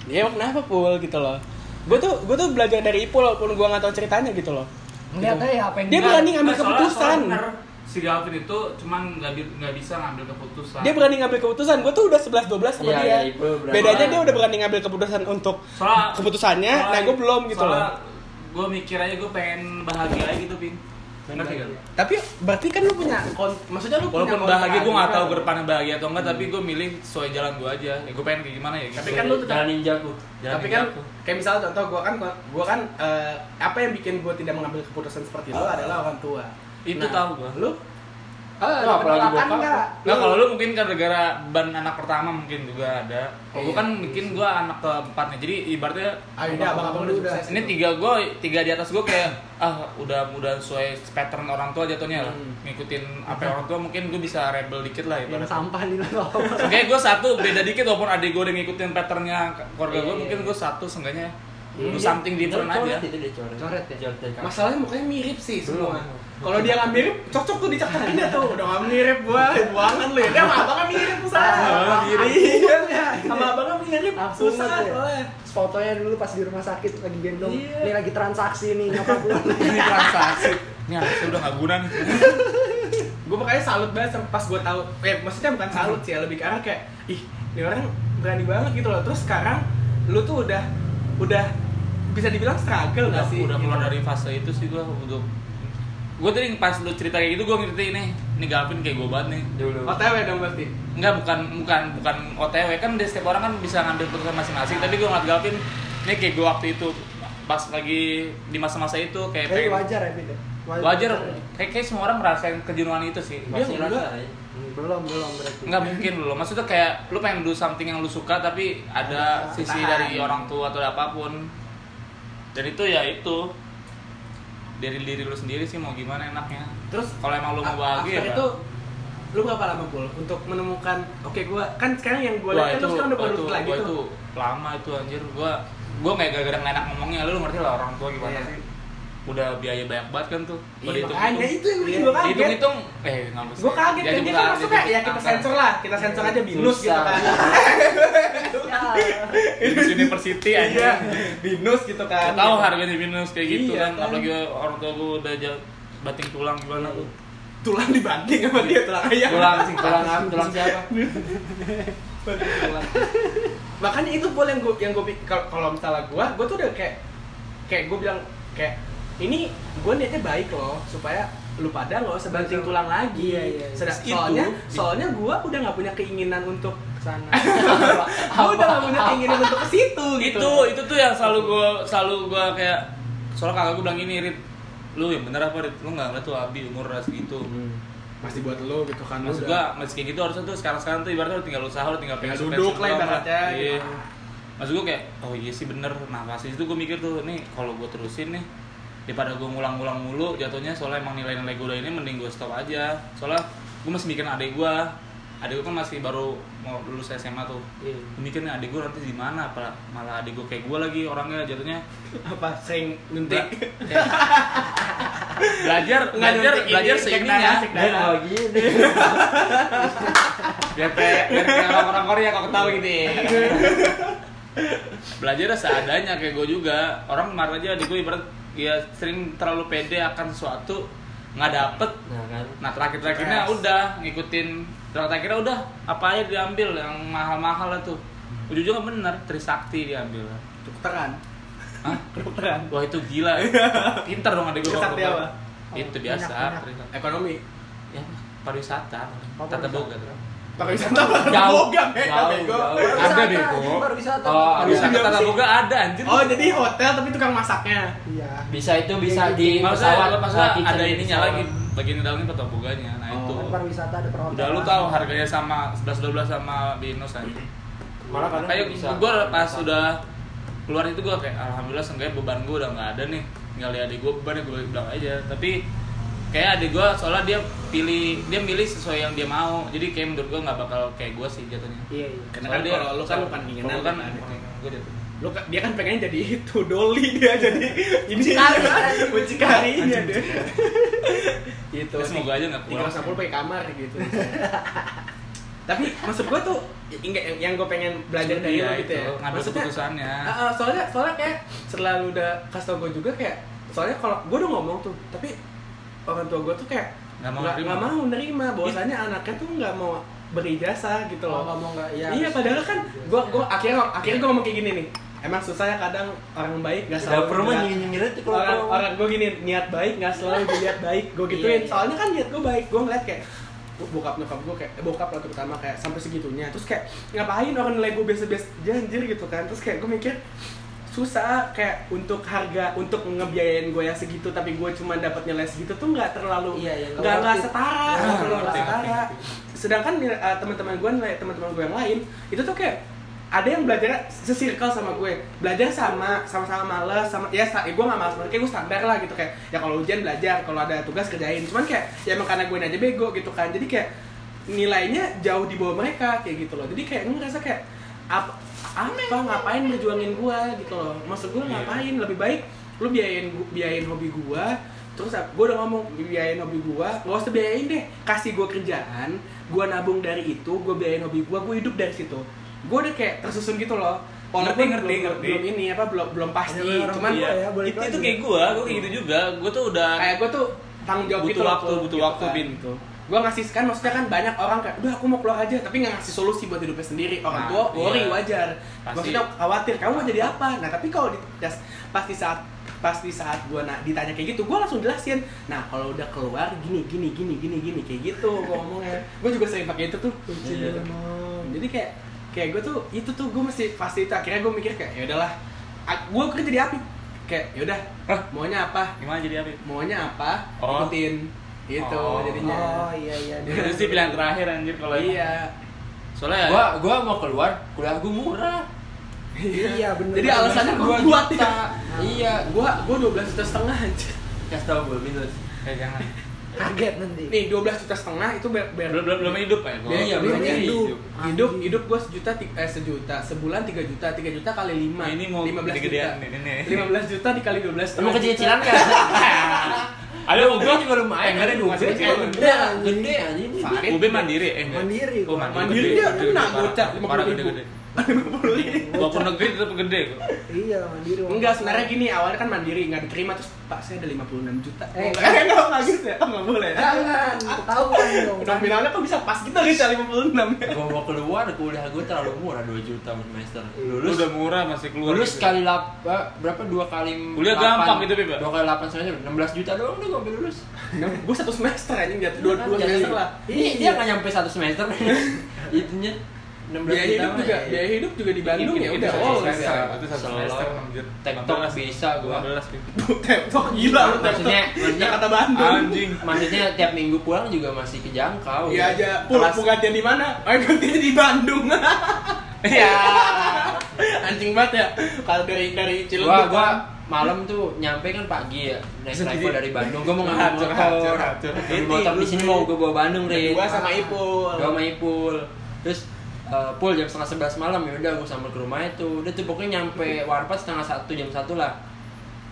Speaker 1: ya emang kenapa Pul gitu loh gue tuh gue tuh belajar dari Ipul walaupun gue nggak tahu ceritanya gitu loh
Speaker 2: Ngeliat aja ya apa yang
Speaker 1: Dia
Speaker 2: dia
Speaker 1: berani ngambil
Speaker 4: Nah, soalnya-
Speaker 1: keputusan.
Speaker 4: soalnya bener, Si Galvin itu cuman nggak bi- nggak bisa ngambil keputusan.
Speaker 1: dia berani ngambil keputusan gue tuh udah 11 12 sama
Speaker 3: Iya,
Speaker 1: dia
Speaker 3: iya, Ipul berani.
Speaker 1: bedanya dia udah berani ngambil keputusan untuk
Speaker 4: Soalnya-
Speaker 1: keputusannya nah gue belum gitu loh
Speaker 4: gue mikir aja gue pengen bahagia aja gitu pin ngerti gak lu?
Speaker 1: tapi berarti kan lu punya kon- maksudnya lu
Speaker 4: walaupun
Speaker 1: punya
Speaker 4: bahagia gue nggak tahu
Speaker 1: kontra
Speaker 4: ke depannya bahagia atau enggak tapi gue milih sesuai jalan gue aja ya gue pengen kayak gimana ya
Speaker 3: Tapi kan lu tetap ninjaku.
Speaker 4: Jalan
Speaker 1: tapi kan
Speaker 4: ninjaku.
Speaker 1: kayak misalnya contoh gue kan gue kan eh, apa yang bikin gue tidak mengambil keputusan seperti lo adalah orang tua Nah,
Speaker 4: Ah. Itu tahu gua.
Speaker 1: lu Eh,
Speaker 2: Lu
Speaker 3: Ah,
Speaker 2: apalagi
Speaker 3: penolakan
Speaker 2: bokap.
Speaker 3: nggak?
Speaker 4: Nah kalau lu mungkin gara-gara ban anak pertama mungkin juga ada. Kalau gue kan mungkin gue anak keempat nih, jadi ibaratnya
Speaker 1: Ah, ini abang-abang lu udah
Speaker 4: ini tiga gue tiga di atas gue kayak ah udah udah sesuai pattern orang tua jatuhnya lah, ngikutin apa yang orang tua mungkin gue bisa rebel dikit lah
Speaker 2: yang
Speaker 4: ibaratnya.
Speaker 2: sampah nih lo
Speaker 4: Oke, gue satu beda dikit walaupun adik gue udah ngikutin patternnya keluarga gue, mungkin gue satu seenggaknya
Speaker 3: Iya,
Speaker 4: do something
Speaker 3: Dia
Speaker 4: different
Speaker 3: coret
Speaker 4: aja.
Speaker 3: Itu dia coret.
Speaker 2: Coret ya?
Speaker 3: Coret dari kampus.
Speaker 1: masalahnya mukanya mirip sih semua kalau dia nggak mirip cocok tuh dicakakin ya tuh udah nggak mirip gue buangan lu ya dia sama abangnya mirip susah
Speaker 4: Abang mirip.
Speaker 1: Iya, sama abangnya mirip
Speaker 2: Langsung
Speaker 1: susah
Speaker 2: aja.
Speaker 1: soalnya
Speaker 2: fotonya dulu pas di rumah sakit lagi gendong
Speaker 4: Iya.
Speaker 2: ini lagi transaksi nih nyokap lu
Speaker 4: Ini transaksi. Ini harusnya udah nggak guna nih.
Speaker 1: gue makanya salut banget sama pas gue tahu eh maksudnya bukan salut sih ya lebih karena kayak ih ini orang berani banget gitu loh terus sekarang lu tuh udah udah bisa dibilang struggle gak
Speaker 4: Udah,
Speaker 1: sih
Speaker 4: udah
Speaker 1: gitu?
Speaker 4: keluar dari fase itu sih gue untuk gue tadi pas lu cerita kayak gitu gue ngerti nih nih Gavin kayak gue banget nih
Speaker 3: Dulu.
Speaker 1: OTW Oh, dong berarti
Speaker 4: Enggak bukan bukan bukan OTW kan dia setiap orang kan bisa ngambil keputusan masing-masing tapi gue ngeliat Gavin nih kayak gue waktu itu pas lagi di masa-masa itu kayak
Speaker 2: tapi
Speaker 4: Iya, pengen
Speaker 2: wajar ya beda
Speaker 4: wajar kayak, kayak semua orang merasain kejenuhan itu sih
Speaker 3: Masih
Speaker 1: enggak.
Speaker 3: rasa, ya.
Speaker 2: belum belum berarti
Speaker 4: nggak mungkin loh maksudnya kayak lu pengen do something yang lu suka tapi
Speaker 2: Ada
Speaker 4: ada sisi
Speaker 2: tahan.
Speaker 4: dari orang tua atau apapun dan itu ya itu dari diri lu sendiri sih mau gimana enaknya
Speaker 1: terus
Speaker 4: kalau emang lu mau
Speaker 1: a-
Speaker 4: bahagia
Speaker 1: after
Speaker 4: ya,
Speaker 1: itu lu berapa lama pul untuk menemukan oke gue kan sekarang yang gue
Speaker 4: Wah,
Speaker 1: lihat kan lu sekarang udah
Speaker 4: wah,
Speaker 1: baru
Speaker 4: itu,
Speaker 1: lagi
Speaker 4: wah,
Speaker 1: tuh
Speaker 4: itu lama itu anjir gua gua nggak gara-gara nggak enak ngomongnya lu ngerti lah orang tua gimana
Speaker 1: Iya.
Speaker 4: sih udah biaya banyak banget kan tuh Kalau
Speaker 2: Iya,
Speaker 4: dihitung-
Speaker 2: makanya itu yang bikin
Speaker 1: Iya,
Speaker 2: gue kaget.
Speaker 4: Dihitung-hitung, eh ngampus.
Speaker 1: Gue kaget
Speaker 4: Jadi
Speaker 1: kan dia
Speaker 4: bukan
Speaker 1: kan masuknya ya kita
Speaker 4: angka.
Speaker 1: sensor lah, kita sensor aja binus gitu
Speaker 3: Susah.
Speaker 1: kan.
Speaker 2: Ya.
Speaker 4: Binus University aja.
Speaker 1: Iya, binus gitu kan.
Speaker 4: Gak tahu harganya binus kayak gitu
Speaker 1: Iya,
Speaker 4: kan.
Speaker 1: kan.
Speaker 4: Apalagi orang tua gue udah jauh bating tulang gimana tuh.
Speaker 1: Tulang dibanting sama dia tulang ayam.
Speaker 3: Tulang, tulang apa? Tulang siapa?
Speaker 1: Makanya itu boleh yang gue yang gue kalau misalnya gue, gue tuh udah kayak kayak gue bilang kayak ini gue niatnya baik loh supaya lu pada nggak usah banting tulang lagi.
Speaker 2: Iya, iya, iya.
Speaker 1: Sedang-
Speaker 4: Itu-
Speaker 1: soalnya soalnya gue udah nggak punya keinginan untuk
Speaker 2: sana
Speaker 1: gue udah nggak punya keinginan untuk ke situ gitu.
Speaker 4: Itu itu tuh yang selalu gue selalu gue kayak soalnya kakak gue bilang ini Rit lu yang bener apa Rit? Lu gak ngeliat tuh Abi umur ras gitu
Speaker 3: Hmm.
Speaker 1: Masih buat lo gitu kan
Speaker 4: Maksud
Speaker 1: udah.
Speaker 4: gua, meski gitu harusnya tuh sekarang-sekarang tuh ibaratnya lu tinggal usaha, lu tinggal
Speaker 1: Tinggal
Speaker 4: pengen
Speaker 1: duduk lah ibaratnya,
Speaker 4: Iya.
Speaker 1: gitu.
Speaker 4: Maksud gua kayak, oh iya sih bener. Nah pas itu gua mikir tuh, nih kalau gua terusin nih, daripada gua ngulang-ngulang mulu, jatuhnya soalnya emang nilai-nilai gua udah ini mending gua stop aja. Soalnya gua masih mikirin adik gua. Adik gua kan masih baru mau lulus SMA tuh.
Speaker 1: Iya.
Speaker 4: Gua mikir nih adik gua nanti di mana? Apa malah adik gua kayak gua lagi orangnya jatuhnya
Speaker 1: apa sering nyuntik
Speaker 4: belajar
Speaker 1: Nggak
Speaker 4: belajar
Speaker 1: nyuntik ini, ya,
Speaker 4: belajar ya.
Speaker 1: cek
Speaker 4: seininya.
Speaker 1: darah, cek
Speaker 3: Dia
Speaker 1: darah.
Speaker 3: kalau gini.
Speaker 4: Biar kayak biar kayak orang-orang Korea kok ketawa gitu. belajar seadanya kayak gue juga orang kemarin aja adik gue ibarat ya sering terlalu pede akan sesuatu nggak dapet
Speaker 3: Nah kan.
Speaker 4: nah terakhir terakhirnya
Speaker 1: Stres.
Speaker 4: udah ngikutin terakhir terakhirnya udah apa aja diambil yang mahal mahal lah tuh ujung ujungnya bener Trisakti diambil
Speaker 1: dokteran
Speaker 4: Hah?
Speaker 1: dokteran
Speaker 4: wah itu gila pinter dong adik gue
Speaker 1: Trisakti apa?
Speaker 4: itu biasa
Speaker 2: Minyak, minyak.
Speaker 4: Trisakti.
Speaker 1: ekonomi
Speaker 4: ya pariwisata
Speaker 2: Apa
Speaker 4: tata
Speaker 2: pariwisata?
Speaker 4: boga tuh
Speaker 1: pariwisata bakal
Speaker 4: Jauh,
Speaker 1: boga beda
Speaker 3: jauh,
Speaker 1: bego
Speaker 3: jauh.
Speaker 4: Ada, Bego.
Speaker 2: pariwisata
Speaker 3: Oh,
Speaker 4: pariwisata
Speaker 1: Iya,
Speaker 4: tata
Speaker 1: sih.
Speaker 4: boga ada anjir
Speaker 1: oh jadi hotel tapi tukang masaknya
Speaker 2: iya
Speaker 4: Gitu.
Speaker 3: Bisa itu bisa di
Speaker 4: maksudnya,
Speaker 3: pesawat. Nah,
Speaker 4: maksudnya ada
Speaker 3: kitchen di
Speaker 4: ininya
Speaker 3: pesawat.
Speaker 4: lagi bagian dalamnya tata boganya nah
Speaker 1: Oh.
Speaker 4: itu
Speaker 2: kan pariwisata ada perhotelan
Speaker 4: udah lu tahu harganya sama 11 12 sama Binus aja
Speaker 3: Malah kadang
Speaker 4: kayak
Speaker 3: bisa.
Speaker 4: gue pas udah keluar itu gue kayak alhamdulillah seenggaknya beban gue udah nggak ada nih tinggal di adik gue beban gue bilang aja tapi kayak adik gue soalnya dia pilih dia milih sesuai yang dia mau jadi kayak menurut gue nggak bakal kayak gue sih jatuhnya
Speaker 2: iya iya
Speaker 1: karena kan
Speaker 4: Soalnya
Speaker 1: kalau
Speaker 4: dia-
Speaker 1: lu kan bukan keinginan
Speaker 4: kalau kan
Speaker 1: kan ada.
Speaker 4: gue jatuhnya
Speaker 1: lu ka- dia kan pengen jadi itu doli dia jadi ini mucikarinya dia gitu
Speaker 4: Ya, semoga aja nggak
Speaker 1: tiga
Speaker 4: kurang
Speaker 1: ratus pakai kamar gitu tapi maksud gua tuh yang, yang gue pengen belajar dari
Speaker 4: Iya,
Speaker 1: lu gitu ya
Speaker 4: itu, ngambil keputusannya
Speaker 1: Ah, ah, soalnya soalnya kayak setelah lu udah kasih tau gue juga kayak soalnya kalau gue udah ngomong tuh tapi orang tua gue tuh kayak
Speaker 4: Nggak mau nerima.
Speaker 1: nggak mau nerima bahwasannya anaknya tuh nggak mau beri jasa gitu
Speaker 3: Oh,
Speaker 2: kalau
Speaker 1: loh
Speaker 2: ngomong nggak iya
Speaker 1: iya padahal kan gue gue akhirnya akhirnya gue ngomong kayak gini nih emang susah ya kadang orang baik nggak
Speaker 3: Udah
Speaker 1: selalu
Speaker 3: perlu mah
Speaker 1: dilihat-
Speaker 3: nyinyirin itu kalau
Speaker 1: orang
Speaker 3: kalau-
Speaker 1: orang gue gini niat baik nggak selalu dilihat baik gue gituin
Speaker 3: Iya, iya.
Speaker 1: soalnya kan niat gue baik gue ngeliat kayak "Wah, bokap nyokap gue kayak eh, bokap lah terutama kayak sampai segitunya terus kayak ngapain orang nilai gue biasa-biasa aja, anjir gitu kan terus kayak gue mikir susah kayak untuk harga untuk ngebiayain gue yang segitu tapi gue cuma dapat nilai segitu tuh nggak terlalu
Speaker 2: Iya, iya, nggak
Speaker 1: nggak nggak
Speaker 2: worth it.
Speaker 1: setara
Speaker 2: Nggak
Speaker 1: nggak terlalu
Speaker 2: worth it.
Speaker 1: setara Nah, sedangkan nilai- eh, teman-teman gue nilai teman-teman gue yang lain itu tuh kayak ada yang belajar sesirkel sama gue belajar sama sama-sama males sama ya sa- ya gue gak males banget kayak gue standar lah gitu kayak ya kalau ujian belajar kalau ada tugas kerjain cuman kayak ya emang karena gue aja bego gitu kan jadi kayak nilainya jauh di bawah mereka kayak gitu loh jadi kayak gue ngerasa kayak apa, apa ngapain berjuangin gue gitu loh maksud gue
Speaker 4: Iya.
Speaker 1: ngapain lebih baik lu biayain gu- biayain hobi gue terus gue udah ngomong biayain hobi gue gak usah biayain deh kasih gue kerjaan gue nabung dari itu gue biayain hobi gue gue hidup dari situ gue udah kayak tersusun gitu loh
Speaker 4: Oh, Ngerti,
Speaker 1: Walaupun
Speaker 4: ngerti,
Speaker 1: belum,
Speaker 4: ngerti. iya.
Speaker 1: belum ini apa belum belum pasti
Speaker 2: Ada orang
Speaker 1: cuman
Speaker 3: Iya.
Speaker 2: tua ya, boleh
Speaker 4: itu, itu
Speaker 2: lagi.
Speaker 4: kayak gue gue kayak gitu juga gue tuh udah
Speaker 1: kayak gue tuh tanggung jawab
Speaker 4: Butuh
Speaker 1: gitu loh,
Speaker 4: waktu,
Speaker 1: Pul,
Speaker 4: butuh
Speaker 1: gitu
Speaker 4: waktu, Bin.
Speaker 1: gue ngasih kan maksudnya kan banyak orang kayak udah aku mau keluar aja tapi nggak ngasih solusi buat hidupnya sendiri orang
Speaker 4: Nah,
Speaker 1: tua worry
Speaker 4: iya.
Speaker 1: wajar
Speaker 4: Pasti.
Speaker 1: maksudnya khawatir kamu mau jadi apa nah tapi kalau di, das- pasti saat pasti saat gue nak ditanya kayak gitu gue langsung jelasin nah kalau udah keluar gini gini gini gini gini kayak gitu gue ngomongnya gue juga sering pakai itu tuh
Speaker 2: Kunci
Speaker 3: Iya.
Speaker 2: lemon.
Speaker 1: jadi kayak kayak gue tuh itu tuh gue mesti pasti itu akhirnya gue mikir kayak ya udahlah gue kerja di api kayak ya udah
Speaker 4: Hah?
Speaker 1: maunya apa
Speaker 4: gimana jadi apa
Speaker 1: maunya apa
Speaker 4: Oh.
Speaker 1: ikutin gitu
Speaker 4: Oh.
Speaker 1: jadinya
Speaker 2: oh iya iya
Speaker 4: itu sih pilihan terakhir anjir kalau emang.
Speaker 1: iya
Speaker 4: soalnya ya,
Speaker 3: Gua gua mau keluar, kuliah gua murah.
Speaker 2: iya bener
Speaker 1: jadi alasannya gue
Speaker 3: Gua
Speaker 1: buat
Speaker 3: juta.
Speaker 1: ya
Speaker 3: Iya.
Speaker 1: gue gue dua belas juta setengah aja
Speaker 3: Kasih tau gua minus.
Speaker 4: eh, jangan
Speaker 2: kaget nanti
Speaker 1: nih 12 juta setengah itu ber, ber-
Speaker 4: belum belum belum hidup ya
Speaker 3: Iya, iya,
Speaker 1: belum
Speaker 3: belum
Speaker 1: hidup.
Speaker 3: hidup.
Speaker 1: Hidup hidup gua sejuta ti- eh sejuta, sebulan 3 juta, 3 juta kali 5.
Speaker 4: Nah, ini mau gede-gedean nih, ini.
Speaker 1: 15 juta dikali 12
Speaker 3: Emang kecil-kecilan kan?
Speaker 4: ada
Speaker 3: Gue juga lumayan,
Speaker 4: Eh, nggak ada
Speaker 3: gede,
Speaker 4: duit
Speaker 3: gede, gede, gede anjing.
Speaker 1: Farid.
Speaker 4: UB mandiri eh nggak?
Speaker 2: Mandiri,
Speaker 4: oh, mandiri,
Speaker 1: Mandiri dia kena gocap
Speaker 4: parah
Speaker 1: 50.000.
Speaker 4: gede gede walaupun negeri tetap gede kok
Speaker 2: iya mandiri Bang.
Speaker 1: Enggak, sebenarnya gini, awalnya kan mandiri, nggak diterima terus Pak saya ada 56 juta.
Speaker 2: Eh.
Speaker 1: Eh, enggak enggak gitu ya. Enggak boleh. ya?
Speaker 2: jangan ketahuan dong
Speaker 1: Nominalnya kok bisa pas gitu gitu 56 ya?
Speaker 3: Gue mau keluar, kuliah gue terlalu murah 2 juta per semester. Lulus,
Speaker 4: lulus udah murah masih keluar
Speaker 3: lulus
Speaker 4: gitu.
Speaker 3: kali lap, eh, berapa dua kali
Speaker 4: Kuliah
Speaker 3: lapan-
Speaker 4: gampang gitu, Bib, ya?
Speaker 3: dua kali delapan semester 16 juta doang udah gue ambil lulus
Speaker 1: Gue satu semester anjing jatuh dua dua
Speaker 3: Jadi,
Speaker 1: semester lah.
Speaker 3: Iya, dia nggak nyampe satu semester. Itunya 16
Speaker 1: Biaya hidup
Speaker 3: mah,
Speaker 1: juga,
Speaker 3: iya.
Speaker 1: biaya hidup juga di Bandung ya
Speaker 4: Itu
Speaker 1: udah.
Speaker 4: satu
Speaker 1: Oh,
Speaker 4: semester,
Speaker 1: udah.
Speaker 4: itu satu
Speaker 3: Solo,
Speaker 4: semester
Speaker 3: TikTok bisa gua.
Speaker 4: 15 Bib.
Speaker 1: Teptok gila lu
Speaker 3: Maksudnya,
Speaker 1: teptok.
Speaker 3: maksudnya-
Speaker 1: Jakarta Bandung.
Speaker 4: anjing
Speaker 3: Maksudnya tiap minggu pulang juga masih kejangkau.
Speaker 1: Iya aja, pul,
Speaker 3: Kelas-
Speaker 1: mau gantian di mana? Oh, gantian di Bandung.
Speaker 3: Iya.
Speaker 1: Anjing banget ya. Kalau dari dari kan,
Speaker 3: gua
Speaker 1: Cilegon.
Speaker 3: gua malam tuh nyampe kan pagi ya naik
Speaker 4: Sedih.
Speaker 3: travel dari Bandung gua mau
Speaker 4: Curhat,
Speaker 3: ngambil
Speaker 4: curhat,
Speaker 3: motor
Speaker 4: curhat, curhat.
Speaker 3: ngambil motor di sini mau gua bawa Bandung Rin
Speaker 1: Gua sama Ipul.
Speaker 3: gua sama Ipul terus eh, Pul jam setengah sebelas malam ya udah gua sambil ke rumah itu udah tuh pokoknya nyampe warpat setengah satu jam satu lah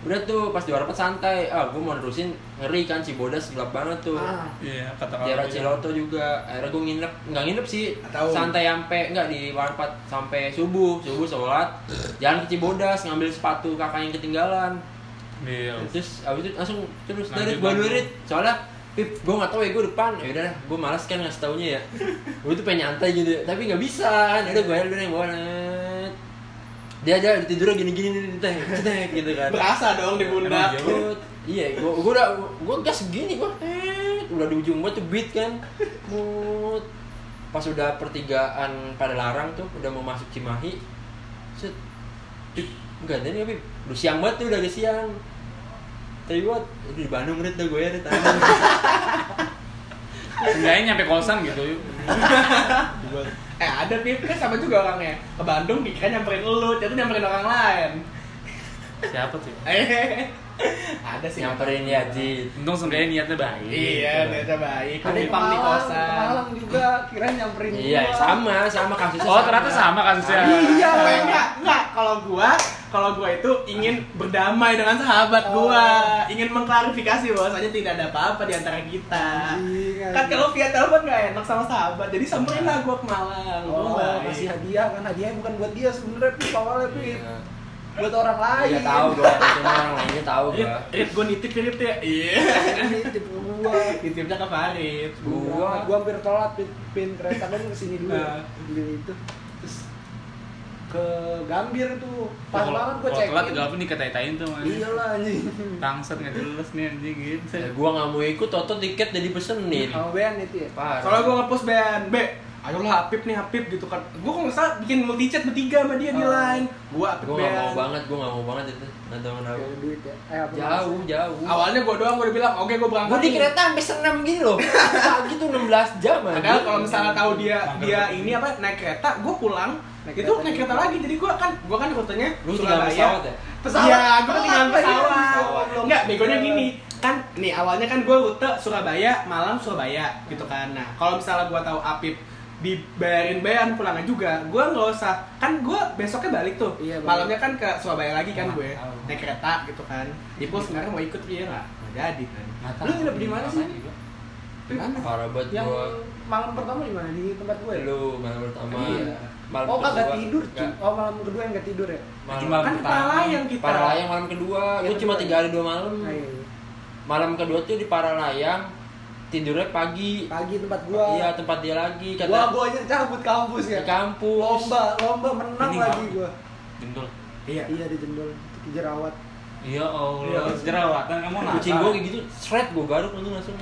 Speaker 3: udah tuh pas di warpat santai ah gua mau nerusin ngeri kan Cibodas gelap banget tuh
Speaker 2: Ah.
Speaker 4: iya kata
Speaker 3: daerah Ciloto juga akhirnya gue nginep nggak nginep sih
Speaker 1: Atau-
Speaker 3: santai sampai nggak di warpat sampai subuh subuh sholat jalan ke Cibodas ngambil sepatu kakak yang ketinggalan
Speaker 4: iya
Speaker 3: terus abis itu langsung terus
Speaker 4: Lanjut,
Speaker 3: dari gua
Speaker 4: lanjut.
Speaker 3: duit soalnya Pip, gue gak tau ya gue depan ya udah gue malas kan ngasih taunya ya gue tuh pengen nyantai gitu tapi nggak bisa ya udah gue udah yang bawa net. dia aja tidurnya gini-gini nih teh cetek gitu kan
Speaker 1: berasa dong di
Speaker 4: Emang
Speaker 1: pundak.
Speaker 4: iya, Bro.
Speaker 3: Takut. Iya, gua gua udah gua gas gini gua. Eh, udah di ujung gua tuh beat kan. Mut. Pas udah pertigaan pada larang tuh udah mau masuk Cimahi. Set. Pip, enggak ada nih, Pip. Udah siang banget tuh, udah ada siang. Tapi gua aduh, di Bandung Rit dah gue ya, Rit. Anjing.
Speaker 4: Seenggaknya nyampe kosan gitu yuk
Speaker 1: Eh ada Pip kan sama juga orangnya. Ke Bandung dikira nyamperin lu, jadi nyamperin orang lain.
Speaker 4: siapa tuh
Speaker 1: Eh. Ada sih
Speaker 3: Nyamperin ya, Ji.
Speaker 4: untung seenggaknya niatnya baik
Speaker 1: Iya, ternyata baik.
Speaker 2: ada
Speaker 1: Numpang di kosan.
Speaker 2: malam juga kira nyamperin
Speaker 3: Iya,
Speaker 2: gua.
Speaker 3: sama, sama kasusnya.
Speaker 4: oh ternyata sama kasusnya
Speaker 1: Iya, enggak, enggak. Kalau gua, kalau gua itu ingin berdamai dengan sahabat gua, ingin mengklarifikasi bahwasanya tidak ada apa-apa di antara kita.
Speaker 2: Anjing,
Speaker 1: Kan
Speaker 2: anjing.
Speaker 1: kalau via telepon nggak enak sama sahabat, jadi samperin lah gua ke Malang. Gua
Speaker 2: Oh,
Speaker 1: baik.
Speaker 2: kasih hadiah kan hadiahnya bukan buat dia sebenarnya pip awalnya pip
Speaker 3: Iya.
Speaker 2: buat orang lain
Speaker 3: Iya tahu gua, cuma orang lainnya tahu
Speaker 4: Iya.
Speaker 1: Rit,
Speaker 3: gua.
Speaker 1: Rit, gua nitip ya, Rit ya. Iya.
Speaker 2: ini tip gua
Speaker 1: Nitipnya ke Farid.
Speaker 2: gua
Speaker 3: Gua Iya.
Speaker 2: gua hampir telat pin, pin kereta kan kesini dulu
Speaker 1: Nah.
Speaker 2: beli itu terus ke Gambir tuh pas banget gua
Speaker 4: Kalau
Speaker 2: check
Speaker 4: telat gak
Speaker 2: in
Speaker 4: apa dikata-katain tuh man.
Speaker 2: iya lah anjing
Speaker 4: Tangsat gak jelas nih anjing gitu
Speaker 3: Ya, gua nggak mau ikut, toto tiket jadi pesenin.
Speaker 2: sama Ben itu ya
Speaker 3: Parah.
Speaker 1: Soalnya gua ngepost band B. Ayolah Apip nih Apip gitu kan. Gua kalau nggak salah bikin multi chat bertiga sama dia di
Speaker 2: Oh.
Speaker 1: line. Gua Apip
Speaker 3: gue gak mau
Speaker 1: band.
Speaker 3: banget gue gak mau banget itu nggak tahu kenapa
Speaker 2: Ada duit ya eh, apa
Speaker 3: jauh jauh
Speaker 1: Awalnya gua doang gua udah bilang, "Oke, gua berangkat."
Speaker 3: gue di
Speaker 1: nih."
Speaker 3: kereta sampai senam gini loh pagi tuh 16 jam aja
Speaker 1: Padahal kalau misalnya tahu dia
Speaker 4: Mager.
Speaker 1: dia ini apa naik kereta, gue pulang
Speaker 2: Naik
Speaker 1: itu
Speaker 2: kereta
Speaker 1: naik kereta
Speaker 2: juga.
Speaker 1: lagi. Jadi gue kan gue kan rutenya
Speaker 3: lu tinggal pesawat ya
Speaker 1: Pesawat. Iya, gue ketinggalan
Speaker 2: Telat lagi,
Speaker 1: pesawat.
Speaker 2: belum
Speaker 1: Enggak,
Speaker 2: pesawat.
Speaker 1: begonya gini. Kan nih awalnya kan gue rute Surabaya, Malang Surabaya gitu kan. Nah, kalau misalnya gue tahu Apip dibayarin bayaran pulangnya juga gue nggak usah kan gue besoknya balik tuh
Speaker 2: Iya, balik.
Speaker 1: malamnya kan ke Surabaya lagi kan gue
Speaker 4: Nggak tahu.
Speaker 1: naik kereta gitu kan Ibu sebenarnya mau ikut dia nggak nggak jadi kan lu nginep di mana sih di mana
Speaker 3: parah banget
Speaker 2: yang
Speaker 3: gue
Speaker 2: malam pertama di mana di tempat gue ya
Speaker 3: lu malam pertama
Speaker 2: Iya.
Speaker 3: malam
Speaker 2: oh kagak
Speaker 3: kedua,
Speaker 2: tidur cuy
Speaker 3: nggak.
Speaker 2: oh malam kedua yang gak tidur ya
Speaker 3: malam
Speaker 4: Cuma-
Speaker 1: kan kepala layang kita
Speaker 3: Paralayang malam kedua gue cuma tiga hari dua malam
Speaker 2: Nah, iya.
Speaker 3: malam kedua tuh di Paralayang tidurnya pagi
Speaker 2: pagi tempat gua
Speaker 3: iya tempat dia lagi
Speaker 2: gua
Speaker 3: kata
Speaker 2: gua aja cabut kampus ya
Speaker 3: di kampus
Speaker 2: lomba lomba menang
Speaker 4: Ini
Speaker 2: lagi
Speaker 4: ngapain?
Speaker 2: gua
Speaker 4: Jendol.
Speaker 1: iya
Speaker 2: iya di jendol di jerawat
Speaker 4: Ya
Speaker 1: Ya,
Speaker 4: Allah, jerawatan kamu nata.
Speaker 3: kucing gue kayak gitu shred gue garuk langsung langsung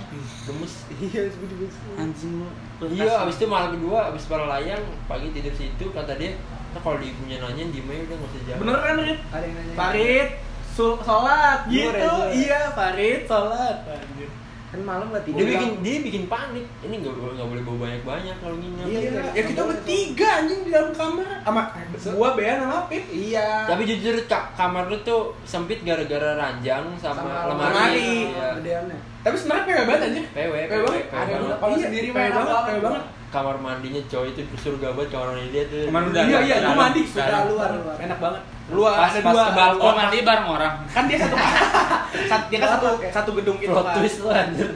Speaker 3: gemes
Speaker 2: iya sebut
Speaker 4: anjing lu.
Speaker 3: Iya, abis itu malam kedua, abis para layang, pagi tidur situ, kata dia, "Ntar kalau di ibunya nanya, diem aja udah gak usah jawab.
Speaker 1: bener kan Rit
Speaker 2: ada yang nanya
Speaker 1: Farid sul- sholat
Speaker 2: Zuhur ya,
Speaker 1: gitu
Speaker 2: zuhur.
Speaker 1: iya Farid sholat Anjir.
Speaker 2: kan malam nggak tidur
Speaker 3: dia bikin dia bikin panik ini nggak boleh nggak boleh bawa banyak banyak kalau nginep
Speaker 2: Iya,
Speaker 1: Iya, ya kita bertiga anjing di dalam kamar sama eh, gua Bean sama Pip.
Speaker 2: iya
Speaker 3: tapi jujur ka- kamar lu tuh sempit gara-gara ranjang sama, lemari,
Speaker 1: lemari.
Speaker 3: Iya.
Speaker 2: gedeannya
Speaker 1: Tapi sebenarnya pewe banget anjing.
Speaker 3: PW,
Speaker 1: Pewe banget.
Speaker 3: PW.
Speaker 2: Ada lu- kalau
Speaker 1: Iya,
Speaker 2: sendiri
Speaker 1: pewe
Speaker 2: main
Speaker 1: banget,
Speaker 2: apa?
Speaker 1: pewe banget.
Speaker 3: kamar mandinya cowok itu surga banget kamar mandi dia tuh
Speaker 4: Kamar mandi.
Speaker 1: Iya, iya,
Speaker 4: Dalam,
Speaker 1: gua mandi
Speaker 4: dalam.
Speaker 1: sudah luar, luar. Enak banget. Luar
Speaker 3: Pas-
Speaker 1: ada
Speaker 3: pas
Speaker 1: dua.
Speaker 3: ke balkon.
Speaker 4: Oh mandi bareng orang.
Speaker 1: Kan dia satu sat- dia kan satu satu gedung itu
Speaker 3: plot
Speaker 1: kan.
Speaker 3: twist lu anjir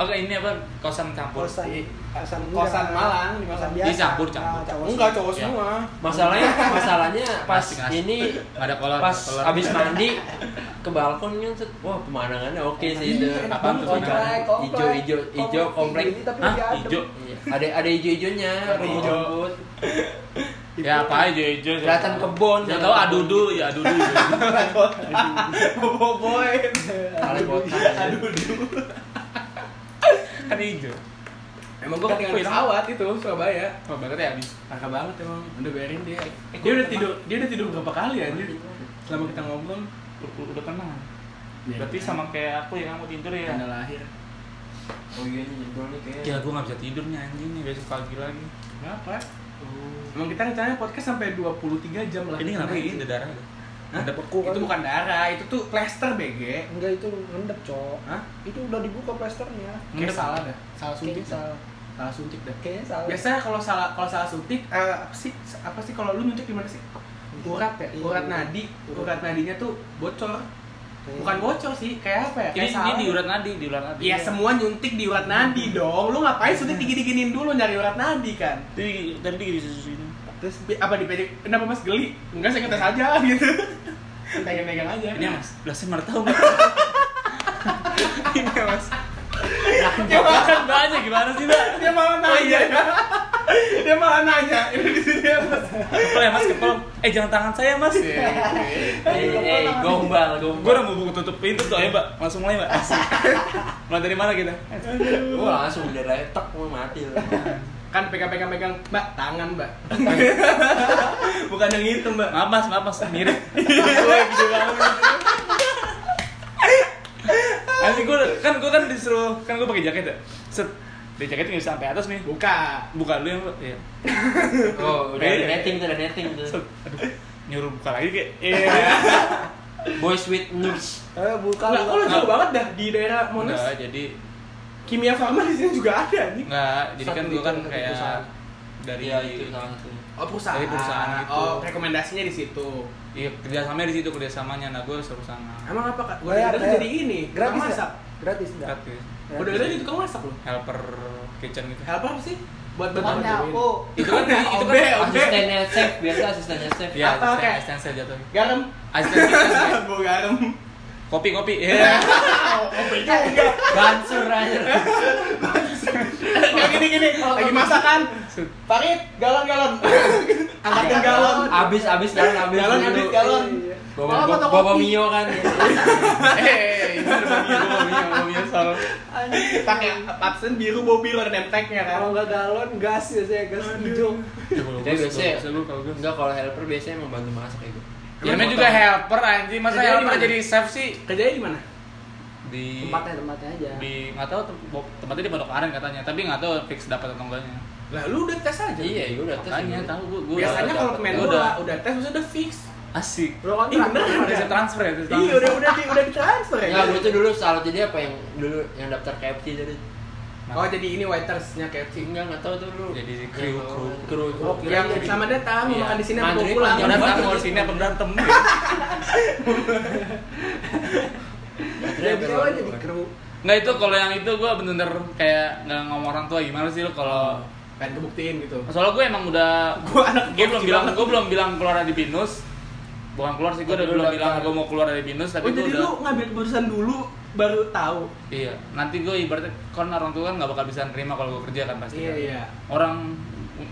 Speaker 4: Oke ini apa kosan campur.
Speaker 2: kosan kosan
Speaker 1: Kosan
Speaker 2: enggak.
Speaker 1: Malang, di Malang.
Speaker 2: biasa
Speaker 4: Dicampur, campur.
Speaker 2: Ah, cowok
Speaker 1: Enggak
Speaker 2: sih.
Speaker 1: cowok
Speaker 4: Iya.
Speaker 1: semua.
Speaker 3: masalahnya masalahnya pas
Speaker 4: Asik, asik.
Speaker 3: ini
Speaker 4: Nggak ada kolor.
Speaker 3: pas
Speaker 4: kolor.
Speaker 3: abis mandi ke balkon kan set, wah pemandangannya oke sih itu
Speaker 2: Iya, enak
Speaker 4: Apaan
Speaker 2: banget,
Speaker 4: tuh pemandangan?
Speaker 2: komplek,
Speaker 3: Ijo, ijo, ijo, komplek.
Speaker 2: Ini tapi
Speaker 4: Hah?
Speaker 2: lebih adem.
Speaker 4: Ijo.
Speaker 3: Iya, ada ada ijo-ijonya ada
Speaker 4: Oh.
Speaker 3: hijau rumput
Speaker 4: Ya apa aja hijau.
Speaker 3: kelihatan kebon
Speaker 4: Gak tau adudu ya adudu.
Speaker 1: Boboiboy.
Speaker 3: kali kota
Speaker 4: Kan hijau.
Speaker 1: Emang gua ketinggalan pesawat itu Surabaya.
Speaker 4: Oh banget ya abis.
Speaker 1: Parah banget emang. Udah biarin dia. Dia udah tidur, dia udah tidur berapa kali anjir? Selama kita ngobrol,
Speaker 4: Udah, udah tenang. Berarti sama kayak aku ya kamu tidur ya.
Speaker 1: tanda lahir.
Speaker 3: oh iya ini jempol nih
Speaker 4: Ya
Speaker 3: kayaknya
Speaker 4: gue gak bisa tidur nih anjing nih besok pagi lagi.
Speaker 1: Kenapa? Emang kita rencananya podcast sampai 23 jam lah. Iya.
Speaker 4: Ini kenapa ini ada darah?
Speaker 1: Hah?
Speaker 4: Ada beku.
Speaker 1: Itu bukan darah, itu tuh plester BG.
Speaker 2: Enggak itu ngendep, Cok.
Speaker 1: Hah?
Speaker 2: Itu udah dibuka plasternya.
Speaker 1: Kayak
Speaker 4: Ngendep.
Speaker 1: salah dah. Salah
Speaker 2: Kayaknya
Speaker 1: suntik dah.
Speaker 2: salah.
Speaker 1: Salah suntik dah.
Speaker 2: Kayaknya salah.
Speaker 1: Biasanya kalau salah kalau salah suntik eh, apa sih apa sih kalau lu nyuntik di mana sih? Urat ya,
Speaker 2: Iya.
Speaker 1: urat nadi. Urat nadinya tuh bocor.
Speaker 2: Kayaknya.
Speaker 1: Bukan bocor sih, kayak apa ya?
Speaker 4: Ini
Speaker 1: Kayak
Speaker 4: ini
Speaker 1: salah.
Speaker 4: di urat nadi di urat nadi.
Speaker 1: Iya, semua nyuntik di urat nadi dong. Lu ngapain suntik
Speaker 2: Iya.
Speaker 1: digini-giniin dulu nyari urat nadi kan?
Speaker 4: Tadi tadi di susu ini.
Speaker 1: Terus bi- apa dipejek? Kenapa Mas geli? Enggak saya ngetes aja gitu. Pegang-pegang aja.
Speaker 4: Ini yang mas, belasnya mana tahu mas? Ini mas.
Speaker 1: dia malah,
Speaker 4: Kan banyak gimana sih mbak? Oh, iya.
Speaker 1: dia malah nanya. dia malah nanya. Ini di sini ya, Mas.
Speaker 4: Kepel ya mas kepel. Eh jangan tangan saya mas.
Speaker 1: Iya.
Speaker 3: eh eh, gombal
Speaker 4: Gue
Speaker 3: gombal
Speaker 4: udah mau buku tutup pintu tuh ayo mbak. Langsung mulai mbak. Asik. Mulai dari mana kita?
Speaker 3: gue Oh, langsung darahnya tek gue mati lu.
Speaker 1: Kan pegang-pegang-pegang, Mbak, tangan, Mbak. Bukan yang itu, Mbak.
Speaker 4: Maaf mas, maaf mas, mirip. Nanti gue kan gue kan disuruh kan gue pakai jaket ya. Set dari jaket nggak bisa sampai atas nih.
Speaker 1: Buka.
Speaker 4: Buka dulu yang mbak. Iya.
Speaker 3: oh udah
Speaker 4: Iya.
Speaker 3: netting tuh udah netting
Speaker 4: Set.
Speaker 3: tuh
Speaker 4: Aduh, nyuruh buka lagi kayak. Iya.
Speaker 3: boys with nerds
Speaker 2: Eh, buka.
Speaker 1: Lah,
Speaker 2: buka.
Speaker 1: kalau jauh banget dah di daerah Monas.
Speaker 4: Enggak, jadi
Speaker 1: Kimia Farma di sini juga ada nih.
Speaker 4: Enggak, jadi kan
Speaker 3: Satu
Speaker 4: gue kan
Speaker 3: itu, satu
Speaker 4: kayak
Speaker 3: perusahaan.
Speaker 4: dari
Speaker 3: iya itu salah satu
Speaker 1: Oh, perusahaan.
Speaker 4: Dari perusahaan gitu.
Speaker 1: Oh, rekomendasinya di situ.
Speaker 4: iya kerjasamanya di situ kerjasamanya nah gue suruh sana
Speaker 1: Emang apa, Kak?
Speaker 2: Gua
Speaker 1: Udah
Speaker 2: ya,
Speaker 1: gede
Speaker 2: eh,
Speaker 1: jadi ini, tukang
Speaker 2: Gratis
Speaker 1: masak.
Speaker 2: enggak? Gratis enggak?
Speaker 4: Dekat ya.
Speaker 2: Gratis. Iya,
Speaker 1: Udah gede jadi tukang masak loh.
Speaker 4: helper kitchen gitu
Speaker 1: Helper apa sih? Buat bantu
Speaker 2: Pokoknya aku.
Speaker 4: itu kan itu
Speaker 1: Obe,
Speaker 4: kan
Speaker 1: obe.
Speaker 3: asistennya chef biasa asistennya chef
Speaker 4: ya
Speaker 1: Apa,
Speaker 4: asisten
Speaker 1: kayak-
Speaker 4: asisten saya jatuh
Speaker 1: Garam.
Speaker 4: asisten saya.
Speaker 1: Gua garam.
Speaker 4: kopi kopi Iya.
Speaker 3: bansur aja
Speaker 1: Kayak gini-gini, lagi masakan. Parit, galon-galon. Angkatin
Speaker 3: Ah.
Speaker 1: galon.
Speaker 3: abis abis jalan abis
Speaker 1: Galon
Speaker 3: dulu.
Speaker 1: abis galon.
Speaker 3: Bobo,
Speaker 2: iya, Apa
Speaker 3: bobo,
Speaker 2: tuh
Speaker 3: bobo
Speaker 2: kopi?
Speaker 3: mio kan
Speaker 4: eh ini ada mie soal
Speaker 2: Anjing.
Speaker 1: Pakai absen ya, biru bau biru ada name tag-nya kan.
Speaker 2: Kalau nggak galon gas ya saya gas hijau.
Speaker 3: Jadi biasanya
Speaker 4: lu kalau gue
Speaker 3: enggak kalau helper biasanya emang bantu masak gitu. itu.
Speaker 4: ya namanya juga helper anjing masa
Speaker 1: Kerjanya di
Speaker 4: helper
Speaker 1: mana?
Speaker 4: jadi chef sih
Speaker 1: Kerjanya di mana? Iya.
Speaker 4: di
Speaker 2: Tempatnya tempatnya aja.
Speaker 4: di nggak tahu tem- tempatnya di Pondok Aren katanya tapi nggak tahu fix dapat atau enggaknya
Speaker 1: Lah lu udah tes aja.
Speaker 3: Iya, gue udah tes.
Speaker 4: makanya tahu gue gue
Speaker 1: Biasanya kalau
Speaker 4: dapet.
Speaker 1: pemain
Speaker 4: Gua
Speaker 1: bola udah tes udah udah fix.
Speaker 4: asik
Speaker 2: Bro
Speaker 1: Ih,
Speaker 2: kontrak. Iya,
Speaker 1: bener.
Speaker 4: udah bisa transfer ya bisa
Speaker 1: Iya,
Speaker 4: transfer.
Speaker 1: udah udah di udah ditransfer ya.
Speaker 3: Enggak, gue tuh dulu salut jadi apa yang dulu yang daftar KFC jadi
Speaker 1: Oh, jadi ini waiters-nya KFC.
Speaker 3: enggak enggak tahu tuh dulu.
Speaker 4: Jadi kru, kru.
Speaker 3: kru.
Speaker 1: Oh, yang selamat datang, mau
Speaker 4: Iya.
Speaker 1: makan di sini apa mau
Speaker 3: Mandiri
Speaker 1: pulang.
Speaker 4: Mau
Speaker 3: gitu. panjang
Speaker 4: datang
Speaker 3: banget.
Speaker 4: mau sini apa berantem ya?
Speaker 1: iya,
Speaker 2: Dia bilang aja di kru.
Speaker 4: Nggak itu kalau yang itu gue bener-bener kayak nggak ngomong orang tua gimana sih lo kalau
Speaker 1: Oh, Pengen kebuktiin gitu.
Speaker 4: soalnya gue emang udah
Speaker 1: Gua anak
Speaker 4: gue belum
Speaker 1: gokil
Speaker 4: bilang
Speaker 1: banget.
Speaker 4: gue belum bilang keluar dari binus bukan keluar sih gue
Speaker 3: Udah,
Speaker 4: udah belum
Speaker 3: udah,
Speaker 4: bilang
Speaker 3: udah.
Speaker 4: gue mau keluar dari binus
Speaker 1: Oh,
Speaker 4: tapi gue
Speaker 1: jadi
Speaker 4: udah
Speaker 1: lu ngambil keputusan dulu baru tahu.
Speaker 4: iya nanti gue ibaratnya kan orang tua kan nggak bakal bisa nerima kalau gue kerja kan pasti
Speaker 1: Iya,
Speaker 4: kan.
Speaker 1: iya.
Speaker 4: orang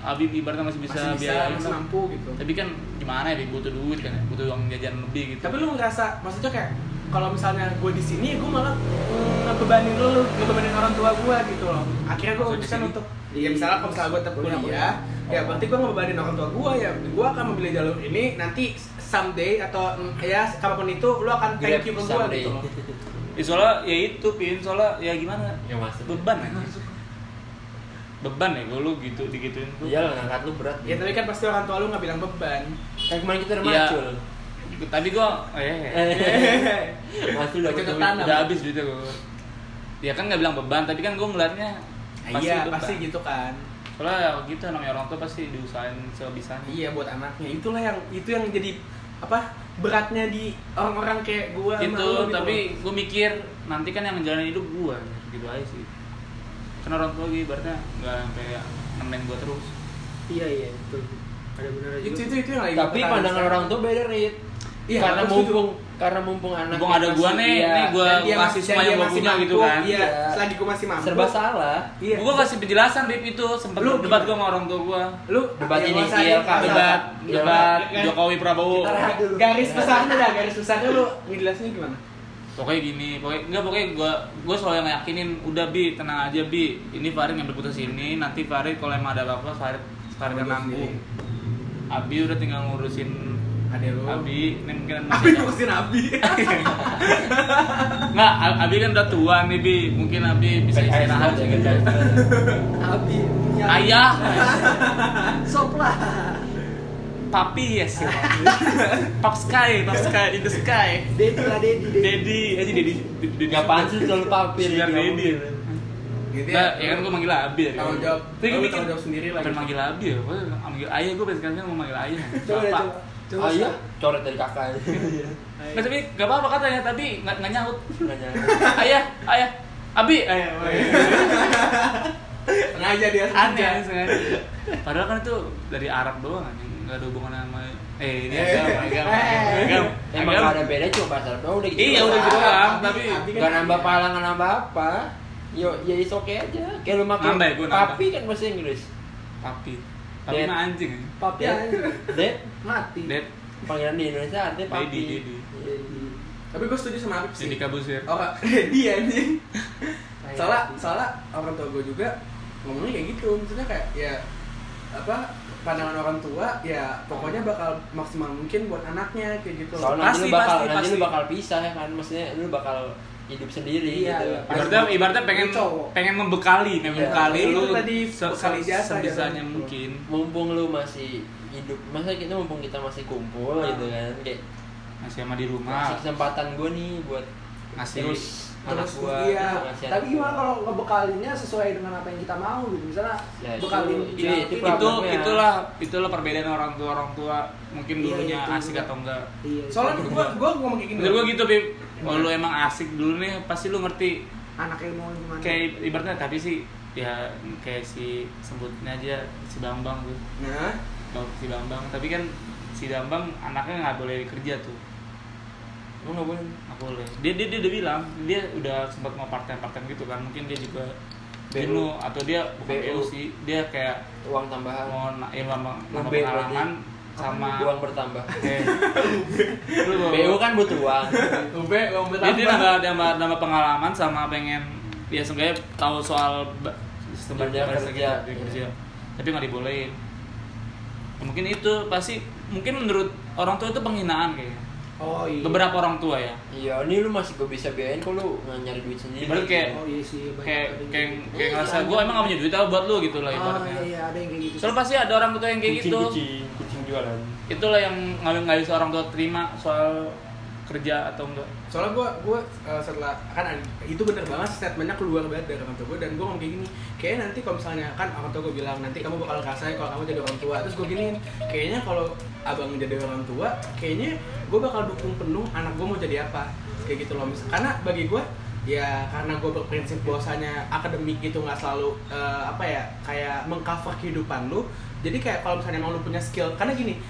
Speaker 4: Abi ibaratnya masih bisa
Speaker 1: Masih bisa,
Speaker 4: biaya
Speaker 1: masih
Speaker 4: hidup.
Speaker 1: mampu gitu.
Speaker 4: tapi kan gimana ya Bi? butuh duit kan ya, butuh uang jajan lebih gitu
Speaker 1: Tapi lu ngerasa maksudnya kayak kalau misalnya gue di sini, gue malah mm, ngebebanin lu, ngebebanin orang tua gue gitu loh. Akhirnya gue memutuskan
Speaker 4: Maksudnya di sini?
Speaker 1: untuk ya misalnya kalau misalnya gue tetap
Speaker 3: Kuliah,
Speaker 1: kuliah, ya berarti gue ngebebanin orang tua gue ya gue akan memilih jalur ini nanti someday atau mm, ya kapanpun itu lu akan thank you ke gue gitu loh.
Speaker 4: Ya, soalnya ya itu pin soalnya ya gimana
Speaker 3: Ya, maksudnya.
Speaker 4: beban aja beban ya gue lu gitu digituin tuh
Speaker 3: Iya lah, ngangkat lu berat.
Speaker 1: Ya tapi kan pasti orang tua lu nggak bilang beban.
Speaker 3: Kayak kemarin kita udah
Speaker 4: Iya.
Speaker 3: macul.
Speaker 4: tapi gue
Speaker 1: Oh, iya,
Speaker 4: eh,
Speaker 3: Macul udah
Speaker 1: Macul
Speaker 3: duit.
Speaker 1: ketanam.
Speaker 4: udah habis duitnya gue ya kan nggak bilang beban tapi kan gue ngeliatnya pasti
Speaker 1: Iya
Speaker 4: beban
Speaker 1: pasti gitu kan.
Speaker 4: soalnya gitu namanya orang tua pasti diusahain sebisanya
Speaker 1: Iya buat anaknya itulah yang itu yang jadi apa beratnya di orang-orang kayak gua sama
Speaker 4: itu
Speaker 1: lu gitu.
Speaker 4: tapi gue mikir nanti kan yang ngejalanin hidup gue gitu aja sih karena orang tua gue ibaratnya nggak sampai nemenin gue terus
Speaker 2: Iya iya betul. Ada benar
Speaker 1: itu itu itu yang lagi
Speaker 3: Tapi
Speaker 1: bertahan
Speaker 3: pandangan
Speaker 1: sekarang.
Speaker 3: orang tuh beda, Rit.
Speaker 1: Iya,
Speaker 3: karena
Speaker 1: aku setuju.
Speaker 3: mumpung karena mumpung anak
Speaker 4: Mumpung ada gua nih, nih
Speaker 1: Iya.
Speaker 4: gua-
Speaker 1: Dan dia
Speaker 4: kasih
Speaker 1: masih- dan
Speaker 4: semua yang
Speaker 1: dia
Speaker 4: gua
Speaker 1: masih
Speaker 4: punya gitu
Speaker 1: mampu,
Speaker 4: kan.
Speaker 1: Iya,
Speaker 3: Iya.
Speaker 1: selagi gua masih mampu.
Speaker 3: serba salah.
Speaker 1: Iya.
Speaker 4: Gue kasih penjelasan Rip itu sempet
Speaker 1: Lu
Speaker 4: lu debat gue sama orang tua gue
Speaker 1: lu
Speaker 3: Debat
Speaker 1: yang
Speaker 3: ini,
Speaker 1: nguasain
Speaker 3: ILK,
Speaker 1: masalah.
Speaker 4: debat
Speaker 3: Iya.
Speaker 4: debat
Speaker 1: Iya.
Speaker 4: Jokowi Prabowo
Speaker 3: Kita rehat dulu.
Speaker 1: garis besarnya dah garis besarnya lu ngejelasinnya gimana
Speaker 4: pokoknya gini pokoknya enggak pokoknya gue gue selalu yang yakinin udah bi tenang aja bi ini Farid yang berputus ini nanti Farid kalau emang ada apa-apa Farid Farid
Speaker 1: Ngurus
Speaker 4: yang nanggung Abi udah tinggal ngurusin
Speaker 1: ada Ya, lu
Speaker 4: Abi ini mungkin
Speaker 1: Abi ngurusin Abi
Speaker 4: Nggak, A- Abi kan udah tua nih Bi, mungkin Abi bisa
Speaker 3: PKS
Speaker 4: istirahat
Speaker 3: banget ya,
Speaker 4: gitu.
Speaker 3: PKS banget.
Speaker 2: Abi punya
Speaker 4: Ayah,
Speaker 2: sop lah.
Speaker 4: papi yes, ya, papi. pap sky, pap sky in the sky. Eh,
Speaker 2: Dedi lah Dedi. Dedi.
Speaker 1: Eh,
Speaker 4: Dedi, aja Dedi, Dedi.
Speaker 3: Enggak pantas selalu papir.
Speaker 4: Biar Dedi.
Speaker 1: gitu
Speaker 4: Nah, ya kan gue manggil Abi dari
Speaker 1: Tanggung
Speaker 4: dulu.
Speaker 1: jawab.
Speaker 4: Tapi gue
Speaker 1: Lu
Speaker 4: mikir,
Speaker 1: tanggung jawab sendiri gitu. lagi.
Speaker 4: pengen manggil Abi ya, gue manggil ayah, gue pengen sekarang mau manggil ayah
Speaker 2: Coba deh,
Speaker 4: Bapak.
Speaker 2: coba. Coba.
Speaker 3: Oh iya, coret dari kakak.
Speaker 4: Iya. Nggak, tapi gak apa-apa katanya, tapi nggak nggak nyaut
Speaker 3: Nanya.
Speaker 4: Ayah, ayah, Abi, ayah,
Speaker 1: sengaja dia
Speaker 4: aneh aneh sengaja padahal kan itu dari Arab doang kan yang nggak ada hubungan sama eh ini agama agama
Speaker 1: eh.
Speaker 4: agama
Speaker 3: Emang
Speaker 4: agama.
Speaker 3: nggak ada beda cuma bahasa Arab doang udah gitu.
Speaker 4: iya udah
Speaker 3: doang.
Speaker 4: gitu doang
Speaker 1: Abi-
Speaker 4: tapi
Speaker 1: Abi
Speaker 3: Gak nambah pala, gak nambah apa. Yo, ya is oke aja. Kayak lu makan
Speaker 4: Nambah ya, gua nambah.
Speaker 3: papi kan bahasa Inggris.
Speaker 4: papi papi
Speaker 3: Dad.
Speaker 4: mah anjing ya
Speaker 2: Papi
Speaker 1: Iya.
Speaker 3: Ya.
Speaker 2: anjir.
Speaker 3: Dad,
Speaker 2: Mati.
Speaker 4: dad
Speaker 3: panggilan di Indonesia artinya papi.
Speaker 4: Daddy, daddy.
Speaker 3: Daddy.
Speaker 1: tapi gue setuju sama Abi sih
Speaker 4: jadi kabusir
Speaker 1: orang dia anjing soalnya soalnya orang tua gue juga ngomongnya kayak gitu maksudnya kayak ya apa pandangan orang tua ya pokoknya bakal maksimal mungkin buat anaknya kayak gitu loh.
Speaker 3: Soalnya nanti
Speaker 4: Pasti,
Speaker 3: lu bakal
Speaker 4: pasti,
Speaker 3: nanti lu
Speaker 4: pasti.
Speaker 3: bakal pisah ya kan, maksudnya lu bakal hidup sendiri
Speaker 1: Iya,
Speaker 3: gitu.
Speaker 1: iya.
Speaker 4: ibaratnya ibaratnya pengen
Speaker 2: Lu cowok.
Speaker 4: pengen membekali membekali
Speaker 1: Iya,
Speaker 4: lu
Speaker 1: itu tadi
Speaker 4: se-
Speaker 1: bekali
Speaker 4: se-
Speaker 1: jasa,
Speaker 4: sebisanya
Speaker 1: gitu.
Speaker 4: mungkin
Speaker 3: Mumpung lu masih hidup, masa kita mumpung kita masih
Speaker 4: Ah.
Speaker 3: kumpul gitu kan, kayak
Speaker 4: masih sama di
Speaker 3: ngasih
Speaker 4: rumah
Speaker 3: kesempatan gue nih buat
Speaker 4: Ngasih
Speaker 3: terus anak
Speaker 2: terus
Speaker 3: gue.
Speaker 2: iya. Tapi gimana kalau ngebekalinnya sesuai dengan apa yang kita mau gitu. Misalnya
Speaker 3: Ya, itu-
Speaker 2: bekalin
Speaker 3: itu-
Speaker 2: kita- ya.
Speaker 3: itu
Speaker 2: kita-
Speaker 4: itu
Speaker 3: problemnya.
Speaker 4: itulah itulah perbedaan orang tua orang tua mungkin
Speaker 2: Iya,
Speaker 4: dulunya
Speaker 2: itu
Speaker 4: asik
Speaker 2: juga.
Speaker 4: atau enggak
Speaker 2: Iya.
Speaker 1: soalnya gue gue ngomong kayak gini
Speaker 4: menurut gua gitu bib kalau lu emang asik dulu nih pasti lu ngerti
Speaker 2: anaknya mau gimana?
Speaker 4: kayak ibaratnya tapi sih ya kayak si sebutnya aja si Bambang tuh
Speaker 1: nah
Speaker 4: Bang- si Bambang tapi kan si Bambang anaknya nggak boleh kerja tuh
Speaker 3: Lu nggak boleh.
Speaker 4: nggak boleh dia, dia dia udah bilang dia udah sempat mau part time part time gitu kan mungkin dia juga
Speaker 3: BU.
Speaker 4: Dulu atau dia bukan
Speaker 3: BU.
Speaker 4: BU sih dia kayak
Speaker 3: Uang
Speaker 2: Ah.
Speaker 3: tambahan.
Speaker 4: mau na- ya, nambah
Speaker 2: Nah,
Speaker 4: nambah
Speaker 3: BU,
Speaker 4: pengalaman sama
Speaker 3: Uang bertambah.
Speaker 4: eh, lu bawa-
Speaker 3: BU kan butuh uang.
Speaker 1: UB ngomong
Speaker 4: Jadi dia nambah, nambah, nambah pengalaman sama pengen ya seenggaknya tahu soal ba- sistem
Speaker 3: Dunia
Speaker 4: barista
Speaker 3: kerja.
Speaker 4: gitu, dunia kerja.
Speaker 2: Iya.
Speaker 4: Tapi nggak dibolehin. Ya, mungkin itu pasti mungkin menurut orang tua itu penghinaan kayaknya.
Speaker 2: Oh iya.
Speaker 4: Beberapa orang tua ya.
Speaker 3: Iya, ini lu masih gue bisa biayain kok lu nggak nyari duit sendiri.
Speaker 4: Ibarat kayak
Speaker 2: Oh iya sih. banyak
Speaker 4: kayak
Speaker 2: ada yang
Speaker 4: kayak
Speaker 2: gitu.
Speaker 4: kayak ngerasa gue emang gak punya duit apa buat lu gitu lah
Speaker 2: Ah
Speaker 4: ibaratnya.
Speaker 2: iya, iya ada yang kayak gitu.
Speaker 4: Soalnya pasti ada orang tua yang kayak gitu.
Speaker 3: Kucing, kucing jualan.
Speaker 4: Itulah yang nggak nggak bisa orang tua terima soal kerja atau enggak.
Speaker 1: soalnya gue gue setelah kan an- itu bener banget statementnya keluar banget dari orang tua gue dan gue ngomong kayak gini kayaknya nanti kalau misalnya kan orang tua gue bilang nanti kamu bakal ngerasain kalau kamu jadi orang tua terus gue giniin kayaknya kalau abang jadi orang tua kayaknya gue bakal dukung penuh anak gue mau jadi apa kayak gitu loh Mis- karena bagi gue ya karena gue berprinsip bahwasanya akademik itu nggak selalu eh, apa ya kayak mengcover kehidupan lu jadi kayak kalau misalnya emang lu punya skill karena gini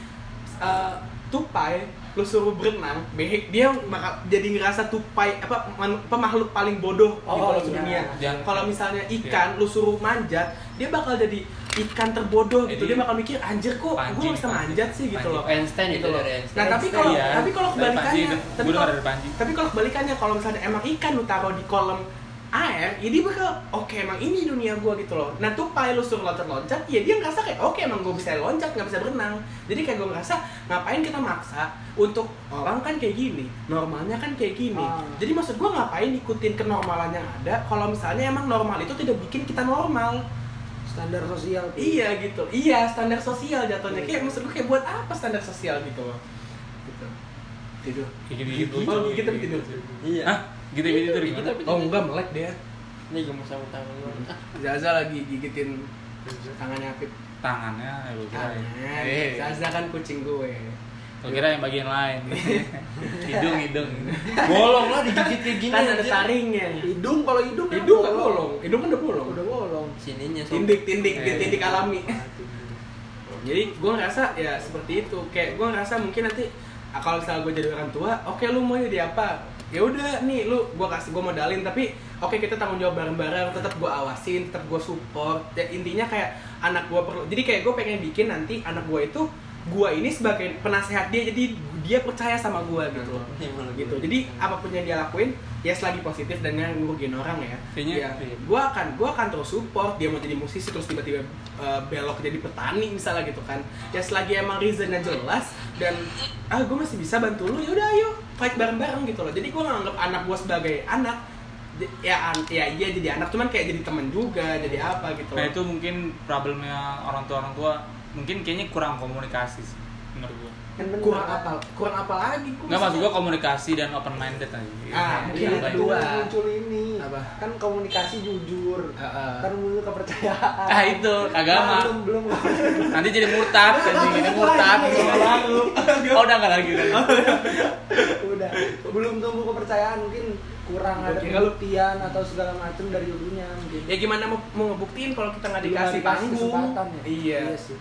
Speaker 1: eh, tupai lu suruh berenang behek dia maka jadi ngerasa tupai apa man- pemakhluk paling bodoh di
Speaker 2: Oh,
Speaker 1: kalau
Speaker 2: iya.
Speaker 1: dunia
Speaker 4: Jangan-
Speaker 1: kalau misalnya
Speaker 4: iya.
Speaker 1: ikan lu suruh manjat dia bakal jadi ikan terbodoh gitu dia
Speaker 4: Jadi-
Speaker 1: bakal mikir anjir kok gue
Speaker 4: Pancing,
Speaker 1: bisa
Speaker 4: pancing,
Speaker 1: manjat sih gitu
Speaker 4: pancing.
Speaker 1: loh
Speaker 3: Einstein itu
Speaker 1: Gitu loh.
Speaker 3: dari Einstein.
Speaker 1: Nah tapi kalau
Speaker 4: Iya.
Speaker 1: tapi kalau
Speaker 4: Dari Panji,
Speaker 1: kebalikannya,
Speaker 4: gue
Speaker 1: tapi
Speaker 4: dengar
Speaker 1: kalau
Speaker 4: dari Panji.
Speaker 1: tapi kalau kebalikannya kalau misalnya emang ikan lu taruh di kolam AR ya dia bakal oke emang ini dunia gua gitu loh nah tupai lu suruh loncat-loncat ya dia ngerasa kayak oke emang gua bisa loncat nggak bisa berenang jadi kayak gua ngerasa ngapain kita maksa untuk orang kan kayak gini normalnya kan kayak gini
Speaker 2: Ah.
Speaker 1: jadi maksud gua ngapain ikutin kenormalan yang ada kalau misalnya emang normal itu tidak bikin kita normal
Speaker 2: standar sosial
Speaker 1: iya gitu iya standar sosial jatuhnya kayak maksud gua kayak buat apa standar sosial gitu loh gitu tidur
Speaker 4: Kayak gitu-gitu.
Speaker 1: Oh, gitu tidur
Speaker 3: Iya. Gitu.
Speaker 4: Hah? Gitu-gitu
Speaker 3: Kita
Speaker 4: tuh
Speaker 1: Gitu.
Speaker 4: gimana?
Speaker 3: tapi-
Speaker 5: Oh enggak melek dia.
Speaker 3: Nih gue mau sambut tangan lu.
Speaker 1: Zaza lagi gigitin tangannya Apip
Speaker 4: Tangannya ya gue kira ya.
Speaker 1: Tangan. Zaza kan kucing gue
Speaker 4: Gue kira yang bagian lain. gitu.
Speaker 1: Iya.
Speaker 4: hidung, hidung.
Speaker 3: Bolong lah digigit kayak gini.
Speaker 1: Kan ada
Speaker 3: anjir.
Speaker 1: taringnya
Speaker 2: hidung kalau hidung kan
Speaker 1: Hidung kan
Speaker 2: bolong.
Speaker 1: bolong Hidung kan udah bolong
Speaker 2: udah bolong
Speaker 3: Sininya sob.
Speaker 1: Tindik, tindik,
Speaker 4: Eh.
Speaker 1: dia tindik alami Jadi gue ngerasa ya seperti itu Kayak gue ngerasa mungkin nanti ah, kalau misalnya gue jadi orang tua Oke lu mau jadi apa? ya udah nih lu gue kasih gue modalin tapi oke kita tanggung jawab bareng-bareng tetap gue awasin tetap gue support ya, intinya kayak anak gue perlu jadi kayak gue pengen bikin nanti anak gue itu gue ini sebagai penasehat dia jadi dia percaya sama gue gitu loh
Speaker 3: Iya, bolong.
Speaker 1: gitu jadi apapun yang dia lakuin ya selagi positif dan yang ngerugiin orang ya
Speaker 4: Kayaknya,
Speaker 1: ya,
Speaker 4: iya.
Speaker 1: gue akan gua akan terus support dia mau jadi musisi terus tiba-tiba eh, belok jadi petani misalnya gitu kan ya selagi emang reasonnya jelas dan ah gue masih bisa bantu lu yaudah ayo fight bareng-bareng gitu loh jadi gue nganggap anak gue sebagai anak J- ya an- ya iya jadi anak cuman kayak jadi temen juga jadi apa gitu
Speaker 4: Nah
Speaker 1: loh.
Speaker 4: itu mungkin problemnya orang tua orang tua mungkin kayaknya kurang komunikasi sih menurut gue.
Speaker 2: Kan
Speaker 1: kurang apa kurang apa lagi gue
Speaker 4: Nggak maksud gue komunikasi dan open minded aja.
Speaker 1: Ah,
Speaker 4: Iya,
Speaker 1: mungkin
Speaker 2: Ini
Speaker 1: apa
Speaker 4: baik.
Speaker 1: itu.
Speaker 2: kedua muncul ini
Speaker 1: Apa? Ah.
Speaker 2: kan komunikasi jujur
Speaker 1: Heeh.
Speaker 2: kan muncul kepercayaan
Speaker 4: Ah itu agama.
Speaker 2: Nah, belum belum kepercayaan.
Speaker 4: Nanti jadi murtad, anjing ini murtad. Iya. Oh udah nggak lagi. udah.
Speaker 2: udah belum tumbuh kepercayaan mungkin kurang
Speaker 1: Gua
Speaker 2: ada
Speaker 1: kira lu-
Speaker 2: pembuktian atau segala macam dari ibunya mungkin
Speaker 1: ya gimana mau, mau ngebuktiin kalau kita nggak
Speaker 2: Belum
Speaker 1: dikasih panggung
Speaker 2: kesempatan ya
Speaker 1: iya
Speaker 2: sih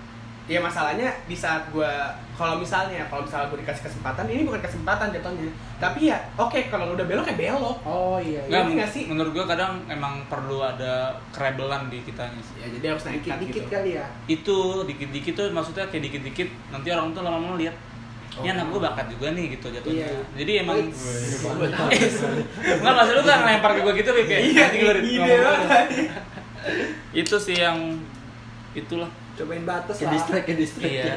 Speaker 1: ya masalahnya di saat gue kalau misalnya kalau misalnya gue dikasih kesempatan ini bukan kesempatan jatuhnya tapi ya oke kalau udah belok ya belok
Speaker 2: oh iya, iya.
Speaker 4: Nggak,
Speaker 1: Iya nggak sih?
Speaker 4: menurut gue kadang emang perlu ada kerebelan di kitanya sih.
Speaker 1: ya jadi harus naik
Speaker 2: dikit dikit
Speaker 1: gitu
Speaker 2: kali ya
Speaker 4: itu dikit-dikit tuh maksudnya kayak dikit-dikit nanti orang tuh lama-lama lihat ini anak gue bakat juga nih gitu jatuhnya
Speaker 2: Iya.
Speaker 4: jadi emang
Speaker 2: Wait.
Speaker 4: nggak maksud lu kan ngelempar ke gue gitu Rip, kayak
Speaker 1: Iya,
Speaker 4: anjing lu, Rip,
Speaker 1: ide
Speaker 4: ngomong
Speaker 1: banget.
Speaker 4: apa?" itu sih yang itulah
Speaker 2: cobain batas
Speaker 3: Kayak
Speaker 2: lah
Speaker 3: distract, kayak distract.
Speaker 4: iya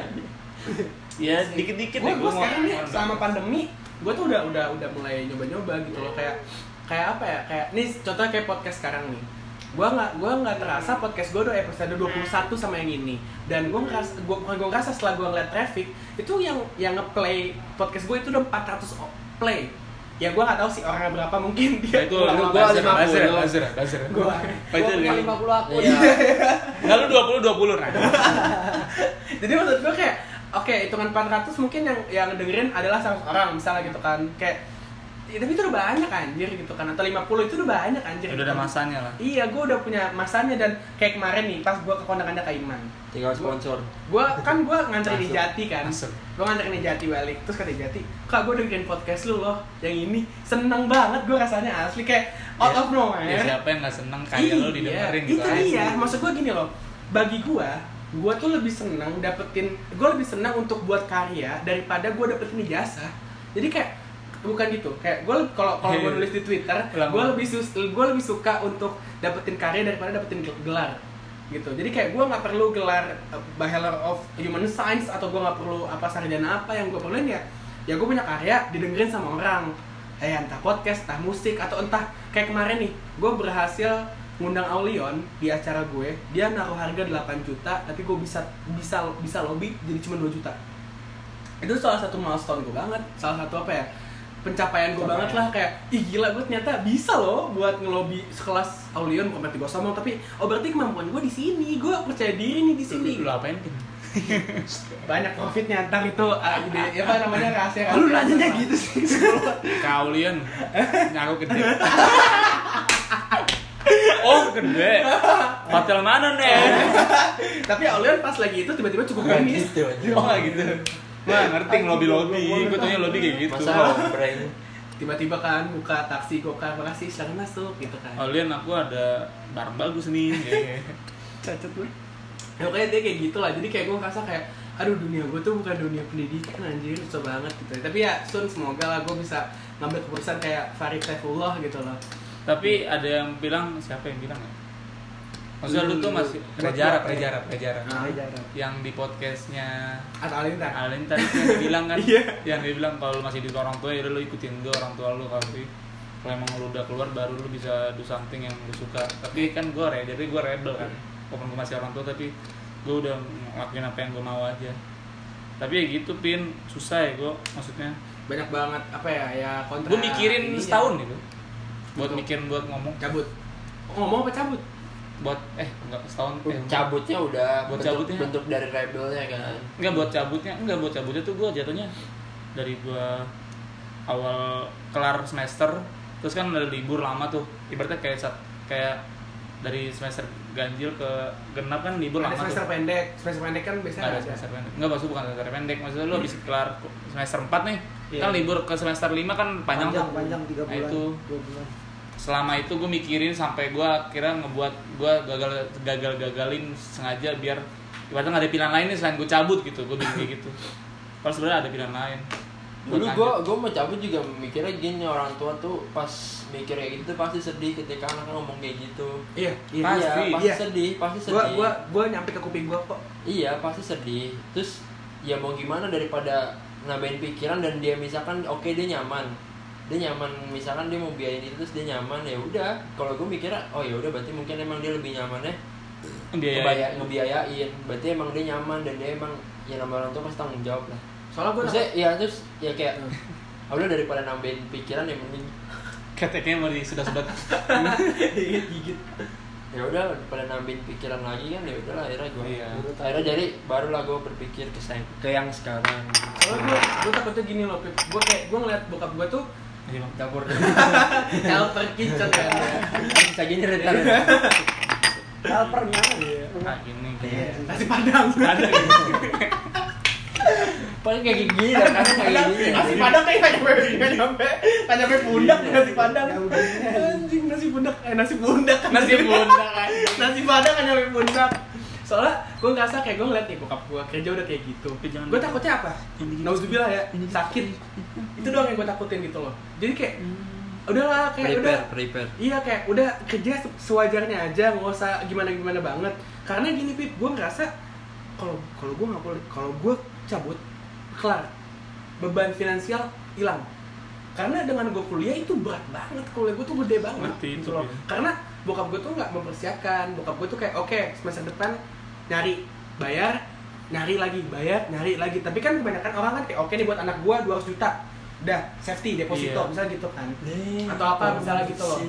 Speaker 4: ya dikit-dikit
Speaker 1: gue
Speaker 4: deh
Speaker 1: gue
Speaker 4: gua
Speaker 1: sekarang nih
Speaker 4: ngomong.
Speaker 1: selama pandemi gue tuh udah udah udah mulai nyoba-nyoba gitu loh kayak kayak apa ya kayak nih contohnya kayak podcast sekarang nih gue nggak gue nggak ngerasa podcast gue udah episode 21 sama yang ini dan gue ngerasa gue bukan gue ngerasa setelah gue ngeliat traffic itu yang yang ngeplay podcast gue itu udah 400 o- play ya gue nggak tahu sih orangnya berapa mungkin
Speaker 4: Nah,
Speaker 1: dia
Speaker 4: itu
Speaker 1: ulang
Speaker 4: lu
Speaker 1: lama
Speaker 4: buzzer
Speaker 1: 50.
Speaker 4: buzzer buzzer buzzer
Speaker 1: Gua-
Speaker 4: buzzer
Speaker 2: Gua lima puluh aku ya.
Speaker 3: Iya.
Speaker 4: nggak lu dua puluh dua puluh nah
Speaker 1: jadi maksud gue kayak oke hitungan 400 mungkin yang yang dengerin adalah 100 orang misalnya gitu kan kayak ya, tapi itu udah banyak anjir gitu kan atau 50 itu udah banyak anjir gitu
Speaker 4: udah ada masanya lah
Speaker 1: iya gue udah punya masanya dan kayak kemarin nih pas gue ke kondangannya Kaiman
Speaker 3: Tinggal sponsor.
Speaker 1: gue kan gue nganterin di
Speaker 4: Masuk.
Speaker 1: Jati kan
Speaker 4: Masuk.
Speaker 1: gue nganterin di Jati balik terus kata Jati kak gue dengerin podcast lu loh yang ini seneng banget gue rasanya asli kayak out
Speaker 4: Ya,
Speaker 1: of nowhere
Speaker 4: ya siapa yang nggak seneng kayak lu
Speaker 1: Iya.
Speaker 4: didengerin
Speaker 1: itu
Speaker 4: gitu aja.
Speaker 1: iya maksud gua gini loh bagi gua gua tuh lebih senang dapetin gua lebih senang untuk buat karya daripada gua dapetin ijazah jadi kayak bukan gitu kayak gua le- kalau kalau gua
Speaker 4: Iya.
Speaker 1: nulis di twitter
Speaker 4: Ulang,
Speaker 1: gua
Speaker 4: ulang.
Speaker 1: lebih sus gua lebih suka untuk dapetin karya daripada dapetin gel- gelar gitu jadi kayak gua nggak perlu gelar uh, bachelor of human science atau gua nggak perlu apa sarjana apa yang gua perluin ya ya gua punya karya didengerin sama orang eh entah podcast, entah musik, atau entah kayak kemarin nih, gue berhasil ngundang Aulion di acara gue, dia naruh harga 8 juta, tapi gue bisa bisa bisa lobby jadi cuma 2 juta. Itu salah satu milestone gue banget, salah satu apa ya? pencapaian gue banget lah kayak ih gila gue ternyata bisa loh buat ngelobi sekelas Aulion bukan berarti gue sombong tapi oh berarti kemampuan gue di sini gue percaya diri nih di sini
Speaker 4: lu apain Pin?
Speaker 1: banyak profitnya ntar itu ah, ide apa namanya rahasia kan?
Speaker 2: lu nanyanya gitu sih
Speaker 4: Kaulian nyaru gede. oh gede. Hotel mana nih?
Speaker 1: tapi Aulion pas lagi itu tiba-tiba cukup
Speaker 3: Nggak
Speaker 1: manis
Speaker 3: gitu, anjing.
Speaker 1: oh nggak gitu
Speaker 4: Wah ngerti lobby lobby. Gue tanya lobby kayak gitu.
Speaker 3: Masa ngobreng.
Speaker 1: tiba-tiba kan buka taksi gokar makasih silakan masuk gitu kan
Speaker 4: Kaulian aku ada barang bagus nih.
Speaker 1: cacat gue ya pokoknya dia kayak gitu lah jadi kayak gue ngerasa kayak aduh dunia gue tuh bukan dunia pendidikan anjir susah banget gitu tapi ya sun semoga lah gue bisa ngambil keputusan kayak Farid Saifullah gitu loh
Speaker 4: tapi ada yang bilang siapa yang bilang ya maksudnya lu tuh masih
Speaker 6: Prejara,
Speaker 4: Prejara Prejara Prejara
Speaker 2: Nah,
Speaker 1: Ah.
Speaker 2: iya,
Speaker 4: yang di podcastnya
Speaker 1: Atau Alinta.
Speaker 4: Alin tadi tuh yang dia bilang kan
Speaker 1: Iya.
Speaker 4: yang dia bilang kalau lu masih di orang tua ya udah lu ikutin dulu orang tua lu tapi kalau emang lu udah keluar baru lu bisa do something yang lu suka tapi kan gue re jadi gue rebel kan walaupun gue masih orang tua tapi gue udah ngelakuin apa yang gue mau aja tapi ya gitu pin susah ya gue maksudnya
Speaker 1: Banyak banget apa ya ya kontra.
Speaker 4: gue mikirin
Speaker 1: ininya.
Speaker 4: setahun gitu buat
Speaker 1: Betul.
Speaker 4: mikirin buat ngomong
Speaker 1: Cabut. Ngomong apa cabut?
Speaker 4: buat eh nggak setahun eh,
Speaker 3: cabutnya udah
Speaker 4: Buat
Speaker 3: bentuk,
Speaker 4: cabutnya.
Speaker 3: bentuk dari rebelnya kan
Speaker 4: Enggak buat cabutnya, enggak buat cabutnya tuh gue jatuhnya dari gua awal kelar semester terus kan ada libur lama tuh ibaratnya kayak sat- kayak dari semester ganjil ke genap kan libur
Speaker 1: Ada
Speaker 4: lama
Speaker 1: semester
Speaker 4: tuh
Speaker 1: pendek. Semester pendek kan biasanya
Speaker 4: Nggak ada semester pendek enggak maksud bukan semester pendek maksudnya lu habis kelar semester 4 nih
Speaker 1: Iya.
Speaker 4: kan libur ke semester 5 kan panjang,
Speaker 2: panjang
Speaker 4: tuh
Speaker 2: panjang tiga
Speaker 4: Nah,
Speaker 2: bulan
Speaker 4: itu.
Speaker 2: dua bulan
Speaker 4: selama itu gue mikirin sampai gue akhirnya ngebuat gue gagal gagal gagalin sengaja biar ibaratnya nggak ada pilihan lain nih selain gue cabut gitu gue bilang kayak gitu kalau sebenarnya ada pilihan lain Buat
Speaker 3: dulu
Speaker 4: lanjut.
Speaker 3: gue gue mau cabut juga mikirnya gini orang tua tuh pas mikir kayak gitu tuh pasti sedih ketika anaknya ngomong kayak gitu
Speaker 1: Iya, iya.
Speaker 4: Pasti,
Speaker 3: iya, pasti
Speaker 1: iya.
Speaker 3: sedih pasti sedih
Speaker 1: Gua gua gua nyampe ke kuping gua kok.
Speaker 3: Iya pasti sedih. Terus ya mau gimana daripada nambahin pikiran dan dia misalkan oke dia nyaman, dia nyaman misalkan dia mau biayain itu terus dia nyaman ya udah. Kalau gue mikirnya oh ya udah berarti mungkin emang dia lebih nyaman ya ngebiayain.
Speaker 4: biaya
Speaker 3: ngebiayain. Berarti emang dia nyaman dan dia emang ya nama orang tua pasti tanggung jawab lah.
Speaker 1: Soalnya gua
Speaker 3: Maksudnya ya terus ya kayak "Ah, udah daripada nambahin pikiran ya mending
Speaker 4: keteknya mau sudah sudah
Speaker 1: gigit gigit.
Speaker 3: ya udah daripada nambahin pikiran lagi kan ya udahlah akhirnya gue
Speaker 4: Iya.
Speaker 3: akhirnya jadi barulah gue berpikir ke saya ke yang sekarang
Speaker 1: Soalnya gua gua takutnya gini loh, Pip. Gua kayak gua ngeliat bokap gua tuh
Speaker 4: "Ah,
Speaker 3: dapur
Speaker 1: helper kitchen kan.
Speaker 3: bisa gini rentan
Speaker 2: Helper nyaman ya
Speaker 4: nah gini
Speaker 1: Iya,
Speaker 4: gini
Speaker 1: nasi padang.
Speaker 4: ada
Speaker 3: paling kayak gini lah
Speaker 1: Iya.
Speaker 3: kan kayak gini ya.
Speaker 1: Nasi padang kayak nggak nyampe nggak nyampe nggak nyampe pundak nasi padang.
Speaker 2: Nggak udah.
Speaker 1: Anjing nasi pundak eh nasi pundak
Speaker 4: nasi bunda kan
Speaker 1: nasi padang kan nyampe pundak. Soalnya gue ngerasa kayak gue ngeliat nih bokap gue kerja udah kayak gitu.
Speaker 4: Tapi jangan
Speaker 1: Gue
Speaker 4: gitu.
Speaker 1: takutnya apa? Nauzubillah ya sakit. Itu doang yang gue takutin gitu loh. Jadi kayak
Speaker 4: Hmm.
Speaker 1: udahlah kayak udah
Speaker 3: prepare prepare
Speaker 1: Iya kayak udah kerja se- sewajarnya aja nggak usah gimana gimana banget. Karena gini pip, gue ngerasa kalau kalau gue nggak boleh kalau gue cabut kelar beban finansial hilang. Karena dengan gue kuliah itu berat banget kuliah gue tuh gede banget. gitu
Speaker 4: Ngerti itu,
Speaker 1: loh.
Speaker 4: Pip.
Speaker 1: Karena bokap gue tuh nggak mempersiapkan. Bokap gue tuh kayak oke semester depan nyari bayar nyari lagi bayar nyari lagi tapi kan kebanyakan orang kan kayak oke nih buat anak gua 200 juta udah safety deposito
Speaker 4: Iya.
Speaker 1: misalnya gitu kan atau apa misalnya gitu loh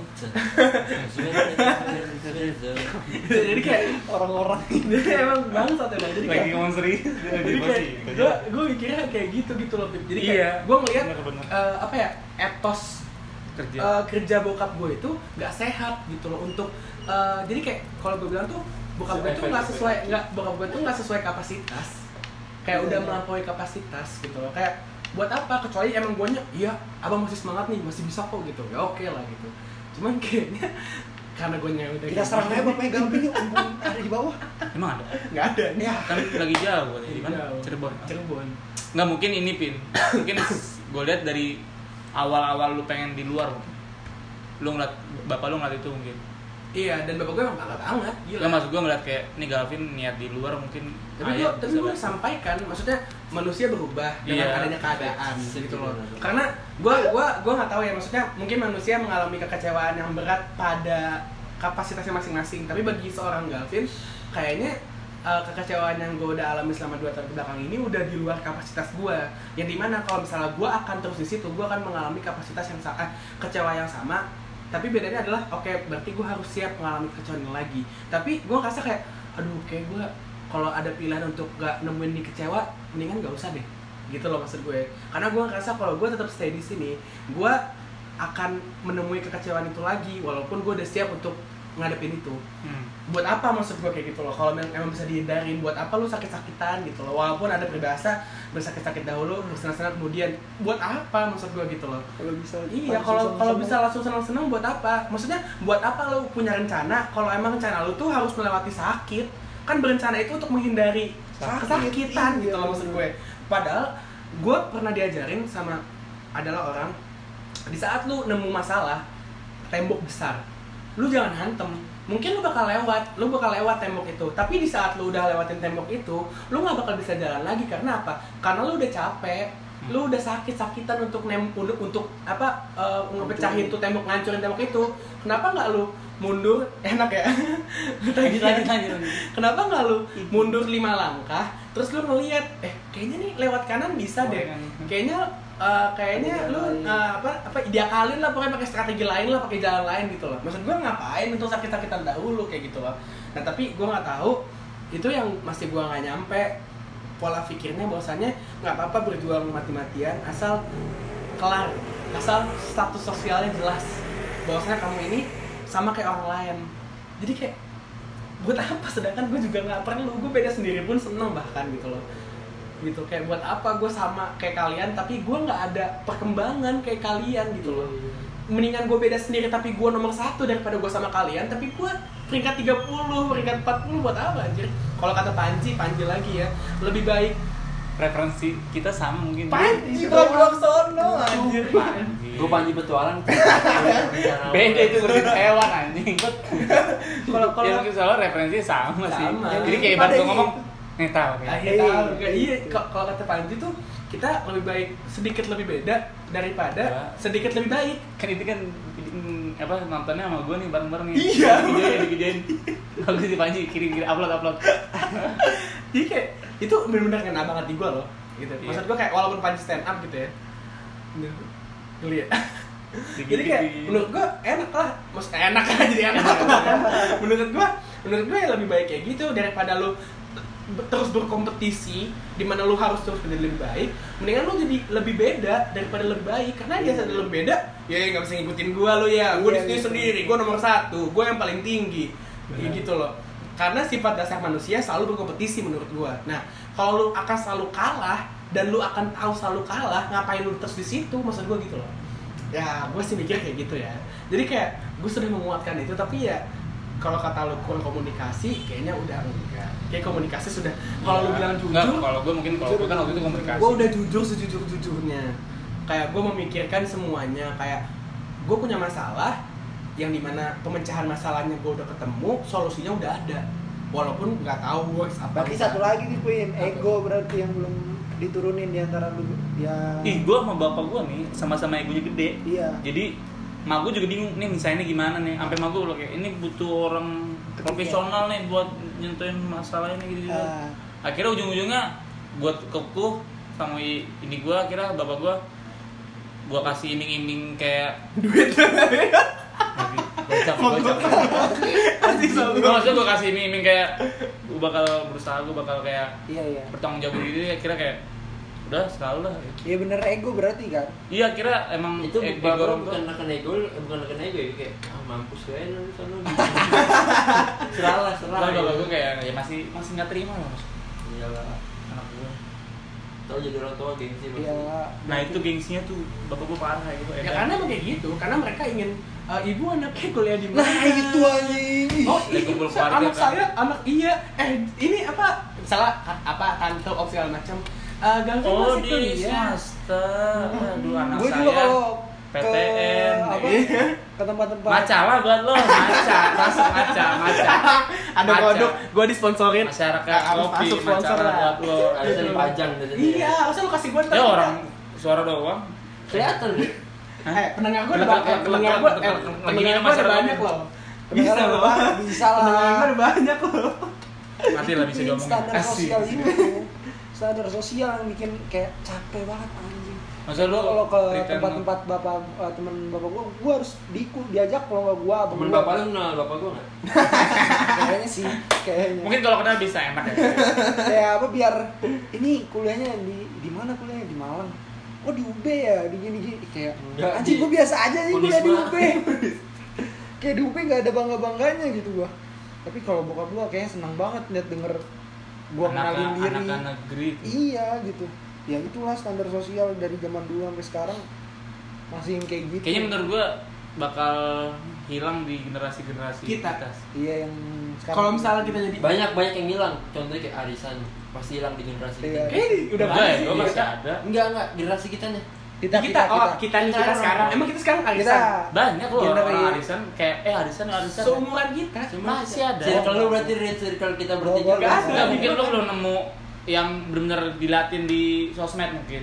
Speaker 1: jadi kayak
Speaker 2: orang-orang
Speaker 1: jadi emang bangsat emang jadi kayak
Speaker 4: lagi ngomong serius
Speaker 1: jadi kayak gue gue mikirnya kayak gitu gitu loh Pip. jadi kayak
Speaker 4: Iya.
Speaker 1: gue ngeliat
Speaker 4: Bener, bener. Iya.
Speaker 1: eh, apa ya etos
Speaker 4: kerja
Speaker 1: eh, kerja bokap gue itu nggak sehat gitu loh untuk eh, jadi kayak kalau gue bilang tuh bokap gue tuh nggak sesuai nggak bokap gue tuh nggak sesuai kapasitas kayak
Speaker 4: Iya.
Speaker 1: udah melampaui kapasitas gitu loh kayak buat apa kecuali emang gue iya abang masih semangat nih masih bisa kok gitu ya oke lah gitu cuman kayaknya karena gue udah
Speaker 2: kita
Speaker 1: kayak
Speaker 2: serang
Speaker 1: gitu,
Speaker 2: aja bapaknya gampang yuk mumpung ada di bawah
Speaker 4: emang ada
Speaker 1: nggak ada nih
Speaker 2: ya
Speaker 4: kan lagi jauh di mana
Speaker 1: Jauh.
Speaker 4: Cirebon
Speaker 1: Cirebon
Speaker 4: nggak mungkin ini pin mungkin gue lihat dari awal-awal lu pengen di luar mungkin. lu ngeliat bapak lu ngeliat itu mungkin
Speaker 1: Iya, dan bapak gue emang bangga banget, gila.
Speaker 4: nggak maksud gue ngeliat kayak nih Galvin niat di luar mungkin
Speaker 1: tapi gue
Speaker 4: ayah
Speaker 1: tapi
Speaker 4: bisa
Speaker 1: gue
Speaker 4: bantu.
Speaker 1: sampaikan, maksudnya manusia berubah dengan
Speaker 4: ya. Iya.
Speaker 1: adanya keadaan gitu loh.
Speaker 3: Benar.
Speaker 1: Karena gue gua gua nggak tahu ya, maksudnya mungkin manusia mengalami kekecewaan yang berat pada kapasitasnya masing-masing. Tapi bagi seorang Galvin, kayaknya eh, kekecewaan yang gue udah alami selama dua tahun kebelakang ini udah di luar kapasitas gue. Yang dimana kalau misalnya gue akan terus di situ, gue akan mengalami kapasitas yang sama, kecewa yang sama. Tapi bedanya adalah, oke, berarti gue harus siap mengalami kekecewaan ini lagi. Tapi gue ngerasa kayak, aduh, kayak gue kalau ada pilihan untuk gak nemuin nih kecewa, mendingan gak usah deh. Gitu loh maksud gue. Karena gue ngerasa kalau gue tetap stay di sini, gue akan menemui kekecewaan itu lagi, walaupun gue udah siap untuk ngadepin itu
Speaker 4: Hmm.
Speaker 1: buat apa maksud gue kayak gitu loh kalau memang emang bisa dihindarin buat apa lu sakit-sakitan gitu loh walaupun ada peribahasa bersakit-sakit dahulu bersenang-senang kemudian buat apa maksud gue gitu loh
Speaker 2: kalau bisa
Speaker 1: iya kalau kalau bisa langsung senang-senang buat apa maksudnya buat apa lu punya rencana kalau emang rencana lu tuh harus melewati sakit kan berencana itu untuk menghindari
Speaker 2: Sakit,
Speaker 1: kesakitan
Speaker 2: iya,
Speaker 1: gitu loh maksud gue
Speaker 2: bener.
Speaker 1: padahal gue pernah diajarin sama adalah orang di saat lu nemu masalah tembok besar lu jangan hantem mungkin lu bakal lewat lu bakal lewat tembok itu tapi di saat lu udah lewatin tembok itu lu nggak bakal bisa jalan lagi karena apa karena lu udah capek lu udah sakit-sakitan untuk nem untuk, untuk apa eh, ngepecahin tuh tembok ngancurin tembok itu kenapa nggak lu mundur enak ya
Speaker 7: Lanjut, lanjut, lanjut, lanjut.
Speaker 1: kenapa nggak lu mundur lima langkah terus lu ngelihat eh kayaknya nih lewat kanan bisa deh kayaknya eh, kayaknya lu eh, apa apa diakalin lah pokoknya pakai strategi lain lah pakai jalan lain gitu loh maksud gua ngapain untuk sakit-sakitan dahulu kayak gitu loh nah tapi gua nggak tahu itu yang masih gua nggak nyampe pola pikirnya bahwasannya nggak apa-apa berjuang mati-matian asal kelar asal status sosialnya jelas bahwasanya kamu ini sama kayak orang lain jadi kayak buat apa sedangkan gue juga nggak perlu gue beda sendiri pun seneng bahkan gitu loh gitu kayak buat apa gue sama kayak kalian tapi gue nggak ada perkembangan kayak kalian gitu loh mendingan gue beda sendiri tapi gue nomor satu daripada gue sama kalian tapi gue peringkat 30, peringkat 40 buat apa anjir kalau kata Panji, Panji lagi ya lebih baik
Speaker 4: Referensi kita sama mungkin.
Speaker 1: Panji goblok sono anjir
Speaker 3: Gue panji petualang.
Speaker 7: Beda itu ngurusin hewan anjing.
Speaker 1: kalau
Speaker 4: Kalau ya,
Speaker 1: kalau
Speaker 4: mungkin soalnya referensinya sama, sih.
Speaker 1: Sama. gitu.
Speaker 4: Jadi kayak
Speaker 2: Pada
Speaker 4: baru gua
Speaker 2: ini.
Speaker 4: ngomong nih tahu ya.
Speaker 1: Akhirnya tahu kayak iya kalau kalau kata Panji tuh kita lebih baik sedikit lebih beda daripada
Speaker 4: Ya.
Speaker 1: sedikit lebih baik
Speaker 4: Kan itu kan mm, apa nontonnya sama gue nih bareng-bareng nih.
Speaker 1: Iya.
Speaker 4: Digedein, digedein. Bagus sih Panji kirim-kirim upload-upload.
Speaker 1: jadi kayak itu benar-benar kena banget di gue loh gitu
Speaker 4: Iya.
Speaker 1: maksud gue kayak walaupun Panji stand up gitu ya Geli ya. jadi kayak menurut gue enak lah mas eh, enak lah jadi enak menurut gue menurut gue ya lebih baik kayak gitu daripada lu be- terus berkompetisi di mana lu harus terus menjadi lebih baik mendingan lu jadi lebih beda daripada lebih baik karena dia sadar lebih beda ya ya nggak bisa ngikutin gua lu ya gua di
Speaker 2: Iya,
Speaker 1: sini
Speaker 2: iya.
Speaker 1: sendiri gua nomor satu gua yang paling tinggi Ya gitu loh karena sifat dasar manusia selalu berkompetisi menurut gua nah kalau lu akan selalu kalah dan lu akan tahu selalu kalah ngapain lu terus di situ maksud gua gitu loh ya gue sih mikir kayak gitu ya jadi kayak gue sudah menguatkan itu tapi ya kalau kata lo kurang komunikasi kayaknya udah enggak kayak komunikasi sudah kalau lo bilang
Speaker 4: Enggak,
Speaker 1: jujur
Speaker 4: Iya. kalau gue mungkin kalau gue kan waktu itu komunikasi.
Speaker 1: gue udah jujur sejujur jujurnya kayak gue memikirkan semuanya kayak gue punya masalah yang dimana pemecahan masalahnya gue udah ketemu solusinya udah ada walaupun nggak tahu gue apa
Speaker 2: Berarti satu lagi nih Queen, ego berarti yang belum diturunin di antara lu ya.
Speaker 4: Ih, gue sama bapak gue nih sama-sama egonya gede.
Speaker 2: Iya.
Speaker 4: Jadi mak gue juga bingung nih misalnya gimana nih. Sampai mak gue bilang kayak ini butuh orang profesional nih buat nyentuhin masalah ini gitu.
Speaker 2: Ah.
Speaker 4: Akhirnya ujung-ujungnya buat kekuh sama i- ini gue akhirnya bapak gue gue kasih iming-iming kayak duit. Gocap, gocap. Gua maksudnya gue kasih iming-iming kayak gue bakal berusaha, gue bakal kayak
Speaker 2: Iya iya.
Speaker 4: bertanggung jawab gitu akhirnya kayak udah selalu lah
Speaker 2: Iya bener ego berarti kan.
Speaker 4: iya akhirnya emang
Speaker 3: itu
Speaker 4: eh,
Speaker 3: bapak
Speaker 4: ego orang
Speaker 3: bukan
Speaker 4: tuh-
Speaker 3: neken ego bukan neken ego ya kayak ah mampus gue lu sana gitu. serah lah serah gitu.
Speaker 4: Soalnya bapak gue kayak ya masih masih nggak terima lah mas
Speaker 3: iyalah
Speaker 4: anak gue
Speaker 3: tau jadi orang tua gengsi
Speaker 2: Iya.
Speaker 3: maksudnya.
Speaker 4: nah itu gengsinya tuh bapak gue parah gitu
Speaker 1: ya
Speaker 4: edan.
Speaker 1: karena emang kayak gitu karena mereka ingin "Eh, ibu anaknya kuliah di mana
Speaker 2: Nah itu anjing.
Speaker 1: Oh,
Speaker 4: Lagi
Speaker 1: ini
Speaker 4: kumpul
Speaker 1: saya-
Speaker 4: keluarga,
Speaker 1: anak
Speaker 4: kan?
Speaker 1: saya, anak iya, eh ini apa? Misalnya a- apa tante op segala macam. Eh Galvin
Speaker 4: oh
Speaker 1: masih
Speaker 4: di
Speaker 1: kuliah.
Speaker 4: swasta aduh anak
Speaker 2: Gue
Speaker 4: saya
Speaker 2: Hmm. juga kalau ke
Speaker 4: PTN
Speaker 2: apa?
Speaker 4: iya.
Speaker 2: Ke tempat-tempat.
Speaker 4: maca lah buat lo maca masuk maca maca
Speaker 1: Ada
Speaker 4: Maca.
Speaker 1: kodok, gue disponsorin.
Speaker 4: masyarakat
Speaker 1: Ah, harus
Speaker 4: kopi
Speaker 1: masuk
Speaker 4: maca
Speaker 1: sponsor
Speaker 4: lah
Speaker 1: lah.
Speaker 4: buat lo
Speaker 3: harusnya dipajang dari
Speaker 1: Iya, harusnya lu kasih gue
Speaker 4: ya orang suara doang
Speaker 3: kelihatan nih
Speaker 1: Eh, pendengar gue udah
Speaker 4: Kelak,
Speaker 1: banyak. eh,
Speaker 4: kelak,
Speaker 1: Pendengar
Speaker 4: kelak,
Speaker 1: gue,
Speaker 4: kelak,
Speaker 1: eh,
Speaker 4: kelak. Lagi
Speaker 1: pendengar
Speaker 4: ini
Speaker 1: gue udah
Speaker 4: masyarakat.
Speaker 1: banyak loh.
Speaker 2: Bisa
Speaker 1: Bisa loh.
Speaker 2: lah. Bisa
Speaker 1: Pendengar gue
Speaker 2: lah.
Speaker 1: udah banyak loh.
Speaker 4: nanti lah bisa
Speaker 2: Bikin
Speaker 4: diomongin Eh,
Speaker 2: Standar
Speaker 4: Asik.
Speaker 2: sosial itu. Standar sosial yang bikin kayak capek banget anjing.
Speaker 4: Maksudnya lu
Speaker 2: kalau ke
Speaker 4: return-
Speaker 2: tempat-tempat bapak eh, teman bapak gua, gua harus diku diajak kalau nggak gua abang
Speaker 3: temen
Speaker 2: gua.
Speaker 3: bapak lu kenal bapak gue nggak
Speaker 2: kayaknya sih kayaknya.
Speaker 4: mungkin kalau kenal bisa enak ya
Speaker 2: kayak apa biar ini kuliahnya di di mana kuliahnya di Malang oh di UB ya di gini gini kayak
Speaker 3: Enggak,
Speaker 2: anjing
Speaker 3: di-
Speaker 2: gue biasa aja sih kuliah di
Speaker 3: Unisba."
Speaker 2: UB kayak di UB nggak ada bangga bangganya gitu gua tapi kalau bokap gua kayaknya senang banget liat denger gua kenalin
Speaker 4: anak
Speaker 2: diri
Speaker 4: anak negeri
Speaker 2: iya gitu ya itulah standar sosial dari zaman dulu sampai sekarang masih yang kayak gitu
Speaker 4: kayaknya menurut gua bakal hilang di generasi generasi
Speaker 1: Kita.
Speaker 2: iya yang sekarang
Speaker 1: Kalau misalnya kita jadi
Speaker 3: banyak banyak yang hilang contohnya kayak arisan pasti hilang di generasi
Speaker 2: Iya.
Speaker 3: kita
Speaker 1: Kayaknya di- udah
Speaker 4: Enggak ya,
Speaker 1: banyak.
Speaker 4: gua
Speaker 1: sih.
Speaker 4: masih ada
Speaker 3: enggak enggak generasi kita nih
Speaker 1: Kita, kita, oh, kita, nih, kita,
Speaker 2: Kita dong.
Speaker 1: sekarang. Emang kita sekarang
Speaker 2: kita
Speaker 1: arisan.
Speaker 4: Banyak loh
Speaker 2: Genre
Speaker 4: orang
Speaker 2: ya.
Speaker 4: arisan kayak eh arisan arisan.
Speaker 1: Seumuran kita.
Speaker 4: Masih ada.
Speaker 3: Circle lu berarti red circle kita bertiga. kan?
Speaker 2: Gak ada.
Speaker 4: Enggak mungkin lu belum nemu yang benar-benar dilatin di sosmed mungkin.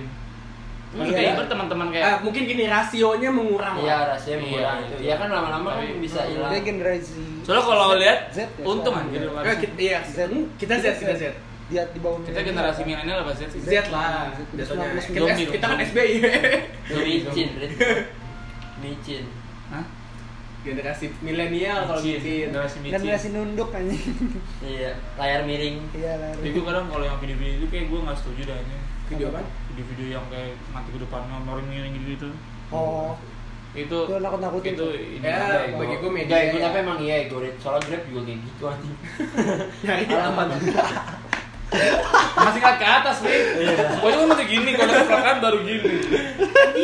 Speaker 4: Mungkin
Speaker 3: Iya.
Speaker 4: kayak berteman-teman
Speaker 1: Eh,
Speaker 4: kayak
Speaker 1: mungkin gini rasionya mengurang.
Speaker 3: Iya, rahasia
Speaker 4: Iya,
Speaker 3: mengurang itu.
Speaker 4: iya.
Speaker 3: Ya kan lama-lama kan
Speaker 4: Tapi-
Speaker 3: bisa hilang.
Speaker 2: Dia generasi
Speaker 4: Soalnya kalau lihat
Speaker 2: Z ya,
Speaker 4: untung
Speaker 2: soalnya.
Speaker 4: anjir.
Speaker 1: Enggak, kita, iya, Hmm, kita Z, kita Z.
Speaker 2: Dia di bawah
Speaker 4: Kita generasi milenial apa sih?
Speaker 1: Z lah, jatuhnya.
Speaker 2: Zombie,
Speaker 1: Kita,
Speaker 4: zombie.
Speaker 1: kita kan SBY.
Speaker 3: Micin, Rit. Micin.
Speaker 4: Hah?
Speaker 1: Generasi milenial kalau
Speaker 4: Micin,
Speaker 1: gitu.
Speaker 4: generasi micin.
Speaker 2: generasi nunduk anjing.
Speaker 3: Iya, layar miring.
Speaker 2: Iya lah.
Speaker 4: Tapi gue kadang kalau yang video-video itu kayak gue nggak setuju dah ini.
Speaker 1: Video kan. apa?
Speaker 4: Video-video yang kayak mati ke depannya miring-miring gitu.
Speaker 2: Oh,
Speaker 4: Itu
Speaker 2: Itu nakut-nakutin tuh.
Speaker 4: Itu ini.
Speaker 1: Ya,
Speaker 4: juga.
Speaker 1: bagi gue media.
Speaker 3: Enggak, itu tapi emang iya ego Rit. Soalnya Grab juga kayak gitu anjing.
Speaker 1: Nyari
Speaker 3: Alamat.
Speaker 4: masih nggak ke atas nih. Gue juga masih gini kalau ke belakang baru gini.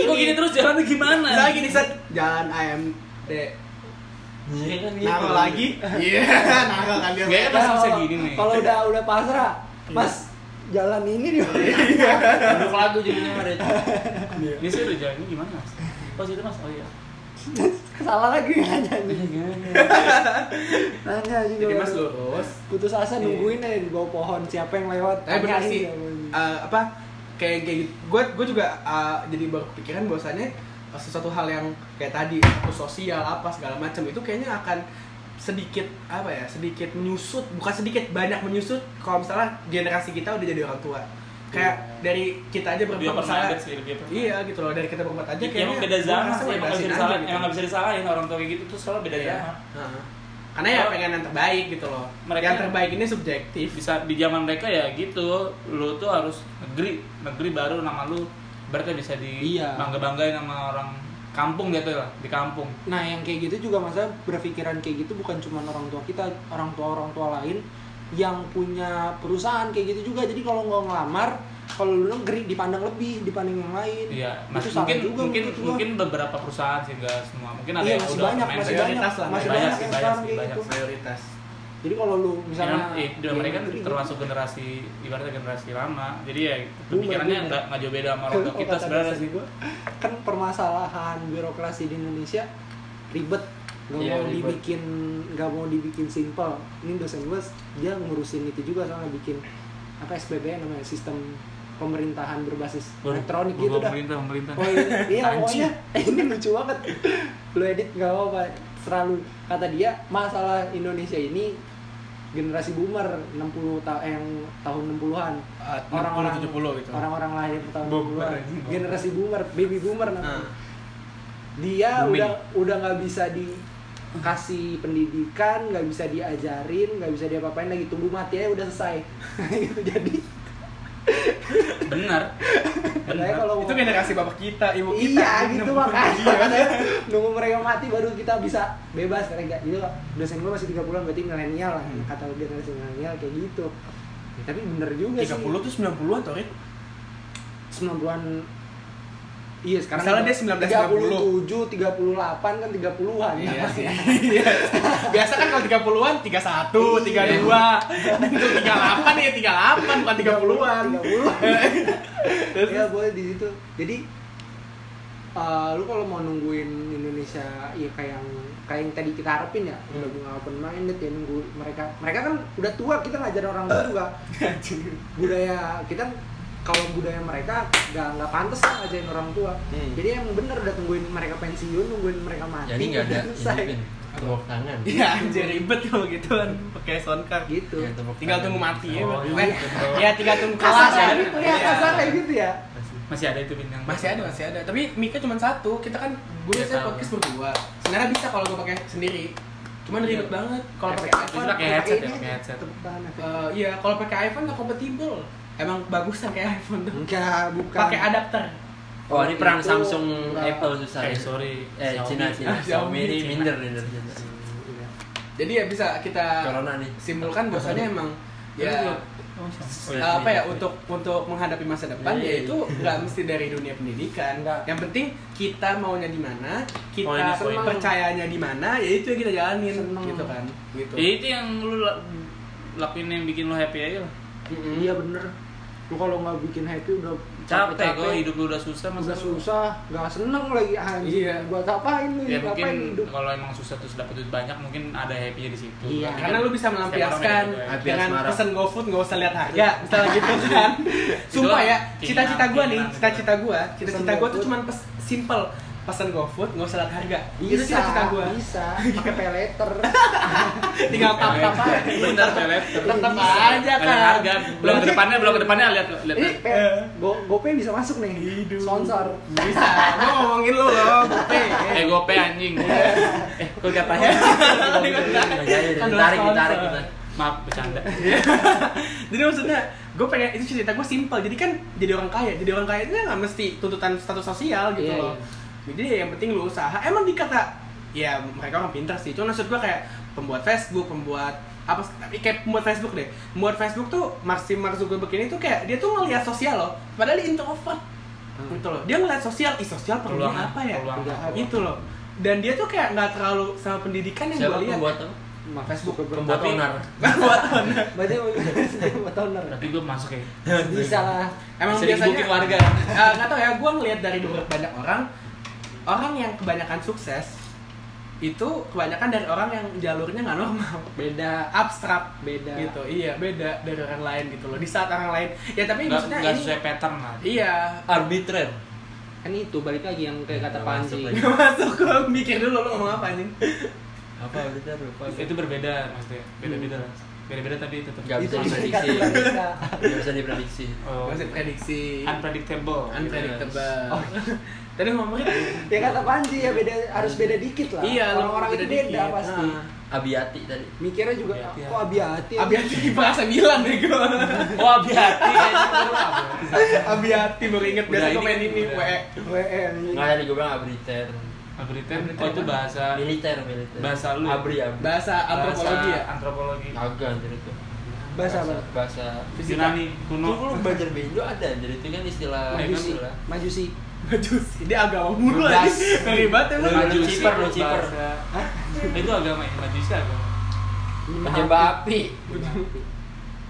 Speaker 4: Gue gini terus jalannya gimana?
Speaker 1: Misalnya Nah, gini, Sat. Jalan AMD.
Speaker 3: Iya kan gitu.
Speaker 1: Naruh lagi. Iya, naruh kan dia.
Speaker 4: Gaya masih bisa gini nih.
Speaker 2: Ya,
Speaker 4: Iya.
Speaker 2: Kalau udah udah pasrah, Mas jalan ini di
Speaker 3: Duduk lagu jadinya mah, Rit.
Speaker 4: Ini sih udah jalannya gimana mas? Pas itu mas, oh iya.
Speaker 2: salah lagi nanya anjing. Nanya anjing.
Speaker 1: Jadi Mas lurus.
Speaker 2: putus
Speaker 4: Iya.
Speaker 2: asa nungguin aja di bawah pohon siapa yang lewat.
Speaker 1: Tapi benar
Speaker 2: Tanyain
Speaker 1: sih.
Speaker 2: dia, anjing.
Speaker 1: eh, apa kayak kayak gitu. Gue gue juga eh, jadi baru kepikiran bahwasannya eh, sesuatu hal yang kayak tadi aku sosial apa segala macam itu kayaknya akan sedikit apa ya sedikit menyusut bukan sedikit banyak menyusut kalau misalnya generasi kita udah jadi orang tua kayak dari kita aja
Speaker 4: Dia
Speaker 1: berempat
Speaker 4: pernah
Speaker 1: misalnya
Speaker 4: update Iya. sih, dia pernah.
Speaker 1: iya gitu loh dari kita berempat aja kayaknya
Speaker 4: Emang beda
Speaker 1: gua
Speaker 4: zaman
Speaker 1: ngerasa
Speaker 4: sih, emang nggak bisa
Speaker 1: bebasin aja
Speaker 4: disalahin,
Speaker 1: gitu.
Speaker 4: emang nggak bisa disalahin orang tua kayak gitu tuh soalnya beda
Speaker 1: Iya.
Speaker 4: zaman.
Speaker 1: Heeh. karena ya
Speaker 4: Kalau-
Speaker 1: pengen yang terbaik gitu loh
Speaker 4: Mereka-
Speaker 1: yang terbaik ini subjektif
Speaker 4: bisa di zaman mereka ya gitu lu tuh harus negeri negeri baru nama lu berarti bisa di
Speaker 2: Iya.
Speaker 4: bangga banggain sama orang kampung gitu lah di kampung
Speaker 2: Nah, yang kayak gitu juga masa berpikiran kayak gitu bukan cuma orang tua kita, orang tua orang tua lain yang punya perusahaan kayak gitu juga. Jadi kalau nggak ngelamar, kalau lu negeri dipandang lebih dipandang yang lain.
Speaker 4: iya mas
Speaker 2: Itu salah
Speaker 4: mungkin
Speaker 2: juga
Speaker 4: mungkin
Speaker 2: menurut gua.
Speaker 4: mungkin beberapa perusahaan sih nggak semua mungkin ada
Speaker 2: Iya,
Speaker 4: yang
Speaker 2: masih
Speaker 4: udah
Speaker 2: banyak,
Speaker 4: main
Speaker 2: masih
Speaker 4: dari-
Speaker 2: banyak,
Speaker 1: prioritas lah,
Speaker 2: masih
Speaker 4: banyak
Speaker 2: banyak,
Speaker 4: sih,
Speaker 2: yang
Speaker 4: banyak
Speaker 2: sekarang
Speaker 4: sih,
Speaker 2: kayak
Speaker 4: banyak
Speaker 2: gitu.
Speaker 1: prioritas
Speaker 2: Jadi kalau lu misalnya
Speaker 4: Karena i- di mereka kan
Speaker 2: negeri gitu.
Speaker 4: termasuk generasi ibaratnya generasi lama jadi ya
Speaker 2: Boomer,
Speaker 4: pemikirannya
Speaker 2: boomer.
Speaker 4: nggak nggak jauh beda sama orang tua
Speaker 2: Oh,
Speaker 4: kita
Speaker 2: kata
Speaker 4: sebenarnya
Speaker 2: dosen
Speaker 4: sih
Speaker 2: gua, kan permasalahan birokrasi di Indonesia ribet nggak
Speaker 3: Iya,
Speaker 2: mau
Speaker 3: ribet.
Speaker 2: dibikin nggak mau dibikin simpel ini dosen gue dia ngurusin itu juga soalnya bikin apa SPBN namanya sistem pemerintahan berbasis elektronik gitu dah
Speaker 4: pemerintah pemerintah
Speaker 2: oh iya, iya pokoknya
Speaker 4: Anjing.
Speaker 2: ini lucu banget lu edit nggak apa-apa selalu kata dia masalah Indonesia ini generasi boomer 60 ta yang tahun 60-an
Speaker 4: Ah,
Speaker 1: orang-orang 70 gitu
Speaker 2: orang-orang lahir tahun
Speaker 4: Boomer,
Speaker 2: 60-an -an.
Speaker 4: anjing.
Speaker 2: generasi boomer baby boomer namanya
Speaker 1: Nah.
Speaker 2: dia
Speaker 4: Booming.
Speaker 2: udah udah nggak bisa dikasih pendidikan nggak bisa diajarin nggak bisa diapa-apain lagi tunggu mati aja udah selesai gitu jadi
Speaker 4: benar
Speaker 2: katanya
Speaker 4: benar
Speaker 2: kalau
Speaker 1: itu generasi bapak kita ibu kita
Speaker 2: iya
Speaker 1: Ini
Speaker 2: gitu
Speaker 1: nemu-
Speaker 2: makanya
Speaker 1: kan?
Speaker 2: katanya nunggu mereka mati baru kita bisa bebas kan enggak itu dosen gue masih 30 berarti milenial lah kata generasi milenial kayak gitu Ya, tapi bener juga sih
Speaker 1: 30 tuh 90-an tuh, Rit.
Speaker 2: 90-an Iya sekarang
Speaker 1: Misalnya dia
Speaker 2: 1997, 38 kan 30-an ya
Speaker 1: Iya
Speaker 2: pasti.
Speaker 1: sih. Iya. Biasa kan kalau 30-an 31, 32. Itu 38 ya 38 bukan 30-an.
Speaker 2: 30-an. ya boleh di situ. Jadi eh, lu kalau mau nungguin Indonesia ya kayak yang kayak yang tadi kita harapin ya udah bunga open minded ya nunggu mereka mereka kan udah tua kita ngajarin orang tua juga budaya kita kalau budaya mereka nggak nggak pantas lah ngajarin orang tua
Speaker 1: Hmm.
Speaker 2: jadi yang bener udah tungguin mereka pensiun nungguin mereka mati
Speaker 3: Jadi enggak ada
Speaker 2: udah selesai.
Speaker 3: ini, Pin. tepuk tangan.
Speaker 1: Iya, anjir ribet kalau gitu kan pakai soundcard.
Speaker 2: gitu
Speaker 3: Ya, tepuk
Speaker 1: Tinggal
Speaker 3: tangan.
Speaker 1: tunggu mati ya.
Speaker 3: Oh,
Speaker 1: Eh, Ya
Speaker 3: iya.
Speaker 1: tinggal tunggu
Speaker 2: kasar
Speaker 1: kelas ya.
Speaker 2: kayak gitu ya kasar kayak gitu ya
Speaker 4: masih ada itu bintang
Speaker 1: Masih ada, masih ada. Tapi mic-nya cuma satu. Kita kan gue
Speaker 4: Iya,
Speaker 1: biasanya
Speaker 4: tahu.
Speaker 1: podcast berdua. Sebenarnya bisa kalau gue pakai sendiri. Cuman ribet banget kalau pakai
Speaker 4: Terus
Speaker 1: iPhone.
Speaker 4: pakai headset ya pakai headset
Speaker 2: tepuk tangan
Speaker 1: eh, iya, kalau pakai iPhone nggak kompatibel. Emang bagusan kayak iPhone tuh.
Speaker 2: enggak bukan
Speaker 1: Pakai adapter.
Speaker 3: Oh, ini perang
Speaker 2: Itu-
Speaker 3: Samsung Apple susah.
Speaker 4: Eh,
Speaker 3: Rit.
Speaker 4: sorry.
Speaker 3: Eh,
Speaker 4: Xiaomi.
Speaker 3: Cina Cina.
Speaker 1: Ah, Xiaomi,
Speaker 3: Xiaomi ini
Speaker 4: Cina.
Speaker 3: minder minder. Cina.
Speaker 1: Jadi ya bisa kita
Speaker 3: Corona nih.
Speaker 1: simpulkan bahwasannya emang ya
Speaker 3: Iya,
Speaker 1: eh, apa ya
Speaker 3: iya.
Speaker 1: untuk untuk menghadapi masa depan
Speaker 3: Iya, iya.
Speaker 1: yaitu nggak mesti dari dunia pendidikan.
Speaker 2: Nggak.
Speaker 1: Yang penting kita maunya di mana, kita
Speaker 4: Poinnya, poinnya.
Speaker 1: percayanya di mana, ya itu yang kita jalanin
Speaker 2: Seneng.
Speaker 1: gitu kan. Gitu.
Speaker 4: Ya itu yang lu la- lakuin yang bikin lu happy aja lah.
Speaker 1: Mm-mm.
Speaker 2: iya bener lu kalau nggak bikin happy udah
Speaker 4: capek
Speaker 2: Capek-capek.
Speaker 4: kok hidup lu udah susah masa
Speaker 2: udah
Speaker 4: lu-
Speaker 2: susah nggak seneng lagi anjing
Speaker 1: Iya.
Speaker 2: buat apain lu
Speaker 4: ya
Speaker 2: ngapain
Speaker 4: mungkin
Speaker 2: hidup
Speaker 4: kalau emang susah terus dapat duit banyak mungkin ada happy di situ
Speaker 2: Iya.
Speaker 4: Tapi
Speaker 1: Karena
Speaker 4: kan
Speaker 1: lu bisa
Speaker 4: setiap orang
Speaker 1: melampiaskan
Speaker 4: beda-beda ya.
Speaker 3: Happy
Speaker 1: dengan
Speaker 3: asmara.
Speaker 1: pesen GoFood nggak usah lihat harga, misalnya gitu kan. Sumpah ya,
Speaker 4: Itu
Speaker 1: cita-cita gua nih,
Speaker 4: keinginan.
Speaker 1: cita-cita gua, cita-cita
Speaker 2: Pesen
Speaker 1: gua tuh
Speaker 2: GoFood.
Speaker 1: cuman pes, simple pesen GoFood nggak usah lihat harga. Itu
Speaker 2: bisa
Speaker 1: cita-cita gua.
Speaker 2: bisa pakai peleter
Speaker 1: Tinggal tap tap aja.
Speaker 4: Iya, bener pelet
Speaker 1: Tetap aja
Speaker 4: ada
Speaker 1: kan.
Speaker 4: harga belum ke depannya belum ke depannya lihat lihat
Speaker 2: ini pe go gopay bisa masuk nih sponsor
Speaker 1: Bisa. Gua ngomongin lu loh, Gope.
Speaker 4: eh gope anjing eh kok katanya
Speaker 3: Nggak jadi,
Speaker 1: Kan
Speaker 3: Iya, ditarik,
Speaker 1: doang
Speaker 3: ditarik
Speaker 1: sponsor.
Speaker 3: kita.
Speaker 4: maaf bercanda
Speaker 1: jadi maksudnya gue pengen itu cerita gue simple jadi kan jadi orang kaya jadi orang kaya itu kan nggak mesti tuntutan status sosial gitu
Speaker 3: Iya,
Speaker 1: loh jadi ya yang penting lu usaha emang dikata ya mereka orang pintar sih cuma maksud gue kayak pembuat Facebook pembuat apa eh, kayak pembuat Facebook deh pembuat Facebook tuh Maxi Mark Zuckerberg ini tuh kayak dia tuh ngelihat sosial loh padahal dia introvert gitu loh dia ngelihat sosial ih sosial perlu
Speaker 4: Hmm. Peluang,
Speaker 1: apa ya
Speaker 4: peluang.
Speaker 1: gitu loh dan dia tuh kayak nggak terlalu sama pendidikan yang
Speaker 3: Siapa
Speaker 1: gue lihat
Speaker 3: pembuat apa?
Speaker 2: Facebook
Speaker 3: Pembuat
Speaker 4: Tapi-
Speaker 3: owner.
Speaker 2: berarti buat owner
Speaker 4: tapi gue masuk ya
Speaker 2: bisa lah
Speaker 1: emang
Speaker 4: Bisa
Speaker 1: biasanya
Speaker 4: digebukin warga.
Speaker 1: Eh, nggak tahu ya gue ngelihat dari beberapa banyak orang orang yang kebanyakan sukses itu kebanyakan dari orang yang jalurnya nggak normal
Speaker 2: beda
Speaker 1: abstrak
Speaker 2: Beda.
Speaker 1: gitu iya beda dari orang lain gitu loh di saat orang lain ya tapi
Speaker 4: nggak
Speaker 1: maksudnya
Speaker 4: nggak
Speaker 1: ini
Speaker 4: sesuai pattern lah
Speaker 1: iya
Speaker 3: Arbitrer.
Speaker 2: kan itu balik lagi yang kayak kata
Speaker 3: Hmm, Nggak Iya, masuk
Speaker 2: Panji
Speaker 3: lagi.
Speaker 1: Nggak masuk gue mikir dulu lo ngomong apa anjing
Speaker 3: Apa arbitrer lupa.
Speaker 4: itu berbeda maksudnya beda beda lah beda beda tapi tetap
Speaker 3: Nggak
Speaker 2: itu
Speaker 3: bisa
Speaker 2: dikata
Speaker 3: diprediksi.
Speaker 2: bisa
Speaker 3: Nggak bisa diprediksi.
Speaker 4: Oh,
Speaker 1: masih prediksi
Speaker 4: unpredictable
Speaker 1: unpredictable tadi ngomongin
Speaker 2: ya kata Panji ya beda harus beda dikit lah
Speaker 1: iya lo
Speaker 2: orang-orang itu beda
Speaker 1: dikit.
Speaker 2: pasti Iya,
Speaker 1: Nah. Iya,
Speaker 3: Abiati tadi.
Speaker 2: mikirnya juga
Speaker 4: Abiati.
Speaker 2: kok abiati ya?
Speaker 1: Abiati bahasa Milan deh gue
Speaker 4: oh hati-hati
Speaker 1: Abiati baru inget
Speaker 4: Udah,
Speaker 1: biasa gue
Speaker 4: ini-
Speaker 1: main ini E.
Speaker 4: udah.
Speaker 1: WE
Speaker 2: WM
Speaker 3: Nggak tadi gue bilang arbiter.
Speaker 4: oh itu bahasa
Speaker 3: Militer, militer.
Speaker 4: Bahasa lu.
Speaker 3: Abri, abri.
Speaker 1: bahasa antropologi ya
Speaker 4: Bahasa antropologi
Speaker 3: Agak anjir itu.
Speaker 2: bahasa apa
Speaker 3: Bahasa.
Speaker 4: Yunani kuno
Speaker 3: Lu lu belajar Indo ada anjir itu kan istilah.
Speaker 4: Iya,
Speaker 2: majusi
Speaker 3: istilah.
Speaker 2: majusi
Speaker 1: Majusi, dia agama mulu aja.
Speaker 3: Bebas.
Speaker 1: Ngeri banget ya,
Speaker 3: Lu
Speaker 1: emang.
Speaker 4: Majusi,
Speaker 3: ciper, lu ciper.
Speaker 4: bahasa- itu agama ya majusi agama
Speaker 3: Penyembah api.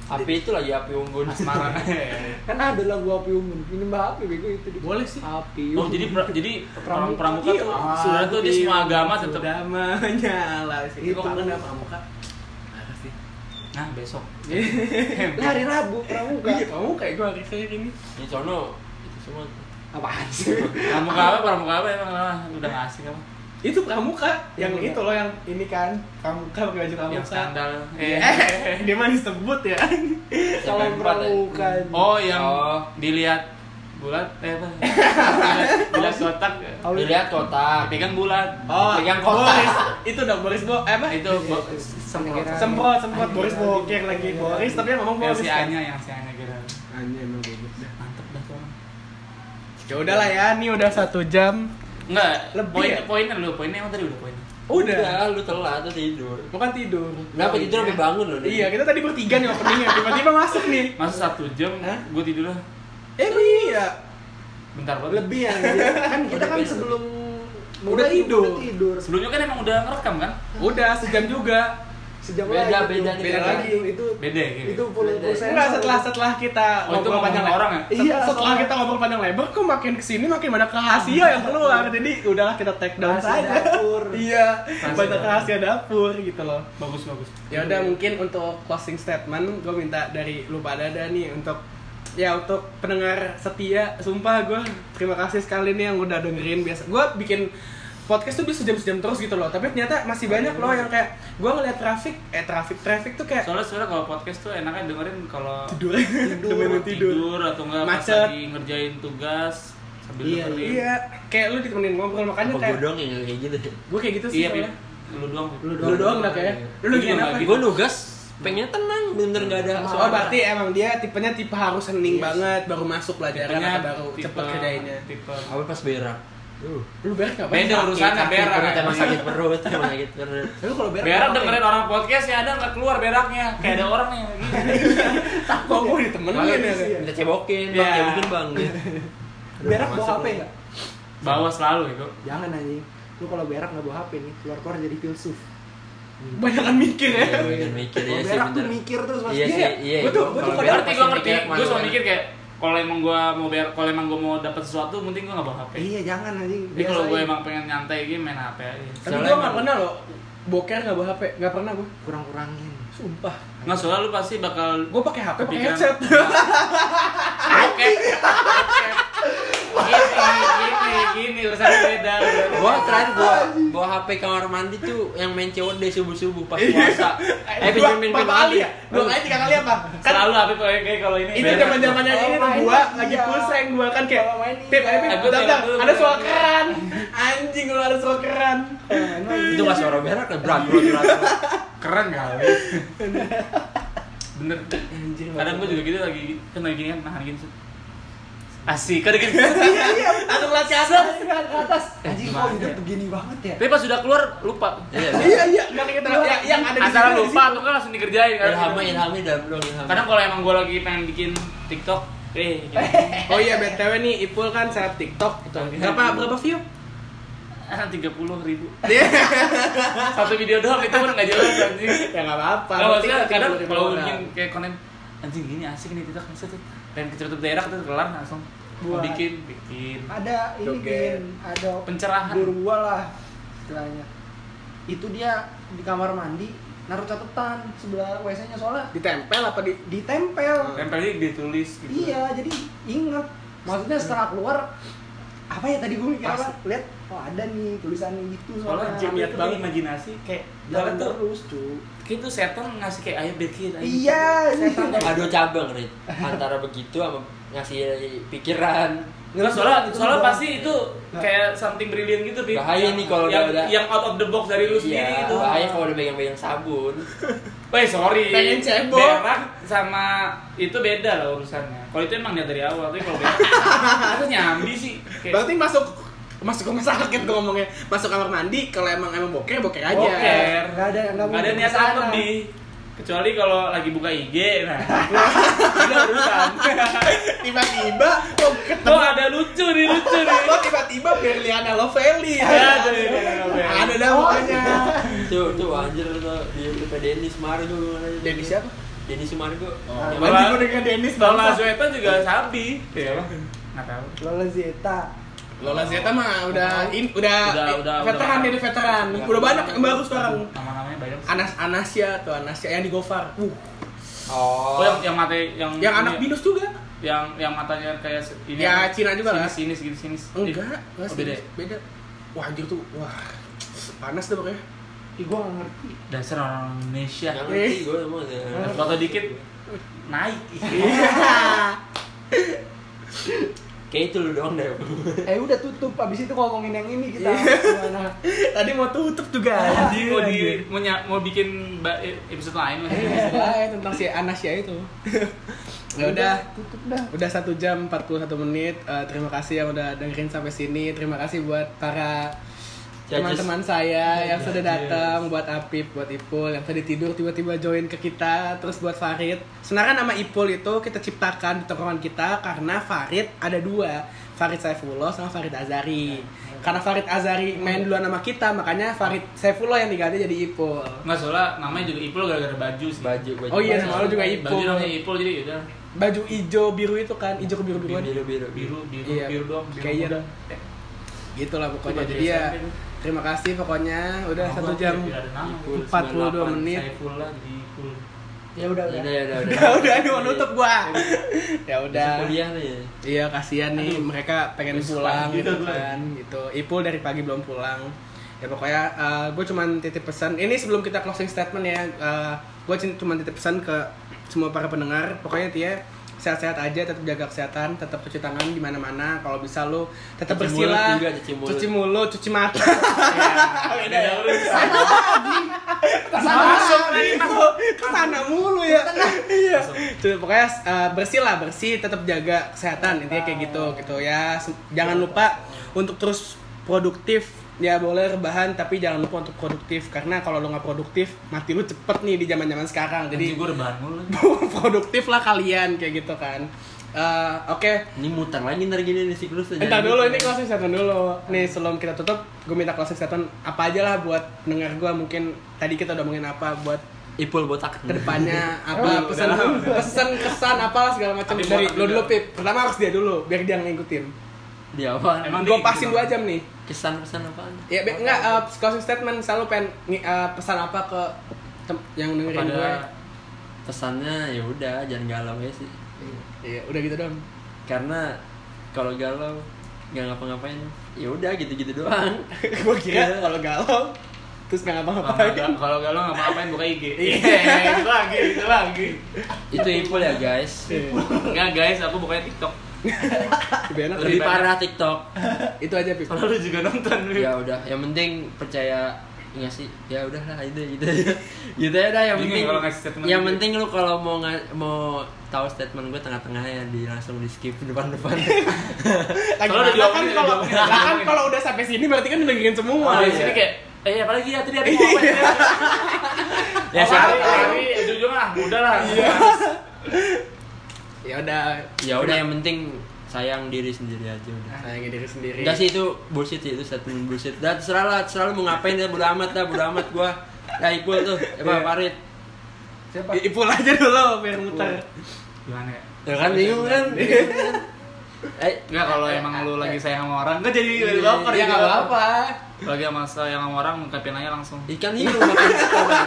Speaker 3: Api itu lagi api unggun.
Speaker 4: asmara
Speaker 2: kan ada lagu api unggun ini mbak api bego itu di
Speaker 1: Boleh sih.
Speaker 2: api
Speaker 4: oh jadi pra- jadi perang pramuka tuh
Speaker 1: Iya.
Speaker 4: sebenarnya tuh dia semua agama tetap
Speaker 1: Sudah menyala sih.
Speaker 2: Itu.
Speaker 1: Kok kangen sama pramuka? Ada sih.
Speaker 4: nah besok
Speaker 2: Lah, hari Rabu pramuka
Speaker 1: Iya, pramuka ya gua hari kayak gini.
Speaker 3: Di sono itu semua.
Speaker 2: apaan sih
Speaker 4: pramuka apa pramuka apa emang lah udah nggak asik apa
Speaker 1: Itu pramuka yang
Speaker 2: Iya.
Speaker 1: itu loh yang ini kan pramuka pakai baju pramuka.
Speaker 4: yang skandal
Speaker 1: Eh,
Speaker 4: eh
Speaker 1: dia mah disebut ya.
Speaker 2: calon
Speaker 3: Siapa yang empat, ya?
Speaker 2: pramuka
Speaker 1: iya.
Speaker 4: oh yang
Speaker 3: Oh.
Speaker 4: dilihat bulat eh apa Dilihat- dilihat kotak
Speaker 2: Kalau-
Speaker 3: Dilihat kotak.
Speaker 4: pegang bulat
Speaker 3: Pegang kotak.
Speaker 1: Oh, Boris. Itu udah Boris Bo eh apa?
Speaker 2: Iya,
Speaker 4: itu bo- semprot
Speaker 2: Kira-
Speaker 1: Semprot, semprot Boris boker lagi
Speaker 2: gitu ya.
Speaker 1: Boris, tapi yang ngomong
Speaker 4: yang
Speaker 1: Boris.
Speaker 4: si
Speaker 1: kan?
Speaker 4: Anya yang si Anya kira
Speaker 1: Anya emang gitu. bego.
Speaker 4: mantep dah tuh orang.
Speaker 1: Ya udahlah ya, ini udah satu jam.
Speaker 4: enggak
Speaker 1: Lebih
Speaker 4: poin
Speaker 1: ya?
Speaker 4: poinnya lu poinnya emang tadi udah poinnya
Speaker 3: Oh.
Speaker 1: Udah.
Speaker 3: lu telat tuh tidur.
Speaker 1: Bukan tidur.
Speaker 3: Kenapa tidur sampai bangun lu?
Speaker 1: Iya, kita tadi bertiga nih openingnya, tiba-tiba masuk nih.
Speaker 4: masa satu jam
Speaker 1: Hah?
Speaker 4: gue tidur lah
Speaker 1: Eh iya.
Speaker 4: bentar banget
Speaker 2: lebih ya kan kita
Speaker 3: Udah
Speaker 2: kan
Speaker 3: beda.
Speaker 2: sebelum
Speaker 1: Udah tidur.
Speaker 2: udah tidur
Speaker 4: sebelumnya kan emang udah ngerekam kan
Speaker 1: Udah sejam juga.
Speaker 2: sejam
Speaker 3: Beda,
Speaker 2: lagi tuh.
Speaker 3: beda nih,
Speaker 1: beda lagi.
Speaker 2: itu
Speaker 4: Beda ya, gitu.
Speaker 2: itu full
Speaker 3: Beda.
Speaker 2: full sensor.
Speaker 1: Enggak setelah setelah kita
Speaker 4: Oh, itu
Speaker 1: ngobrol panjang
Speaker 4: ngomong orang
Speaker 1: lebar.
Speaker 4: ya?
Speaker 1: Iya,
Speaker 2: Iya,
Speaker 1: setelah
Speaker 2: soalnya.
Speaker 1: kita ngobrol panjang lebar kok makin kesini makin banyak rahasia yang keluar. Jadi udahlah kita take down
Speaker 2: Rahasia
Speaker 1: saja.
Speaker 2: dapur.
Speaker 1: iya,
Speaker 4: Rahasia
Speaker 1: banyak
Speaker 4: dapur.
Speaker 1: rahasia dapur gitu loh.
Speaker 4: bagus bagus
Speaker 1: Ya udah mungkin untuk closing statement gue minta dari lu pada ada nih untuk ya untuk pendengar setia sumpah gue terima kasih sekali nih yang udah dengerin biasa gue bikin podcast tuh bisa jam-jam terus gitu loh tapi ternyata masih banyak loh yang kayak gue ngeliat traffic eh traffic traffic tuh kayak
Speaker 4: soalnya sebenarnya kalau podcast tuh enaknya dengerin kalau
Speaker 1: tidur
Speaker 4: tidur,
Speaker 1: tidur tidur
Speaker 4: atau enggak pas
Speaker 1: Macet.
Speaker 4: lagi ngerjain tugas sambil
Speaker 3: Iya,
Speaker 4: dengerin.
Speaker 1: iya kayak lu ditemenin ngobrol
Speaker 3: Apa
Speaker 1: makanya
Speaker 2: Kan
Speaker 3: gue
Speaker 1: kayak
Speaker 3: doang yang kayak gitu?
Speaker 1: gue kayak gitu sih
Speaker 4: iya
Speaker 1: soalnya.
Speaker 4: Pip. lu doang Pip.
Speaker 1: lu doang lah kayak lu
Speaker 4: Gua
Speaker 1: gimana
Speaker 4: juga
Speaker 1: Pip?
Speaker 4: lagi.
Speaker 3: Gue nugas, pengennya tenang, bener-bener gak ada
Speaker 1: Oh
Speaker 3: suara.
Speaker 1: berarti emang dia tipenya tipe harus hening banget baru masuk pelajaran
Speaker 4: Tipenya
Speaker 1: atau baru
Speaker 4: tipe-
Speaker 1: cepet kerjainnya.
Speaker 4: tipe
Speaker 3: Apa pas berak? Uh.
Speaker 1: Lu berak nggak? Pak?
Speaker 4: beda urusannya berak
Speaker 3: perut, emang
Speaker 4: emang
Speaker 3: sakit perut, emang sakit perut.
Speaker 1: Lu kalau berak,
Speaker 4: berak dengerin orang podcast ya ada nggak keluar beraknya kayak ada orang nih gitu.
Speaker 1: Kok gue ditemenin ya?
Speaker 2: Iya.
Speaker 3: Minta cebokin, bang,
Speaker 1: Iya.
Speaker 3: cebokin bang. Gitu. Aduh,
Speaker 2: berak bawa ya?
Speaker 3: masuk
Speaker 2: HP
Speaker 3: lu.
Speaker 2: enggak?
Speaker 4: bawa selalu itu
Speaker 2: Jangan anjing. Lu kalau berak nggak bawa HP nih, keluar-keluar jadi filsuf.
Speaker 1: Banyakan mikir ya.
Speaker 3: Iya, bener mikir
Speaker 2: Kalau
Speaker 3: ya sih
Speaker 2: berak tuh
Speaker 3: bener.
Speaker 2: mikir terus
Speaker 3: Iya
Speaker 2: pasti.
Speaker 3: sih, iya.
Speaker 2: Gua tuh
Speaker 3: Kalau
Speaker 2: gua tuh
Speaker 3: berak
Speaker 2: kadang
Speaker 3: pasti
Speaker 4: ngerti gue ngerti
Speaker 3: mikirnya
Speaker 4: gue cuma
Speaker 3: kemana-mana.
Speaker 4: mikir kayak kalau emang gua mau bayar kalau emang gua mau dapat sesuatu penting gua nggak bawa HP
Speaker 2: Iya jangan anjing.
Speaker 4: jadi kalau
Speaker 2: Biasain.
Speaker 4: gua emang pengen nyantai gitu main HP aja
Speaker 8: Tapi
Speaker 3: Soalnya
Speaker 8: gue gak
Speaker 3: emang-
Speaker 8: pernah loh boker gak bawa HP, gak pernah gue.
Speaker 2: kurang-kurangin.
Speaker 8: Sumpah.
Speaker 4: nggak soalnya lu pasti bakal
Speaker 1: Gue pakai HP, pakai
Speaker 4: Kepikiran.
Speaker 1: headset. Eh,
Speaker 4: Oke. Gini, gini, gini, urusannya beda.
Speaker 3: gua terakhir gua bawa HP kamar mandi tuh yang main COD subuh-subuh pas
Speaker 2: Iya.
Speaker 3: puasa. eh
Speaker 1: Dua-
Speaker 3: pinjam pinjam
Speaker 1: berapa kali ya? Dua kali, tiga kali apa? Kan
Speaker 4: Selalu apa kayak kalau ini.
Speaker 1: itu zaman zamannya
Speaker 2: Kalau
Speaker 1: ini tuh
Speaker 2: main
Speaker 1: gua
Speaker 2: iya.
Speaker 1: lagi pusing gua kan kayak
Speaker 2: Kalau main
Speaker 1: Pip,
Speaker 2: iya.
Speaker 1: ayo Pip,
Speaker 4: Eh,
Speaker 1: bentar,
Speaker 4: gua kayak
Speaker 1: bentar,
Speaker 4: dulu,
Speaker 1: ada
Speaker 4: gua
Speaker 1: suara
Speaker 4: kayak-
Speaker 1: keran Anjing lu ada suara keran
Speaker 3: Itu enggak suara berak ya, berat berat. berat.
Speaker 4: Keren kali. Bener. Kadang gua juga gitu lagi kan lagi gini kan nahan gini. set. Asik, kan gini. Langsung lari ke atas.
Speaker 2: ke atas. Anjing kok
Speaker 4: Gimana?
Speaker 2: hidup begini banget Eh, ya?
Speaker 4: Tapi pas sudah keluar lupa.
Speaker 3: Iya.
Speaker 1: Iya, iya, nggak kayak kita ya, yang ada di
Speaker 4: Antara
Speaker 1: situ, di
Speaker 4: lupa atau kan langsung dikerjain kan.
Speaker 3: Ilhami ilhami dalam doang ilhami.
Speaker 4: Kadang kalau emang gua lagi pengen bikin TikTok, eh gini.
Speaker 1: situ. Oh iya, BTW nih Ipul kan saya TikTok
Speaker 4: Betul.
Speaker 1: Berapa berapa view?
Speaker 4: Ah, tiga puluh ribu
Speaker 1: Iya.
Speaker 4: satu video doang itu pun nggak jelas anjing
Speaker 1: Ya nggak apa-apa
Speaker 4: kalau
Speaker 1: penting
Speaker 4: maksudnya kadang
Speaker 1: 30.000
Speaker 4: kalau
Speaker 1: orang.
Speaker 4: bikin kayak konten anjing gini asik nih tiktok bisa tuh pengen ke cerita daerah tuh kelar langsung mau
Speaker 2: Buat.
Speaker 4: bikin bikin
Speaker 2: Ada ini
Speaker 1: Joget.
Speaker 2: Bin, ada
Speaker 4: Pencerahan.
Speaker 2: Gurua lah istilahnya. Itu dia di kamar mandi naruh catatan sebelah WC-nya soalnya
Speaker 1: ditempel apa di
Speaker 2: ditempel.
Speaker 4: tempelnya ditulis gitu
Speaker 2: Iya, jadi inget. Maksudnya setelah keluar apa ya tadi gue mikir apa? Lihat, oh ada nih tulisannya gitu
Speaker 4: soalnya
Speaker 2: soalnya.
Speaker 4: jam
Speaker 2: Ada
Speaker 4: lihat
Speaker 2: tuh.
Speaker 4: banget imajinasi kayak
Speaker 2: Jalan
Speaker 4: jalan tuh
Speaker 2: terus, cuy.
Speaker 4: kayak tuh setan ngasih kayak ayo bikin ayo
Speaker 2: Iya,
Speaker 4: bikin."
Speaker 2: setan.
Speaker 3: Ada cabang nih antara begitu sama ngasih pikiran.
Speaker 4: Nggak, soalnya,
Speaker 2: Iya.
Speaker 4: soalnya pasti itu kayak something brilliant gitu, Bi.
Speaker 3: Bahaya nih kalau
Speaker 4: yang,
Speaker 3: udah-
Speaker 4: yang out of the box dari lu sendiri
Speaker 3: Iya,
Speaker 4: gitu.
Speaker 3: bahaya kalau udah pegang-pegang sabun.
Speaker 4: Woi sorry.
Speaker 1: Pengen cebok.
Speaker 4: Berak sama itu beda lah urusannya. Kalau itu emang dia dari awal, tapi kalau berak itu nyambi sih. Kayak
Speaker 1: Berarti masuk masuk rumah sakit gue ngomongnya masuk kamar mandi kalau emang emang boker boker aja
Speaker 4: boker.
Speaker 2: Nggak ada- nggak
Speaker 4: Nggak ada
Speaker 2: mungkin
Speaker 4: niat
Speaker 2: kesana.
Speaker 4: apa di. Kecuali kalau lagi buka IG, nah. Itu urusan.
Speaker 1: tiba-tiba kok
Speaker 4: Tuh ada lucu nih, lucu nih.
Speaker 1: Lo tiba-tiba Berliana Lovely
Speaker 4: Iya,
Speaker 1: ya.
Speaker 4: Ada nih, ada nih.
Speaker 1: Ada dah pokoknya.
Speaker 4: iya.
Speaker 3: Tuh, tuh anjir tuh di depan Denny Semargo.
Speaker 1: Denny siapa?
Speaker 3: Denny Semargo.
Speaker 4: Oh.
Speaker 3: Yang
Speaker 1: Bantu gue dengan Dennis
Speaker 4: Lola
Speaker 1: Lola.
Speaker 4: Zueta juga sabi. Iya, Bang. Nggak tahu.
Speaker 2: Lola Zeta.
Speaker 1: Lola Zeta mah udah in, udah,
Speaker 4: Udah,
Speaker 1: eh,
Speaker 4: udah,
Speaker 1: veteran
Speaker 4: udah.
Speaker 1: jadi veteran. Udah banyak yang baru sekarang.
Speaker 4: Nama-namanya banyak. sih.
Speaker 1: Anas Anasya tuh Anasya yang di Gofar. Uh,
Speaker 3: Oh.
Speaker 4: Oh, yang yang mata yang
Speaker 1: yang
Speaker 4: ini
Speaker 1: anak
Speaker 4: ya?
Speaker 1: binus juga.
Speaker 4: yang yang matanya kayak se- ini.
Speaker 1: Ya, Cina juga lah.
Speaker 4: Sinis, sinis, sinis.
Speaker 1: Enggak, enggak
Speaker 4: Oh,
Speaker 1: sih.
Speaker 4: beda
Speaker 1: Iya. Beda.
Speaker 4: ya?
Speaker 1: Wah, anjir tuh. Wah. Panas deh pokoknya.
Speaker 2: Ih, gue gak ngerti.
Speaker 4: dasar orang Indonesia
Speaker 3: Nggak
Speaker 1: Eh.
Speaker 3: ngerti gue emang ya.
Speaker 4: foto dikit naik
Speaker 3: Kayak itu lu doang deh.
Speaker 2: Eh udah tutup, abis itu ngomongin yang ini kita.
Speaker 4: Iya.
Speaker 2: Gimana?
Speaker 1: Tadi mau tutup juga.
Speaker 4: jadi mau di mau, ny- mau bikin ba- eh, episode lain lagi
Speaker 1: Setelah Iya. tentang si Anasya itu. ya udah.
Speaker 2: Tutup dah.
Speaker 1: Udah satu jam 41 menit. Eh, terima kasih yang udah dengerin sampai sini. Terima kasih buat para teman-teman saya yang sudah datang, buat Apip, buat Ipul yang tadi tidur tiba-tiba join ke kita, terus buat Farid. Sebenarnya nama Ipul itu kita ciptakan di tongkrongan kita karena Farid ada dua, Farid Saifullah sama Farid Azari. Karena Farid Azari main duluan nama kita, makanya Farid Saifullah yang diganti jadi Ipul.
Speaker 4: nggak soalnya namanya juga Ipul gara-gara baju sih
Speaker 3: Baju, baju.
Speaker 1: Oh iya, nama lu juga Ipul.
Speaker 4: baju namanya Ipul jadi ya udah
Speaker 1: Baju hijau biru itu kan, hijau kebiru biruan.
Speaker 3: biru biru biru.
Speaker 4: biru biru
Speaker 1: Iya,
Speaker 4: biru doang biru
Speaker 1: kayaknya
Speaker 4: muda.
Speaker 1: dah. Gitulah pokoknya.
Speaker 4: Itu baju
Speaker 1: Jadi ya
Speaker 4: SMP tuh.
Speaker 1: terima kasih pokoknya udah
Speaker 4: Nama
Speaker 1: satu
Speaker 4: gua
Speaker 1: jam
Speaker 4: tidak ada nama.
Speaker 3: Ipul
Speaker 1: 42
Speaker 4: Kan
Speaker 1: menit.
Speaker 4: Saifullah di Ipul
Speaker 2: Ya udah
Speaker 3: Ya
Speaker 2: udah.
Speaker 3: udah ya udah.
Speaker 1: Ya udah aduh mau nutup gua. ya
Speaker 3: Udah.
Speaker 1: udah.
Speaker 3: Kuliah nih. ya.
Speaker 1: Iya kasihan nih mereka pengen
Speaker 4: Besok
Speaker 1: pulang
Speaker 4: pagi
Speaker 1: gitu
Speaker 4: tuh gua.
Speaker 1: kan gitu. Ipul dari pagi belum pulang. Ya pokoknya gue cuman titip pesan. Ini sebelum kita closing statement ya, gue cuman titip pesan ke semua para pendengar. Pokoknya dia sehat-sehat aja, tetap jaga kesehatan, tetap cuci tangan di mana-mana. Kalau bisa lo tetap
Speaker 3: Cuci
Speaker 1: bersih
Speaker 3: mulut
Speaker 1: lah,
Speaker 3: juga, cuci mulut.
Speaker 1: cuci mulut, cuci mata.
Speaker 4: beda urusan
Speaker 1: masuk lagi masuk Nah, ke sana mulu ya iya Tuh, pokoknya eh, bersih lah bersih tetap jaga kesehatan intinya kayak gitu gitu ya Se- jangan lupa untuk terus produktif ya boleh rebahan tapi jangan lupa untuk produktif karena kalau lo nggak produktif mati lu cepet nih di zaman zaman sekarang
Speaker 4: jadi
Speaker 1: jadi
Speaker 4: gue rebahan mulu
Speaker 1: produktif lah kalian kayak gitu kan Eh, oke
Speaker 3: Ini muter lagi ntar gini nih siklusnya.
Speaker 1: Entar
Speaker 3: Jadi-
Speaker 1: dulu ini closing statement dulu. Nih sebelum kita tutup, gue minta closing statement apa aja lah buat pendengar gue mungkin tadi kita udah ngomongin apa buat
Speaker 3: Ipul botak.
Speaker 1: kedepannya apa pesan pesan kesan apalah segala macam
Speaker 4: Tapi
Speaker 1: dari
Speaker 4: botak
Speaker 1: lo dulu
Speaker 4: juga.
Speaker 1: pip pertama harus dia dulu biar dia ngikutin
Speaker 3: Dia apa?
Speaker 4: Emang
Speaker 1: gue
Speaker 4: dia
Speaker 1: pasin
Speaker 4: gitu.
Speaker 1: dua jam nih
Speaker 3: kesan-kesan apaan?
Speaker 1: ya be- enggak eh, closing statement selalu pengen ngi- eh, pesan apa ke tem- yang dengerin gue
Speaker 3: Pada pesannya ya udah jangan galau ya sih.
Speaker 1: iya udah gitu dong
Speaker 3: Karena kalau galau nggak ngapa-ngapain ya udah gitu-gitu doang.
Speaker 1: gue kira
Speaker 3: Iya.
Speaker 1: kalau galau terus ya. nggak ngapa-ngapain
Speaker 4: Kalau galau nggak ngapain buka IG. Iya, itu lagi, itu lagi.
Speaker 3: Itu Ipul ya guys.
Speaker 4: Enggak guys, aku bukannya TikTok.
Speaker 1: lebih enak
Speaker 3: Lebih
Speaker 1: sih.
Speaker 3: parah TikTok.
Speaker 1: itu aja pip
Speaker 4: Kalau lu juga nonton. Wi.
Speaker 3: Ya udah, yang penting percaya nggak sih ya udahlah itu gitu aja gitu ya dah yang
Speaker 4: Bingung
Speaker 3: penting
Speaker 4: kalau ngasih statement
Speaker 3: yang
Speaker 4: gitu.
Speaker 3: penting lu kalau mau nga- mau tahu statement gue tengah-tengah ya di langsung di skip depan-depan
Speaker 1: lagi
Speaker 4: Kalau udah
Speaker 1: mana kan
Speaker 4: diomongin,
Speaker 1: kalau
Speaker 4: udah diomongin,
Speaker 1: lah
Speaker 4: Oh,
Speaker 1: kan
Speaker 4: diomongin.
Speaker 1: kalau udah sampai sini berarti kan dengerin semua
Speaker 4: Kalau di
Speaker 3: iya.
Speaker 4: sini kayak Eh, apalagi ya tadi ada yang mau apa ya?
Speaker 3: ya siapa tahu
Speaker 4: Tapi jujur lah, mudah lah.
Speaker 1: ya udah
Speaker 3: ya udah yang penting sayang diri sendiri aja udah
Speaker 1: sayangin diri sendiri
Speaker 3: enggak sih itu bullshit sih, itu statement bullshit dan terserah lah terserah lu mau ngapain ya bodo amat dah bodo amat gua ya Iqbal tuh ya Pak Farid
Speaker 2: Siapa?
Speaker 3: Iya,
Speaker 1: I- Iya. ipul aja dulu biar muter Iya.
Speaker 4: Gimana ya?
Speaker 3: ya kan bingung kan eh
Speaker 4: Enggak kalau emang lu lagi sayang sama orang, enggak jadi
Speaker 3: Iya,
Speaker 4: baper
Speaker 1: ya
Speaker 4: gitu.
Speaker 1: nggak apa-apa
Speaker 4: Lagi sama sayang sama orang ngungkapin aja langsung.
Speaker 3: ikan hiu makan ikan.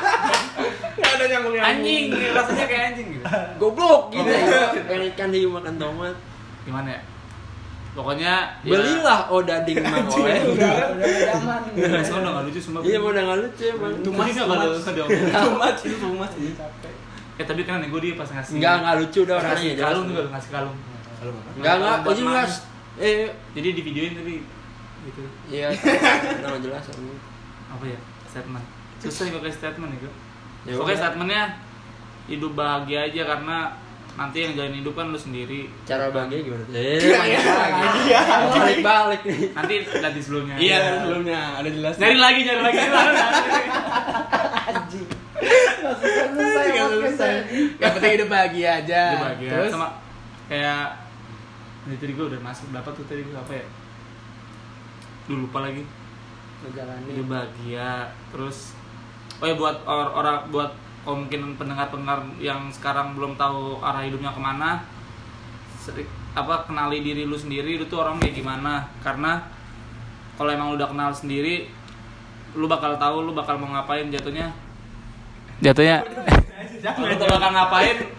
Speaker 1: nggak ada nyambung
Speaker 4: Anjing, rasanya kayak anjing gitu.
Speaker 3: goblok gitu
Speaker 1: Iya.
Speaker 3: pengen ikan hiu makan tomat
Speaker 4: Gimana ya? Pokoknya ya-
Speaker 3: belilah oh, odading mang oleh
Speaker 2: Udah, udah zaman.
Speaker 4: Nggak, soalnya udah nggak lucu sumpah.
Speaker 3: ya. iya mau udah nggak lucu emang
Speaker 4: Tumas enggak kalau sedih.
Speaker 1: tomat itu tomat
Speaker 4: Eh tadi kan gue dia pas ngasih.
Speaker 3: enggak nggak lucu udah orangnya
Speaker 4: ngasih
Speaker 3: jelas
Speaker 4: kalung juga ngasih kalung.
Speaker 3: enggak enggak
Speaker 4: Buat
Speaker 3: lucu jelas eh
Speaker 4: Jadi di videoin tadi gitu.
Speaker 3: iya udah nggak jelas
Speaker 4: apa ya statement susah juga kayak statement itu
Speaker 3: Ya
Speaker 4: oke
Speaker 3: udah.
Speaker 4: statementnya hidup bahagia aja karena nanti yang jalanin hidup kan lu sendiri
Speaker 3: cara bahagia gimana eh balik balik nih
Speaker 4: nanti nanti sebelumnya
Speaker 1: iya sebelumnya ada jelas
Speaker 4: nyari lagi nyari lagi nyari lagi.
Speaker 2: Selesai,
Speaker 1: Nggak selesai. Yang penting hidup bahagia aja.
Speaker 4: hidup bahagia
Speaker 1: Terus
Speaker 4: sama kayak nah, itu tadi gue udah masuk berapa tuh tadi gua apa ya lu lupa lagi hidup bahagia terus oh ya buat or- orang buat kalau mungkin pendengar-pendengar yang sekarang belum tahu arah hidupnya kemana seri- apa kenali diri lu sendiri lu tuh orang kayak gimana karena kalau emang lu udah kenal sendiri lu bakal tahu lu bakal mau ngapain jatuhnya jatuhnya lu tuh bakal ngapain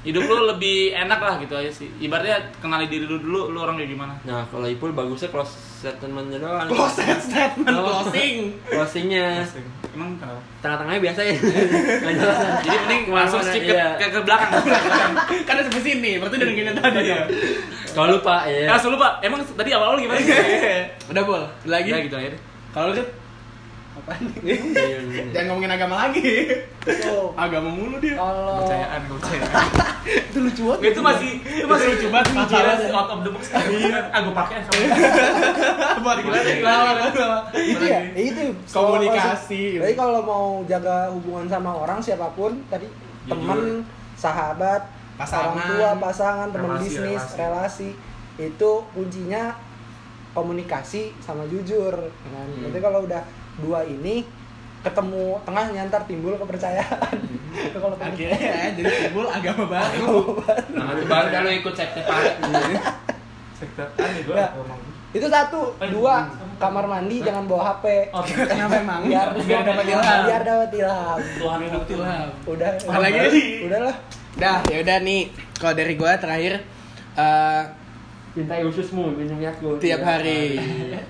Speaker 4: hidup lu lebih enak lah gitu aja sih ibaratnya kenali diri lu dulu lu orang kayak gimana
Speaker 3: nah kalau Ipul bagusnya close statementnya doang
Speaker 1: closing statement
Speaker 3: Oh.
Speaker 1: closing.
Speaker 3: closingnya
Speaker 4: emang kenapa
Speaker 3: tengah-tengahnya biasa ya nggak jelas
Speaker 4: jadi mending langsung skip ke,
Speaker 3: Iya.
Speaker 4: ke- ke belakang
Speaker 1: Kan ada sebelah sini, berarti udah dengerin yang tadi ya.
Speaker 3: kalau lupa ya
Speaker 4: Ya, langsung lupa. Emang tadi awal-awal gimana sih?
Speaker 1: Udah bol, lagi.
Speaker 4: Ya gitu aja deh.
Speaker 1: Kalau lu Dit,
Speaker 3: Iya,
Speaker 1: jangan ngomongin agama lagi.
Speaker 2: Tuh.
Speaker 1: Agama mulu dia.
Speaker 2: Kalau
Speaker 4: Kepercayaan, kepercayaan.
Speaker 2: Oh, itu lucu banget.
Speaker 4: Itu masih itu masih lucu banget
Speaker 1: Gila
Speaker 4: gila
Speaker 1: sih.
Speaker 4: sih out of the box. Ah, gua pakai sama.
Speaker 1: Buat
Speaker 4: Gimana,
Speaker 1: kita
Speaker 4: gimana?
Speaker 2: itu
Speaker 4: Iya.
Speaker 2: ya, ya itu
Speaker 1: Komunikasi.
Speaker 2: Jadi kalau mau jaga hubungan sama orang siapapun tadi
Speaker 4: Jujur.
Speaker 2: teman, sahabat,
Speaker 1: Pasangan.
Speaker 2: orang tua, pasangan, teman
Speaker 4: Relasi,
Speaker 2: bisnis,
Speaker 4: relasi.
Speaker 2: relasi. itu kuncinya komunikasi sama jujur. Nah,
Speaker 4: Hmm.
Speaker 2: Nanti kalau udah dua ini ketemu tengahnya ntar timbul kepercayaan. Itu kalau komunikasi.
Speaker 1: Akhirnya ya, jadi timbul agama baru.
Speaker 3: nah itu baru
Speaker 4: kan
Speaker 3: dah lu ikut sekte parah
Speaker 4: Sektor aneh gua.
Speaker 2: Nah, itu satu,
Speaker 4: Eh,
Speaker 2: dua kamar mandi jangan bawa HP.
Speaker 4: Oh,
Speaker 1: Kenapa emang?
Speaker 2: Biar
Speaker 4: biar dapat ilham.
Speaker 2: Biar dapat ilham.
Speaker 4: Tuhan bukti lah.
Speaker 2: Udah.
Speaker 1: Ada lagi nih?
Speaker 2: Udah lah.
Speaker 1: Dah, ya udah nih. Kalau dari gua terakhir eh,
Speaker 3: cintai ususmu minum yakult
Speaker 1: tiap hari.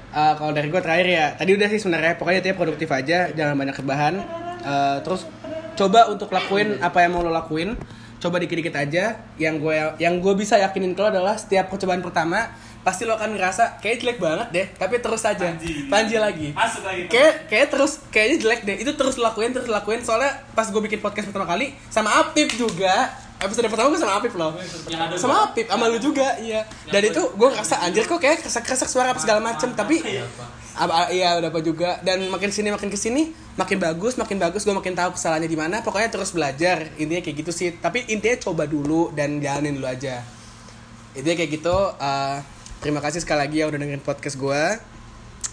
Speaker 1: Eh, kalau dari gue terakhir ya, tadi udah sih sebenarnya pokoknya tiap produktif aja, jangan banyak rebahan. Eh, terus coba untuk lakuin apa yang mau lo lakuin, coba dikit-dikit aja. Yang gue yang gue bisa yakinin ke lo adalah setiap percobaan pertama pasti lo akan ngerasa kayak jelek banget deh, tapi terus aja.
Speaker 4: Panji.
Speaker 1: Panji lagi.
Speaker 4: Masuk lagi.
Speaker 1: Kayak kayak terus kayaknya jelek deh. Itu terus lakuin, terus lakuin. Soalnya pas gue bikin podcast pertama kali sama Apip juga. Episode pertama gue sama Apip loh.
Speaker 4: Yang ada
Speaker 1: Sama Apip, sama lu juga, iya. Dan itu gue ngerasa anjir kok kayak kesak-kesak suara apa segala macem, tapi apa iya udah apa juga. Dan makin sini makin kesini makin bagus, makin bagus gue makin tahu kesalahannya di mana. Pokoknya terus belajar. Intinya kayak gitu sih. Tapi intinya coba dulu dan jalanin dulu aja. Intinya kayak gitu. eh, terima kasih sekali lagi ya udah dengerin podcast gue.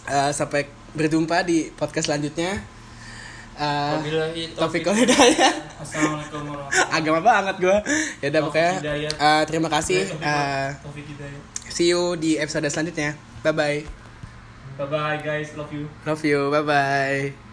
Speaker 1: Eh, sampai berjumpa di podcast selanjutnya. eh
Speaker 9: Wabillahi
Speaker 1: topik hidayah
Speaker 4: Assalamualaikum warahmatullahi
Speaker 1: agama banget gua ya udah
Speaker 4: Taufik
Speaker 1: pokoknya
Speaker 4: Hidayah. Iya,
Speaker 1: eh, terima kasih Eh,
Speaker 4: wabarakatuh. Taufik Hidayat.
Speaker 1: see you di episode selanjutnya bye bye
Speaker 4: Bye bye guys, love you.
Speaker 1: love you bye bye